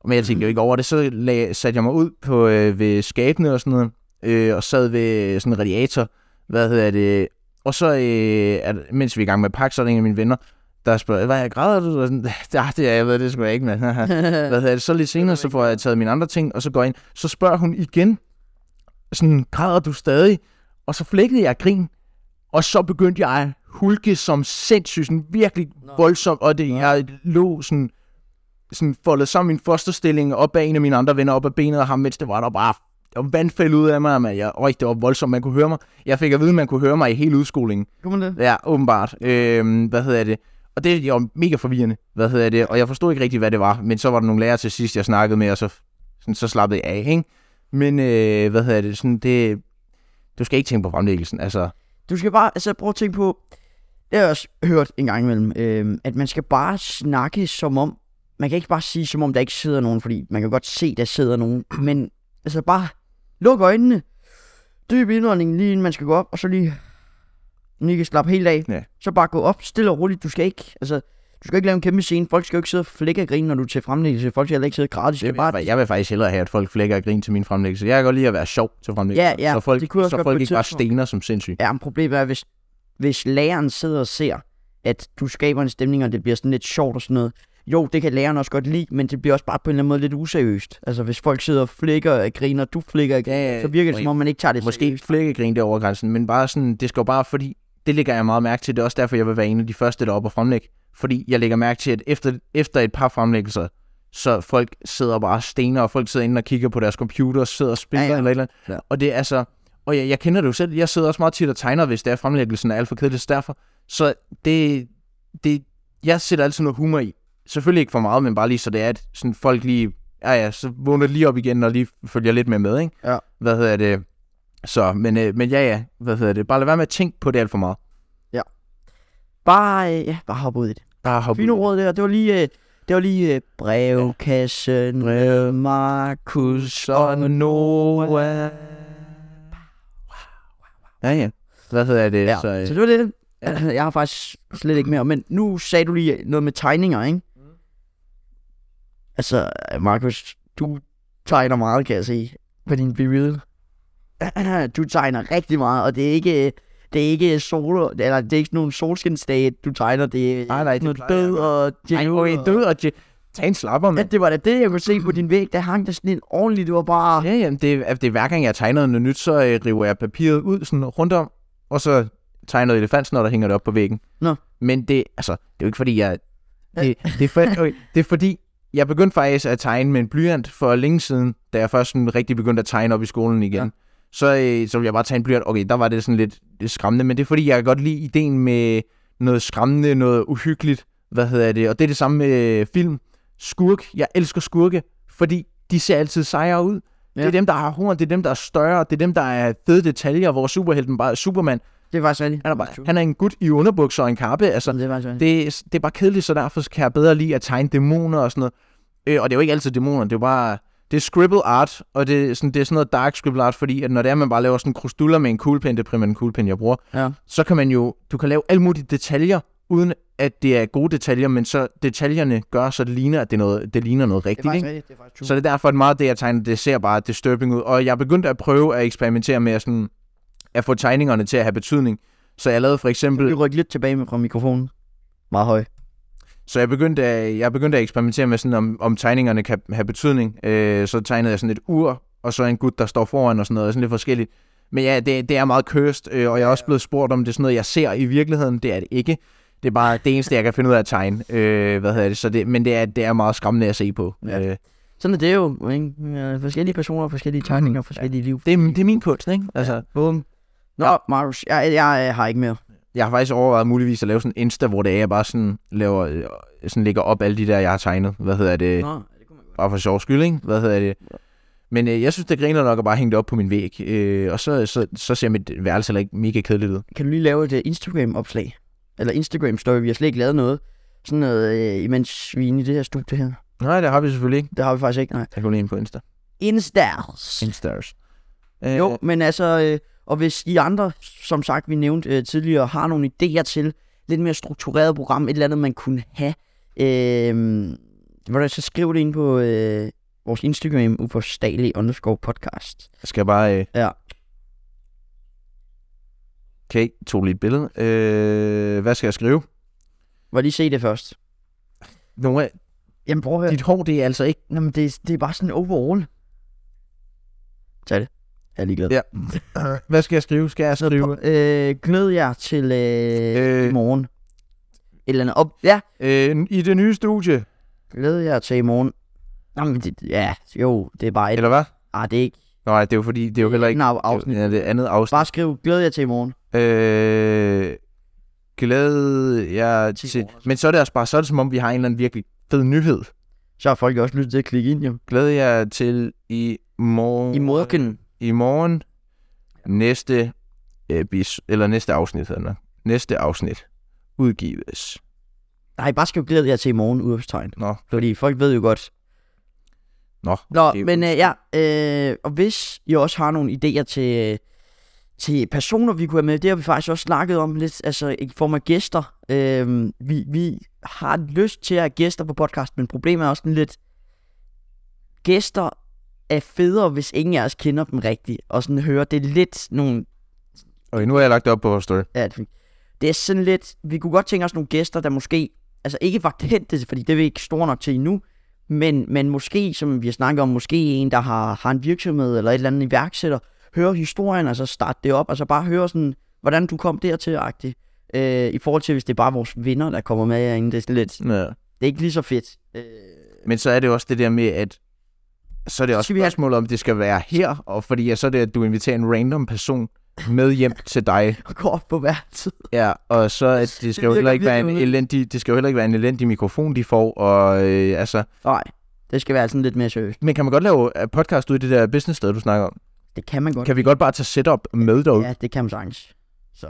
Speaker 1: men jeg tænkte jo ikke over det, så lag, satte jeg mig ud på øh, ved skabene og sådan noget, øh, og sad ved sådan en radiator, hvad hedder det, og så, øh, at, mens vi er i gang med at pakke, så er der en af mine venner, der spørger, hvad jeg græder du? Og sådan, "Ah, det er jeg ved, det skulle jeg ikke, [laughs] men haha." hvad hedder det, så lidt senere, så får jeg taget mine andre ting, og så går jeg ind, så spørger hun igen, sådan, græder du stadig? Og så flækkede jeg af grin, og så begyndte jeg at hulke som sindssygt, sådan virkelig voldsomt, og det, jeg lå sådan, sådan foldet sammen min fosterstilling op af en af mine andre venner, op af benet af ham, mens det var der bare der var vandfæld ud af mig, men jeg, øj, det var voldsomt, man kunne høre mig. Jeg fik at vide, at man kunne høre mig i hele udskolingen.
Speaker 2: kunne man det?
Speaker 1: Ja, åbenbart. Øhm, hvad hedder det? Og det er jo mega forvirrende, hvad hedder det? Og jeg forstod ikke rigtig, hvad det var, men så var der nogle lærere til sidst, jeg snakkede med, og så, sådan, så slappede jeg af, ikke? Men øh, hvad hedder det? Sådan, det? Du skal ikke tænke på fremlæggelsen, altså.
Speaker 2: Du skal bare, altså prøv at tænke på, det har jeg også hørt en gang imellem, øh, at man skal bare snakke som om, man kan ikke bare sige som om, der ikke sidder nogen, fordi man kan godt se, der sidder nogen, men altså bare luk øjnene, dyb indånding lige inden man skal gå op, og så lige, den ikke slappe helt af,
Speaker 1: Ja.
Speaker 2: så bare gå op, stille og roligt, du skal ikke, altså, du skal ikke lave en kæmpe scene, folk skal jo ikke sidde og flække og grine, når du er til fremlæggelse, folk skal heller ikke sidde gratis, det er bare,
Speaker 1: Bare, jeg vil faktisk hellere have, at folk flækker og griner til min fremlæggelse. Jeg kan godt lide at være sjov til fremlæggelsen.
Speaker 2: Ja, ja,
Speaker 1: så folk,
Speaker 2: det kunne jeg også
Speaker 1: så
Speaker 2: godt på
Speaker 1: folk
Speaker 2: et
Speaker 1: ikke bare
Speaker 2: tidspunkt.
Speaker 1: stener som sindssyge.
Speaker 2: Ja, men problemet er, hvis, hvis læreren sidder og ser, at du skaber en stemning, og det bliver sådan lidt sjovt og sådan noget. Jo, det kan læreren også godt lide, men det bliver også bare på en eller anden måde lidt useriøst. Altså, hvis folk sidder og flikker og griner, og du flikker og griner,
Speaker 1: Ja, ja,
Speaker 2: så virker det,
Speaker 1: må-
Speaker 2: som om man ikke tager det
Speaker 1: Måske ikke
Speaker 2: seriøst.
Speaker 1: flækkegrin der over grænsen, men bare sådan, det skal jo bare, fordi det lægger jeg meget mærke til. Det er også derfor, jeg vil være en af de første, der er oppe og fremlægge. Fordi jeg lægger mærke til, at efter, efter et par fremlæggelser, så folk sidder bare og stener, og folk sidder inde og kigger på deres computer, og sidder og spiller
Speaker 2: Ja, ja.
Speaker 1: ja, ja. eller et eller andet.
Speaker 2: Ja.
Speaker 1: Ja. Og det er altså, og jeg, jeg kender det jo selv, jeg sidder også meget tit og tegner, hvis det er fremlæggelsen er alt for kedelig, så derfor. Så det, det, jeg sætter altid noget humor i. Selvfølgelig ikke for meget, men bare lige så det er, at sådan folk lige, ja ja, så vågner de lige op igen, og lige følger lidt med med, ikke?
Speaker 2: Ja.
Speaker 1: Hvad hedder det? Så, men, øh, men ja, ja, hvad hedder det? Bare lad være med at tænke på det alt for meget.
Speaker 2: Bare, øh, ja, bare hop ud i det.
Speaker 1: Bare hop
Speaker 2: Fine råd der, det var lige... Øh, det var lige øh, brevkassen, ja. Markus og Noah.
Speaker 1: Ja, ja. Hvad hedder det?
Speaker 2: Ja,
Speaker 1: Så, øh,
Speaker 2: så det var det. [clears throat] Jeg har faktisk slet ikke mere, men nu sagde du lige noget med tegninger, ikke? Altså, Markus, du tegner meget, kan jeg se, på din billede. [clears throat] Du tegner rigtig meget, og det er ikke, det er ikke solo, eller det er ikke nogen solskinsdage, du tegner, det er
Speaker 1: Nej, nej, det
Speaker 2: noget
Speaker 1: plejer
Speaker 2: død
Speaker 1: jeg.
Speaker 2: og
Speaker 1: Ej,
Speaker 2: djævel
Speaker 1: okay,
Speaker 2: og-
Speaker 1: død og dje- Tag en slapper,
Speaker 2: Ja,
Speaker 1: mand.
Speaker 2: det var da det, jeg kunne se på din væg, der hang der sådan en ordentlig, det var bare...
Speaker 1: altså, Ja, ja, det, er- det er hver gang, jeg tegner noget nyt, så øh, river jeg papiret ud sådan rundt om, og så tager jeg noget elefantsnot og hænger det op på væggen.
Speaker 2: Nå.
Speaker 1: Men det, altså, det er jo ikke fordi, jeg... Det, det, er, for, okay, det er fordi, jeg begyndte faktisk at tegne med en blyant for længe siden, da jeg først sådan rigtig begyndte at tegne op i skolen igen.
Speaker 2: Ja.
Speaker 1: Ja. Så, øh, så ville jeg bare tage en blyant. Okay, der var det sådan lidt lidt skræmmende, men det er fordi, jeg kan godt lide ideen med noget skræmmende, noget uhyggeligt. Hvad hedder det? Og det er det samme med øh, film. Skurk. Jeg elsker skurke, fordi de ser altid sejere ud. Ja.
Speaker 2: Ja.
Speaker 1: Det er dem, der har horn, det er dem, der er større, det er dem, der er fede detaljer, hvor superhelten bare er Superman.
Speaker 2: Det er faktisk rigtigt.
Speaker 1: Han er, bare, han er en gut i underbukser og en kappe, altså.
Speaker 2: Det er faktisk rigtigt.
Speaker 1: Det, er- det er bare kedeligt, så derfor kan jeg bedre lide at tegne dæmoner og sådan noget. Øh, og det er jo ikke altid dæmoner, det er jo bare... Det er scribble art, og det, er sådan, det er sådan noget dark scribble art, fordi at når det er, man bare laver sådan krustuller med en kuglepen, det er primært en kuglepen, jeg bruger,
Speaker 2: Ja.
Speaker 1: så kan man jo... Du kan lave alle mulige detaljer, uden at det er gode detaljer, men så detaljerne gør, så det ligner, at det, er noget, det ligner noget rigtigt, ikke?
Speaker 2: rigtigt. Det er faktisk
Speaker 1: Så det er derfor, at meget af det, jeg tegner, det ser bare disturbing ud. Og jeg begyndte at prøve at eksperimentere med at, sådan, at få tegningerne til at have betydning. Så jeg lavede for
Speaker 2: Vi
Speaker 1: eksempel,
Speaker 2: rykker lidt tilbage med fra mikrofonen. Meget høj.
Speaker 1: så jeg begyndte at, jeg begyndte at eksperimentere med, sådan, om, om tegningerne kan have betydning. Øh, så tegnede jeg sådan et ur, og så en gut, der står foran og sådan noget, sådan lidt forskelligt. Men ja, det, det er meget køst, øh, og jeg er også blevet spurgt, om det er sådan noget, jeg ser i virkeligheden. Det er det ikke. Det er bare det eneste, jeg kan finde ud af at tegne. Øh, hvad hedder det? Så det, men det er, det er meget skræmmende at se på.
Speaker 2: Ja.
Speaker 1: Øh,
Speaker 2: Sådan er det jo, ikke? Øh, Forskellige personer, forskellige tegninger, forskellige liv.
Speaker 1: det, er, det er min kunst, ikke? Altså,
Speaker 2: Bum. Nå, ja. Marius, jeg, jeg, jeg, har ikke mere.
Speaker 1: Jeg har faktisk overvejet muligvis at lave sådan en Insta, hvor det er, jeg bare sådan, laver, øh, sådan lægger op alle de der, jeg har tegnet. Hvad hedder det?
Speaker 2: Nå, det kunne man godt.
Speaker 1: Bare for sjov skyld, ikke? Hvad hedder det? Men øh, jeg synes, det griner nok at bare hænge det op på min væg. Øh, og så, så, så ser mit værelse heller ikke mega kedeligt ud.
Speaker 2: Kan du lige lave et øh, Instagram-opslag? Eller Instagram-story, vi har slet ikke lavet noget. Sådan noget, øh, imens vi er inde i det her studie her.
Speaker 1: Nej, det har vi selvfølgelig ikke.
Speaker 2: Det har vi faktisk ikke, nej.
Speaker 1: Jeg går lige ind på Insta.
Speaker 2: Instas.
Speaker 1: Instars. Øh,
Speaker 2: Jo, men altså, øh, og hvis I andre, som sagt, vi nævnte øh, tidligere, har nogle idéer til lidt mere struktureret program, et eller andet, man kunne have, øh, hvordan, så skriv det ind på øh, vores Instagram, uforståelig underscore podcast.
Speaker 1: Jeg skal bare... Øh...
Speaker 2: Ja.
Speaker 1: Okay, tog lige et billede. Øh, hvad skal jeg skrive?
Speaker 2: Hvor lige se det først.
Speaker 1: Nogle
Speaker 2: Jamen prøv at høre.
Speaker 1: dit hår, det er altså ikke...
Speaker 2: Nå, men det, det er bare sådan overall. Tag det. Jeg er ligeglad.
Speaker 1: Ja. Hvad skal jeg skrive? Skal jeg skrive...
Speaker 2: Øh, gnød jer til øh,
Speaker 1: Øh.
Speaker 2: øh. morgen. Et eller andet op. Ja,
Speaker 1: Øh, I det nye studie,
Speaker 2: glæder jer til i morgen. Jamen, det, ja, jo, det er bare et...
Speaker 1: eller hvad?
Speaker 2: Ah, det er ikke
Speaker 1: Nej, det er jo fordi, det er jo heller ikke
Speaker 2: en af afsnit.
Speaker 1: afsnit. Ja, det er andet afsnit.
Speaker 2: Bare skriv, glæder jer til i morgen.
Speaker 1: Øh, glæd jeg
Speaker 2: Ti
Speaker 1: til...
Speaker 2: kroner.
Speaker 1: Men så er det også bare, så er det som om, vi har en eller anden virkelig fed nyhed.
Speaker 2: Så har folk jo også lyttet til at klikke ind, jo.
Speaker 1: Glæder jeg til i morgen...
Speaker 2: I morgen.
Speaker 1: I morgen. Næste episode, eller næste afsnit hedder det nok. Næste afsnit udgives.
Speaker 2: Nej, bare skriv, glæder jer til i morgen, udopstegn.
Speaker 1: Nå,
Speaker 2: Fordi folk ved jo godt.
Speaker 1: nå.
Speaker 2: Nå,
Speaker 1: det er
Speaker 2: men øh,
Speaker 1: jo-
Speaker 2: ja, øh, og hvis I også har nogle idéer til, øh, til personer, vi kunne have med, det har vi faktisk også snakket om lidt, altså i form af gæster. Øh, vi, vi har lyst til at have gæster på podcast, men problemet er også sådan lidt, gæster er federe, hvis ingen af os kender dem rigtigt, og sådan hører det er lidt nogle
Speaker 1: Okay, nu har jeg lagt det op på vores story.
Speaker 2: at vi- det er sådan lidt, vi kunne godt tænke os nogle gæster, der måske, altså ikke var kendte, fordi det er vi ikke store nok til endnu, men, men måske, som vi har snakket om, måske en, der har, har en virksomhed eller et eller andet iværksætter, høre historien, og så starte det op, og så bare høre sådan, hvordan du kom dertil-agtigt, øh, i forhold til, hvis det er bare vores venner, der kommer med herinde, det er sådan lidt,
Speaker 1: Ja.
Speaker 2: det er ikke lige så fedt. Øh,
Speaker 1: Men så er det jo også det der med, at så er det
Speaker 2: Så
Speaker 1: også
Speaker 2: skal vi have-
Speaker 1: spørgsmålet, om det skal være her, og fordi ja, så er det, at du inviterer en random person med hjem til dig.
Speaker 2: og gå op på hver tid.
Speaker 1: Ja, og så at det skal jo
Speaker 2: virker
Speaker 1: heller ikke være en
Speaker 2: virkelig underligt.
Speaker 1: elendig, det skal jo heller ikke være en elendig mikrofon, de får, og øh, altså,
Speaker 2: Nej, det skal være sådan lidt mere seriøst.
Speaker 1: men kan man godt lave øh, podcast ud i det der business sted, du snakker om?
Speaker 2: Det kan man godt.
Speaker 1: Kan vi godt bare tage setup med derud? Ja.
Speaker 2: Ja, det kan man sagtens. Så.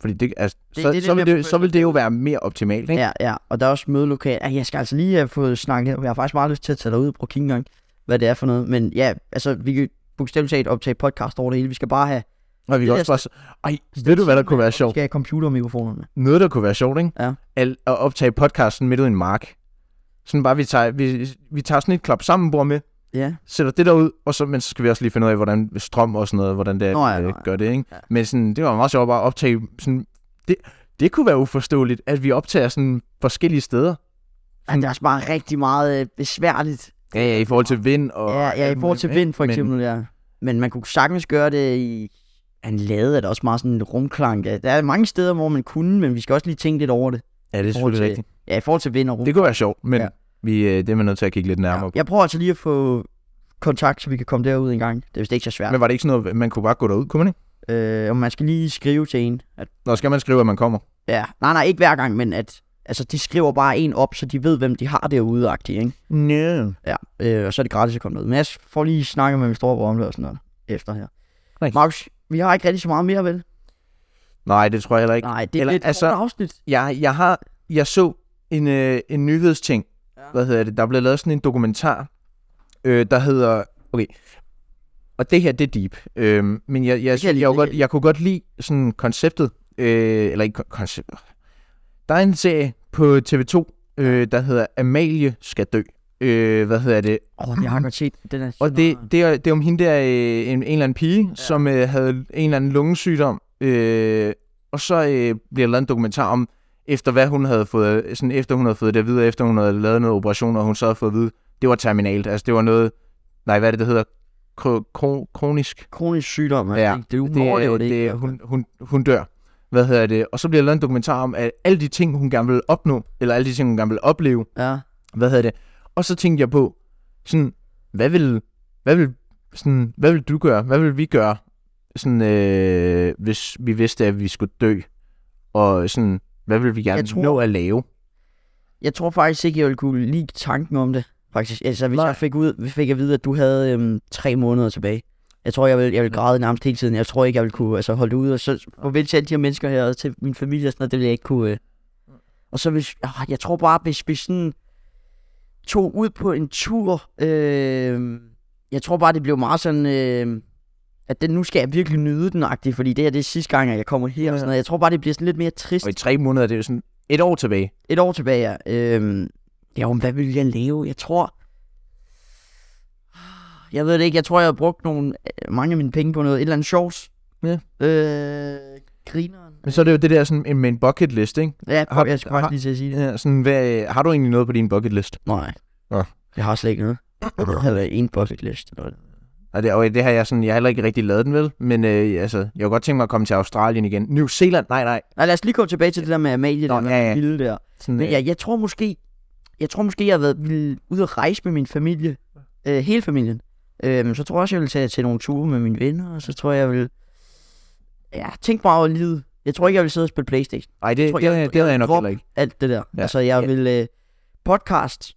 Speaker 1: Fordi det, altså,
Speaker 2: Det-
Speaker 1: det, så,
Speaker 2: det er
Speaker 1: det,
Speaker 2: lidt
Speaker 1: så, vil
Speaker 2: mere
Speaker 1: det, så vil det jo være mere optimalt, ikke?
Speaker 2: Ja, ja, og der er også mødelokal. Ah, Jeg skal altså lige have fået snakket her. Jeg har faktisk meget lyst til at tage dig ud og prøve at kigge engang, hvad det er for noget. Men ja, altså, vi kan bogstaveligt talt optage podcast over det hele. Vi skal bare have,
Speaker 1: Og vi
Speaker 2: det
Speaker 1: kan
Speaker 2: er
Speaker 1: også bare... s- Ej, ved du hvad der kunne være
Speaker 2: vi
Speaker 1: sjovt?
Speaker 2: skal have computermikrofonerne.
Speaker 1: Noget der kunne være sjovt, ikke?
Speaker 2: Ja.
Speaker 1: Al- At optage podcasten midt ude i en mark. Sådan bare, vi tager, vi, vi tager sådan et klap sammen bord med,
Speaker 2: Ja,
Speaker 1: sætter det der ud, og så, men så skal vi også lige finde ud af, hvordan strøm og sådan noget, hvordan det
Speaker 2: Nå ja,
Speaker 1: øh,
Speaker 2: nå ja.
Speaker 1: gør det, ikke?
Speaker 2: Ja.
Speaker 1: Ja. Men sådan, det var meget sjovt bare at optage sådan, det, det kunne være uforståeligt, at vi optager sådan forskellige steder.
Speaker 2: ah, det er også bare rigtig meget øh, besværligt.
Speaker 1: Ja, ja, i forhold til vind og...
Speaker 2: Ja, ja, i forhold til vind for
Speaker 1: Men-
Speaker 2: eksempel, ja. Men man kunne sagtens gøre det i han lavede er da også meget sådan en rumklang. Ja, der er mange steder, hvor man kunne, men vi skal også lige tænke lidt over det.
Speaker 1: Ja, det er
Speaker 2: forhold
Speaker 1: selvfølgelig
Speaker 2: til-
Speaker 1: rigtigt.
Speaker 2: Ja, i forhold til vinder
Speaker 1: Det kunne være sjovt, men
Speaker 2: Ja.
Speaker 1: ja. vi, øh, det er man nødt til at kigge lidt nærmere
Speaker 2: ja. Jeg prøver altså lige at få kontakt, så vi kan komme derud en gang. Det er vist ikke så
Speaker 1: på.
Speaker 2: svært.
Speaker 1: Men var det ikke sådan noget, man kunne bare gå derud, kunne man ikke?
Speaker 2: Øh, og man skal lige skrive til en. At,
Speaker 1: Nå, skal man skrive, at man kommer?
Speaker 2: ja, nej, nej, ikke hver gang, men at altså, de skriver bare en op, så de ved, hvem de har derude, agtigt, ikke?
Speaker 1: No.
Speaker 2: Ja, øh, og så er det gratis at komme ned. Men jeg får lige snakket med min storebror om det og sådan noget efter her.
Speaker 1: Rigtigt.
Speaker 2: Markus, vi har ikke rigtig så meget mere, vel?
Speaker 1: Nej, det tror jeg heller ikke.
Speaker 2: Nej, det er
Speaker 1: Eller,
Speaker 2: lidt altså...
Speaker 1: altså-
Speaker 2: kort afsnit.
Speaker 1: Jeg, jeg, har, jeg så en, øh, en nyhedsting.
Speaker 2: Ja.
Speaker 1: Ja. Hvad hedder det? Der blev lavet sådan en dokumentar, øh, der hedder... Okay. Og det her, det er deep. Øh, men jeg, jeg,
Speaker 2: kan jeg
Speaker 1: jeg,
Speaker 2: lide,
Speaker 1: jeg,
Speaker 2: det
Speaker 1: kunne godt,
Speaker 2: kan jeg
Speaker 1: jeg kunne godt lide sådan konceptet. Øh, eller ikke kon- konceptet. Der er en serie på TV2, øh, der hedder Amalie skal dø. Øh, hvad hedder det?
Speaker 2: Åh, oh, jeg har godt set den er
Speaker 1: Og det, det, er, det er om hende der, øh, en, en eller anden pige, ja. som øh, havde en eller anden lungesygdom. Øh, og så øh, bliver der lavet en dokumentar om, efter hvad hun havde fået, øh, sådan efter hun havde fået det at vide, efter hun havde lavet noget operation, og hun så havde fået at vide, det var terminalt. Altså det var noget, nej hvad er det, det hedder? Kro, kro, kronisk.
Speaker 2: kronisk sygdom,
Speaker 1: Ja,
Speaker 2: ja. Det, hun det, overlever det,
Speaker 1: det,
Speaker 2: ikke.
Speaker 1: det hun, hun, hun dør. Hvad hedder det? Og så bliver der lavet en dokumentar om, at alle de ting, hun gerne ville opnå, eller alle de ting, hun gerne ville opleve,
Speaker 2: Ja.
Speaker 1: hvad hedder det? Og så tænkte jeg på, sådan, hvad vil, hvad vil, sådan, hvad vil du gøre? Hvad vil vi gøre, sådan, øh, hvis vi vidste, at vi skulle dø? Og sådan, hvad vil vi gerne
Speaker 2: Jeg tror-
Speaker 1: tror... nå at lave?
Speaker 2: Jeg tror faktisk ikke, jeg ville kunne lide tanken om det. Faktisk. Altså, hvis Nej.
Speaker 1: Nej.
Speaker 2: jeg fik, ud, fik at vide, at du havde øhm, tre måneder tilbage. Jeg tror, jeg vil, jeg vil græde nærmest hele tiden. Jeg tror ikke, jeg vil kunne altså, holde det ud. Og så forvente til alle de her mennesker her, og til min familie og sådan noget, det ville jeg ikke kunne... Øh. Og så hvis... Øh, jeg tror bare, hvis vi sådan tog ud på en tur... Øh, jeg tror bare, det blev meget sådan... Øh, at den, nu skal jeg virkelig nyde den, agtig, fordi det her det er sidste gang, at jeg kommer her og sådan noget. Jeg tror bare, det bliver sådan lidt mere trist
Speaker 1: Og i tre måneder, det er jo sådan et år tilbage.
Speaker 2: et år tilbage, ja. Øhm, ja, men hvad ville jeg lave? Jeg tror... Jeg ved det ikke. Jeg tror, jeg har brugt nogle, øh, mange af mine penge på noget. Et eller andet sjovs.
Speaker 1: Ja.
Speaker 2: Øh, grineren.
Speaker 1: Men så er det jo det der sådan, en- med en bucket list, ikke?
Speaker 2: Ja,
Speaker 1: Har-
Speaker 2: prøv, jeg skal faktisk
Speaker 1: har-
Speaker 2: lige til at sige det.
Speaker 1: Ja, sådan, hvad, har du egentlig noget på din bucket list?
Speaker 2: Nej.
Speaker 1: Nå.
Speaker 2: Jeg har slet
Speaker 1: [clears throat]
Speaker 2: ikke noget. Jeg havde været en bucket list. Eller noget.
Speaker 1: Og det, okay, det har jeg sådan, jeg har heller ikke rigtig lavet den, vel? Men øh, altså, jeg kunne godt tænke mig at komme til Australien igen. New Zealand? Nej, nej.
Speaker 2: Nej, lad os lige komme tilbage til det der med Amalie,
Speaker 1: Nå,
Speaker 2: der
Speaker 1: ja, ja.
Speaker 2: lille der.
Speaker 1: Sådan,
Speaker 2: Men ja, jeg tror måske, jeg tror måske, jeg har været ville ude at rejse med min familie. Øh, hele familien. Øh, så tror jeg også, jeg vil tage til nogle ture med mine venner, og så tror jeg, jeg vil... Ja, tænk meget over livet. Jeg tror ikke, jeg vil sidde og spille Playstation.
Speaker 1: Ej, det,
Speaker 2: tror
Speaker 1: det,
Speaker 2: jeg-
Speaker 1: det, det, havde jeg nok
Speaker 2: Drop
Speaker 1: heller ikke.
Speaker 2: alt det der. Ja.
Speaker 1: Ja.
Speaker 2: Altså, jeg
Speaker 1: Ja.
Speaker 2: vil... Øh, podcast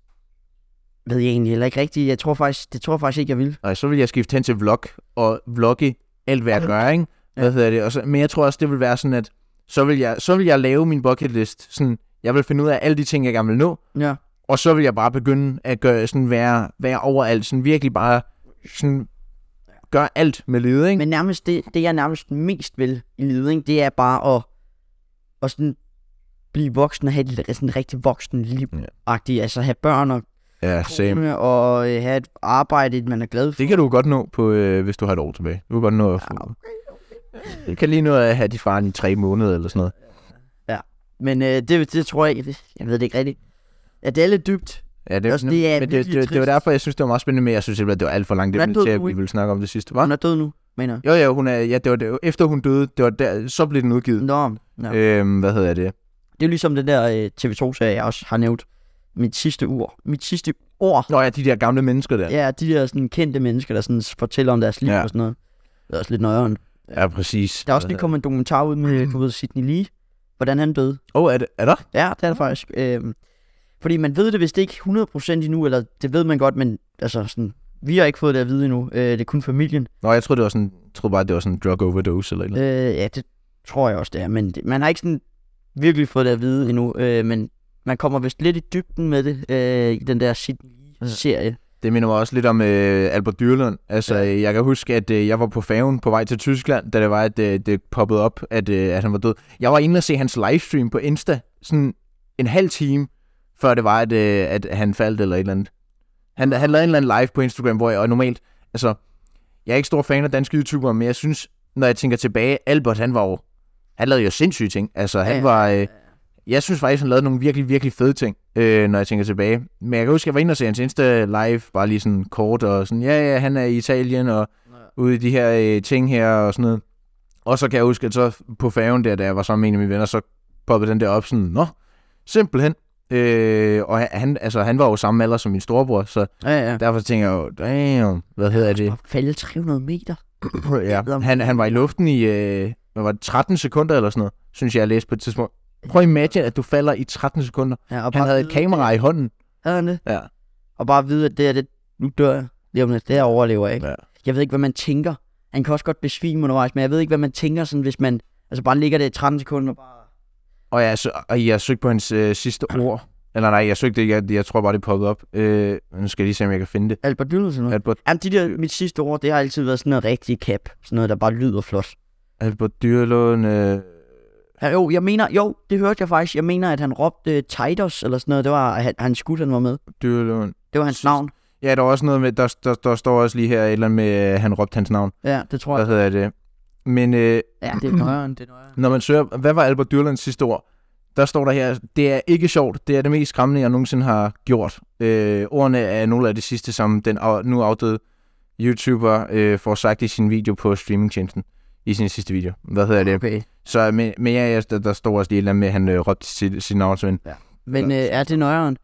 Speaker 2: ved jeg egentlig heller ikke rigtigt. Jeg tror faktisk, det tror jeg faktisk ikke, jeg vil.
Speaker 1: Nej, så vil jeg skifte hen til vlog og vlogge alt, hvad jeg gør, ikke? Hvad
Speaker 2: Ja.
Speaker 1: ja. hedder det? Og så, men jeg tror også, det vil være sådan, at så vil jeg, så vil jeg lave min bucket list. Sådan, jeg vil finde ud af alle de ting, jeg gerne vil nå,
Speaker 2: Ja.
Speaker 1: og så vil jeg bare begynde at gøre, sådan, være, være overalt. Sådan, virkelig bare sådan, gøre alt med livet, ikke?
Speaker 2: Men nærmest det, det jeg nærmest mest vil i livet, ikke, det er bare at, at sådan blive voksen og have et sådan rigtig voksen liv.
Speaker 1: Ja.
Speaker 2: Ja. Altså have børn og
Speaker 1: ja, same.
Speaker 2: kone og øh, have et arbejde, man er glad for.
Speaker 1: Det kan du godt nå, på, øh, hvis du har et år tilbage. Du kan godt nå at
Speaker 2: Ah,
Speaker 1: få... Du kan lige nå at have de faren i tre måneder eller sådan noget.
Speaker 2: Men øh, det, det tror jeg, jeg, jeg ved det ikke rigtigt. Ja, det er lidt dybt.
Speaker 1: Ja, det,
Speaker 2: Også det er
Speaker 1: men det,
Speaker 2: virkelig
Speaker 1: det, det, var
Speaker 2: trist.
Speaker 1: derfor, jeg synes, det var meget spændende, men jeg synes simpelthen, det var alt for langt. Det
Speaker 2: Hvordan
Speaker 1: var nødt til,
Speaker 2: døde du
Speaker 1: at vi
Speaker 2: i-
Speaker 1: ville snakke om det sidste, var?
Speaker 2: Hun er død nu, mener jeg.
Speaker 1: Jo, jo, hun er, ja, det var det, efter hun døde, det var der, så blev den udgivet.
Speaker 2: Nå, ja.
Speaker 1: Øhm, hvad hedder det?
Speaker 2: Det er jo ligesom den der øh, TV2-serie, jeg også har nævnt. Mit sidste ur. Mit sidste ord.
Speaker 1: Nå ja, de der gamle mennesker der.
Speaker 2: Ja, de der sådan, kendte mennesker, der sådan, fortæller om deres liv
Speaker 1: Ja.
Speaker 2: og sådan noget. Det er også lidt nøjeren.
Speaker 1: ja præcis.
Speaker 2: Der er også lige kommet en dokumentar ud med, du ved, Sidney Lee. Hvordan han døde.
Speaker 1: Åh, oh, er, det, er der?
Speaker 2: Ja, det er det faktisk. Øhm, fordi man ved det vist ikke 100% endnu, eller det ved man godt, men altså sådan, vi har ikke fået det at vide endnu. Øh, det er kun familien.
Speaker 1: Nå, jeg troede, det var sådan, jeg troede bare, det var sådan en drug overdose eller noget.
Speaker 2: Øh, ja, det tror jeg også, det er. Men det, man har ikke sådan virkelig fået det at vide endnu. Øh, men man kommer vist lidt i dybden med det øh, i den der Sydney-serie.
Speaker 1: Det minder mig også lidt om øh, Albert Dyrlund. Altså, ja. jeg kan huske, at øh, jeg var på færgen på vej til Tyskland, da det var, at øh, det poppede op, at, øh, at han var død. Jeg var inde og se hans livestream på Insta, sådan en halv time, før det var, at, øh, at han faldt eller et eller andet. Han, han lavede en eller anden live på Instagram, hvor jeg og normalt, altså, jeg er ikke stor fan af danske YouTubere, men jeg synes, når jeg tænker tilbage, Albert, han var jo, han lavede jo sindssyge ting. Altså, han
Speaker 2: Ja.
Speaker 1: ja. var, øh, jeg synes faktisk, han lavede nogle virkelig, virkelig fede ting, øh, når jeg tænker tilbage. Men jeg kan huske, jeg var inde og se hans Insta live, bare lige sådan kort, og sådan, ja, ja, han er i Italien, og ude i de her øh, ting her, og sådan noget. Og så kan jeg huske, at så på færgen der, da jeg var sammen med en af mine venner, så poppede den der op sådan, nå, simpelthen. Øh, og han, altså, han var jo samme alder som min storebror, så
Speaker 2: Ja, ja.
Speaker 1: derfor tænker jeg jo, damn, hvad hedder det?
Speaker 2: Og falde 300 meter.
Speaker 1: ja. han, han var i luften i øh, hvad var det, 13 sekunder eller sådan noget, synes jeg, jeg læste på et tidspunkt. Prøv at imagine, at du falder i 13 sekunder.
Speaker 2: Ja, og
Speaker 1: Han
Speaker 2: bare
Speaker 1: havde et
Speaker 2: vide-
Speaker 1: kamera i hånden.
Speaker 2: Havde han det?
Speaker 1: Ja.
Speaker 2: Og bare vide, at det er det, nu dør jeg. Det, er, om lidt. det her overlever jeg ikke.
Speaker 1: Ja.
Speaker 2: Jeg ved ikke, hvad man tænker. Han kan også godt besvime undervejs, men jeg ved ikke, hvad man tænker, sådan, hvis man altså bare ligger der i 13 sekunder. og Bare...
Speaker 1: Og jeg, så, og jeg søgte på hans øh, sidste ord. Eller nej, jeg søgte ikke. Jeg, jeg tror bare, det poppede op. Øh, nu skal jeg lige se, om jeg kan finde det.
Speaker 2: Albert Dynelsen. Ja.
Speaker 1: Albert,
Speaker 2: Jamen, de der, mit sidste ord, det har altid været sådan noget rigtig cap. Sådan noget, der bare lyder flot.
Speaker 1: Albert Dyrlund... Øh,
Speaker 2: Ja, jo, jeg mener, jo, det hørte jeg faktisk. Jeg mener, at han råbte uh, Titus eller sådan noget. Det var han, han skud, han var med.
Speaker 1: Dyrlund...
Speaker 2: Det var hans navn.
Speaker 1: Ja, der er også noget med... Der, der, der står også lige her et eller andet med, øh, han råbte hans navn.
Speaker 2: Ja, det tror
Speaker 1: Hvad
Speaker 2: jeg.
Speaker 1: hedder det? Men øh,
Speaker 2: Ja, det er nøjeren, det er nøjeren.
Speaker 1: når man søger... Hvad var Albert Dyrlunds sidste ord? Der står der her, det er ikke sjovt. Det er det mest skræmmende, jeg nogensinde har gjort. Øh, ordene er nogle af de sidste, som den af, nu afdøde YouTuber øh, får sagt i sin video på streamingtjenesten. I sin sidste video. Hvad hedder det?
Speaker 2: Okay.
Speaker 1: Så men, men ja, ja, der, der stod også lige et eller andet med, at han øh, råbte sit, sit navn til hende.
Speaker 2: Men øh, er det nøjeren?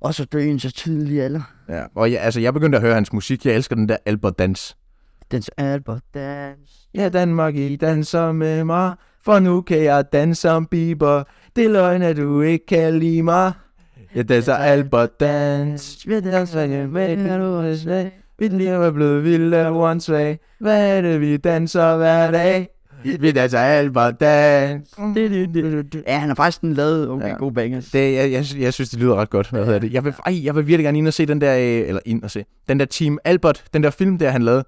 Speaker 2: Og så dø i en så tidlig alder.
Speaker 1: Ja. Og jeg, altså, jeg begyndte at høre hans musik. Jeg elsker den der Albert Dans.
Speaker 2: Den så Albert Dans.
Speaker 1: Ja, Danmark, I danser med mig, for nu kan jeg danse som Bieber. Det er løgn, at du ikke kan lide mig. Jeg danser Albert Dans.
Speaker 2: Jeg
Speaker 1: danser hjemme, kan du huske det? Mit liv er blevet vildt af one way. Hvad er det, vi danser hver dag? Vi danser Albert Dans.
Speaker 2: Ja, han har faktisk sådan lavet okay,
Speaker 1: Ja.
Speaker 2: ja. gode bangers.
Speaker 1: Det, jeg, jeg, jeg synes, det lyder ret godt. Hvad hedder det? Jeg vil, ej, jeg vil virkelig gerne ind og se den der, øh, eller ind og se, den der Team Albert, den der film, der han lavede.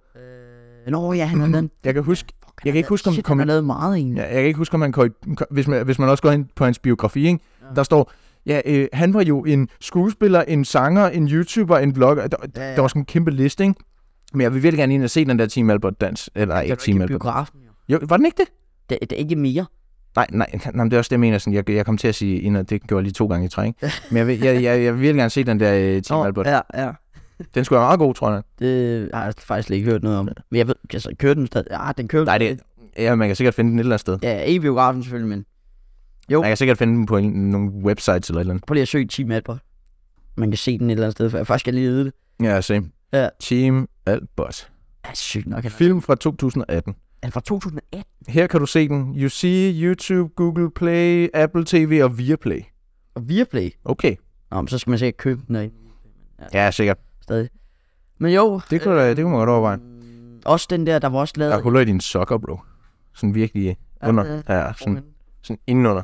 Speaker 2: Øh, Nå ja, han har lavet...
Speaker 1: Mm-hmm. Jeg kan huske,
Speaker 2: Fuck, han
Speaker 1: Jeg kan
Speaker 2: har
Speaker 1: ikke huske, om
Speaker 2: lavet-
Speaker 1: den
Speaker 2: shit,
Speaker 1: kom
Speaker 2: Han
Speaker 1: ind.
Speaker 2: har lavet meget egentlig.
Speaker 1: ja, jeg kan ikke huske, om han kom, i- kom- hvis, man, hvis man også går ind på hans biografi, ikke? der står, ja, øh, han var jo en skuespiller, en sanger, en YouTuber, en vlogger. Der,
Speaker 2: Ja, ja.
Speaker 1: der var sådan en kæmpe liste, ikke? Men jeg vil virkelig gerne ind og se den der Team Albert dans. Eller
Speaker 2: Det
Speaker 1: ikke
Speaker 2: var ikke
Speaker 1: Team altså.
Speaker 2: i
Speaker 1: Albert.
Speaker 2: biografen. jo.
Speaker 1: Jo, var den ikke det?
Speaker 2: Det, det er ikke mere.
Speaker 1: Nej, nej, nej men det er også det, jeg mener. Sådan, jeg, jeg kom til at sige ind, og det gjorde jeg lige to gange i træk. ikke? Men jeg vil, jeg, jeg, jeg vil virkelig gerne se den der øh, Team
Speaker 2: Nå,
Speaker 1: Albert.
Speaker 2: Ja, ja.
Speaker 1: Den skulle være meget god, tror jeg.
Speaker 2: Det har jeg faktisk slet ikke hørt noget om. Men jeg ved, altså, kører den stadig? Ja, den kører
Speaker 1: Nej, det, ja, man kan sikkert finde den et eller andet sted.
Speaker 2: Ja, ikke i biografen selvfølgelig, men Jo.
Speaker 1: Man kan sikkert finde den på en, nogle websites eller et eller andet.
Speaker 2: prøv lige at søge Team Albert. Man kan se den et eller andet sted, for jeg faktisk skal lige vide det.
Speaker 1: Ja, same.
Speaker 2: Ja.
Speaker 1: Team Albert.
Speaker 2: Ja, sygt nok. Han er,
Speaker 1: Film fra 2018.
Speaker 2: han er fra 2018.
Speaker 1: Her kan du se den. You see, YouTube, Google Play, Apple TV og Viaplay.
Speaker 2: Og Viaplay.
Speaker 1: Okay.
Speaker 2: Nå, men så skal man sikkert købe den derinde
Speaker 1: Ja, sikkert.
Speaker 2: stadig. Men jo,
Speaker 1: Det kunne, øh, det kunne man godt overveje.
Speaker 2: mm, også den der, der var også lavet...
Speaker 1: Der er huller i dine sokker, bro. Sådan virkelig under. Ja, sådan, sådan indenunder.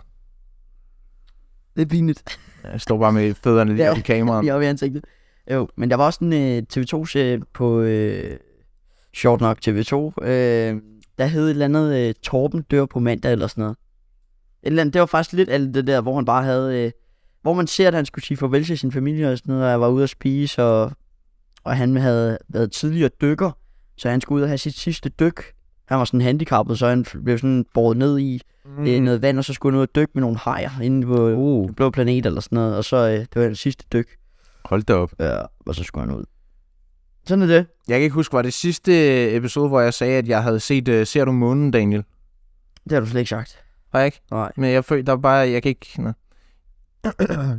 Speaker 2: Det er pinligt.
Speaker 1: Jeg står bare med fødderne lige
Speaker 2: Ja.
Speaker 1: op i kameraet.
Speaker 2: Lige op i ansigtet. Jo, men der var også en øh, TV2 øh, på... Øh, sjovt nok TV2. Øh, der hed et eller andet øh, Torben dør på mandag eller sådan noget. Et eller andet, det var faktisk lidt alt det der, hvor han bare havde... Øh, hvor man ser, at han skulle sige farvel til sin familie og sådan noget, og jeg var ude at spise, og, og han havde været tidligere dykker, så han skulle ud og have sit sidste dyk. Han var sådan handicappet, så han blev sådan båret ned i
Speaker 1: Mhm.
Speaker 2: mm. noget vand, og så skulle han ud og dykke med nogle hajer inde på uh. Blå Planet eller sådan noget, og så øh, det var den sidste dyk,
Speaker 1: Hold da op.
Speaker 2: ja, og så skulle han ud. Sådan er det.
Speaker 1: Jeg kan ikke huske, var det sidste episode, hvor jeg sagde, at jeg havde set øh, Ser du månen, Daniel?
Speaker 2: Det har du slet ikke sagt.
Speaker 1: Har jeg ikke?
Speaker 2: Nej.
Speaker 1: Men jeg følte, der var bare, jeg kan ikke... Nå.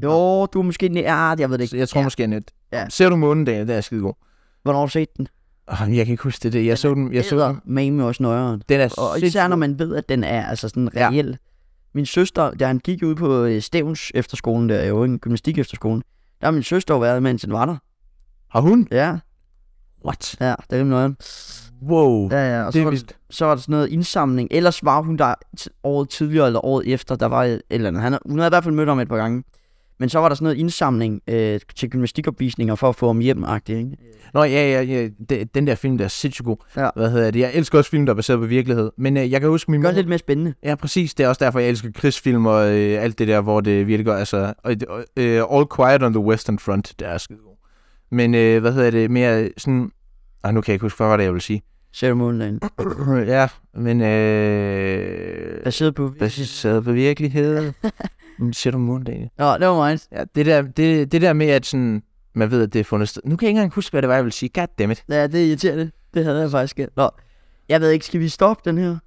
Speaker 2: Jo, du er måske... næ- Ja, jeg ved det ikke.
Speaker 1: Jeg tror
Speaker 2: ja.
Speaker 1: måske, jeg er net.
Speaker 2: Ja.
Speaker 1: Ser du månen, Daniel? Det er skide god.
Speaker 2: Hvornår har du set den?
Speaker 1: Jeg kan ikke huske det. det. Jeg så den. Jeg så den.
Speaker 2: Mame også nøjeren.
Speaker 1: Den er
Speaker 2: Og
Speaker 1: sindssygt-
Speaker 2: især når man ved, at den er altså sådan
Speaker 1: Ja.
Speaker 2: reel. Min søster, da han gik ud på øh, Stævns efterskolen, der er jo en gymnastik efterskolen, der har min søster jo været, mens den var der.
Speaker 1: Har hun?
Speaker 2: Ja,
Speaker 1: What?
Speaker 2: ja, det er rimelig nøjeren.
Speaker 1: Wow.
Speaker 2: Ja, ja, og så
Speaker 1: det er
Speaker 2: var
Speaker 1: vist.
Speaker 2: så var der sådan noget indsamling. Ellers var hun der t- året tidligere eller året efter, der var et eller andet. Han, hun havde i hvert fald mødt ham et par gange. Men så var der sådan noget indsamling øh, til gymnastikopvisninger for at få ham hjem, ikke?
Speaker 1: Nå, ja, ja, ja. Det- Den der film, der er sindssygt god.
Speaker 2: Ja.
Speaker 1: Hvad hedder det? Jeg elsker også film, der er baseret på virkelighed. Men øh, jeg kan huske min
Speaker 2: Gør
Speaker 1: mor...
Speaker 2: det lidt mere spændende.
Speaker 1: Ja, præcis. Det er også derfor, jeg elsker krigsfilm og øh, alt det der, hvor det virker. Altså, og, og, øh, All Quiet on the Western Front, det er skide god. Men øh, hvad hedder det? Mere sådan... Ah, nu kan jeg ikke huske, hvad var det, jeg ville sige.
Speaker 2: Ser du målen
Speaker 1: ja, men... Øh,
Speaker 2: Baseret på...
Speaker 1: baseret på virkelighed. Men Ser du månen,
Speaker 2: Nå, det var mig.
Speaker 1: Ja, det der, det, det der med, at sådan, man ved, at det er fundet sted. Nu kan jeg ikke engang huske, hvad det var, jeg ville sige. God damn it.
Speaker 2: Ja, det er irriterende. Det havde jeg faktisk gæt. Nå, jeg ved ikke, skal vi stoppe den her?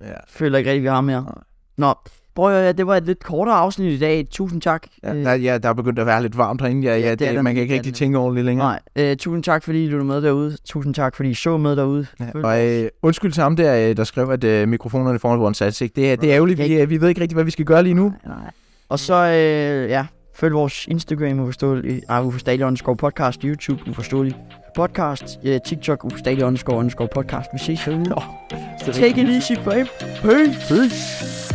Speaker 1: Ja.
Speaker 2: Føler ikke rigtigt, vi har ham
Speaker 1: Nej.
Speaker 2: her. Nå, prøv at høre, ja, det var et lidt kortere afsnit i dag. Tusind tak.
Speaker 1: Ja,
Speaker 2: øh,
Speaker 1: der, ja, der er begyndt at være lidt varmt herinde. Ja, ja,
Speaker 2: Ja,
Speaker 1: det,
Speaker 2: det er der
Speaker 1: man kan
Speaker 2: nemlig,
Speaker 1: ikke
Speaker 2: det er
Speaker 1: rigtig
Speaker 2: der
Speaker 1: tænke ordentligt længere.
Speaker 2: Nej, øh, tusind tak fordi I lyttede med derude. Tusind tak fordi I så med derude.
Speaker 1: Ja,
Speaker 2: Følg
Speaker 1: og
Speaker 2: os.
Speaker 1: øh, undskyld til ham der, øh, der skrev, at øh, mikrofonerne foran vores ansigt. Det, er- det er ærgerligt, vi, øh, vi ved ikke rigtig, hvad vi skal gøre lige nu.
Speaker 2: Nej. Og så, øh, ja, følg vores Instagram, uforståelig, nej, uforståelig underscore podcast, YouTube, uforståelig podcast, øh, TikTok, uforståelig underscore underscore podcast. Vi ses herude. Take it easy, babe. Peace. Peace.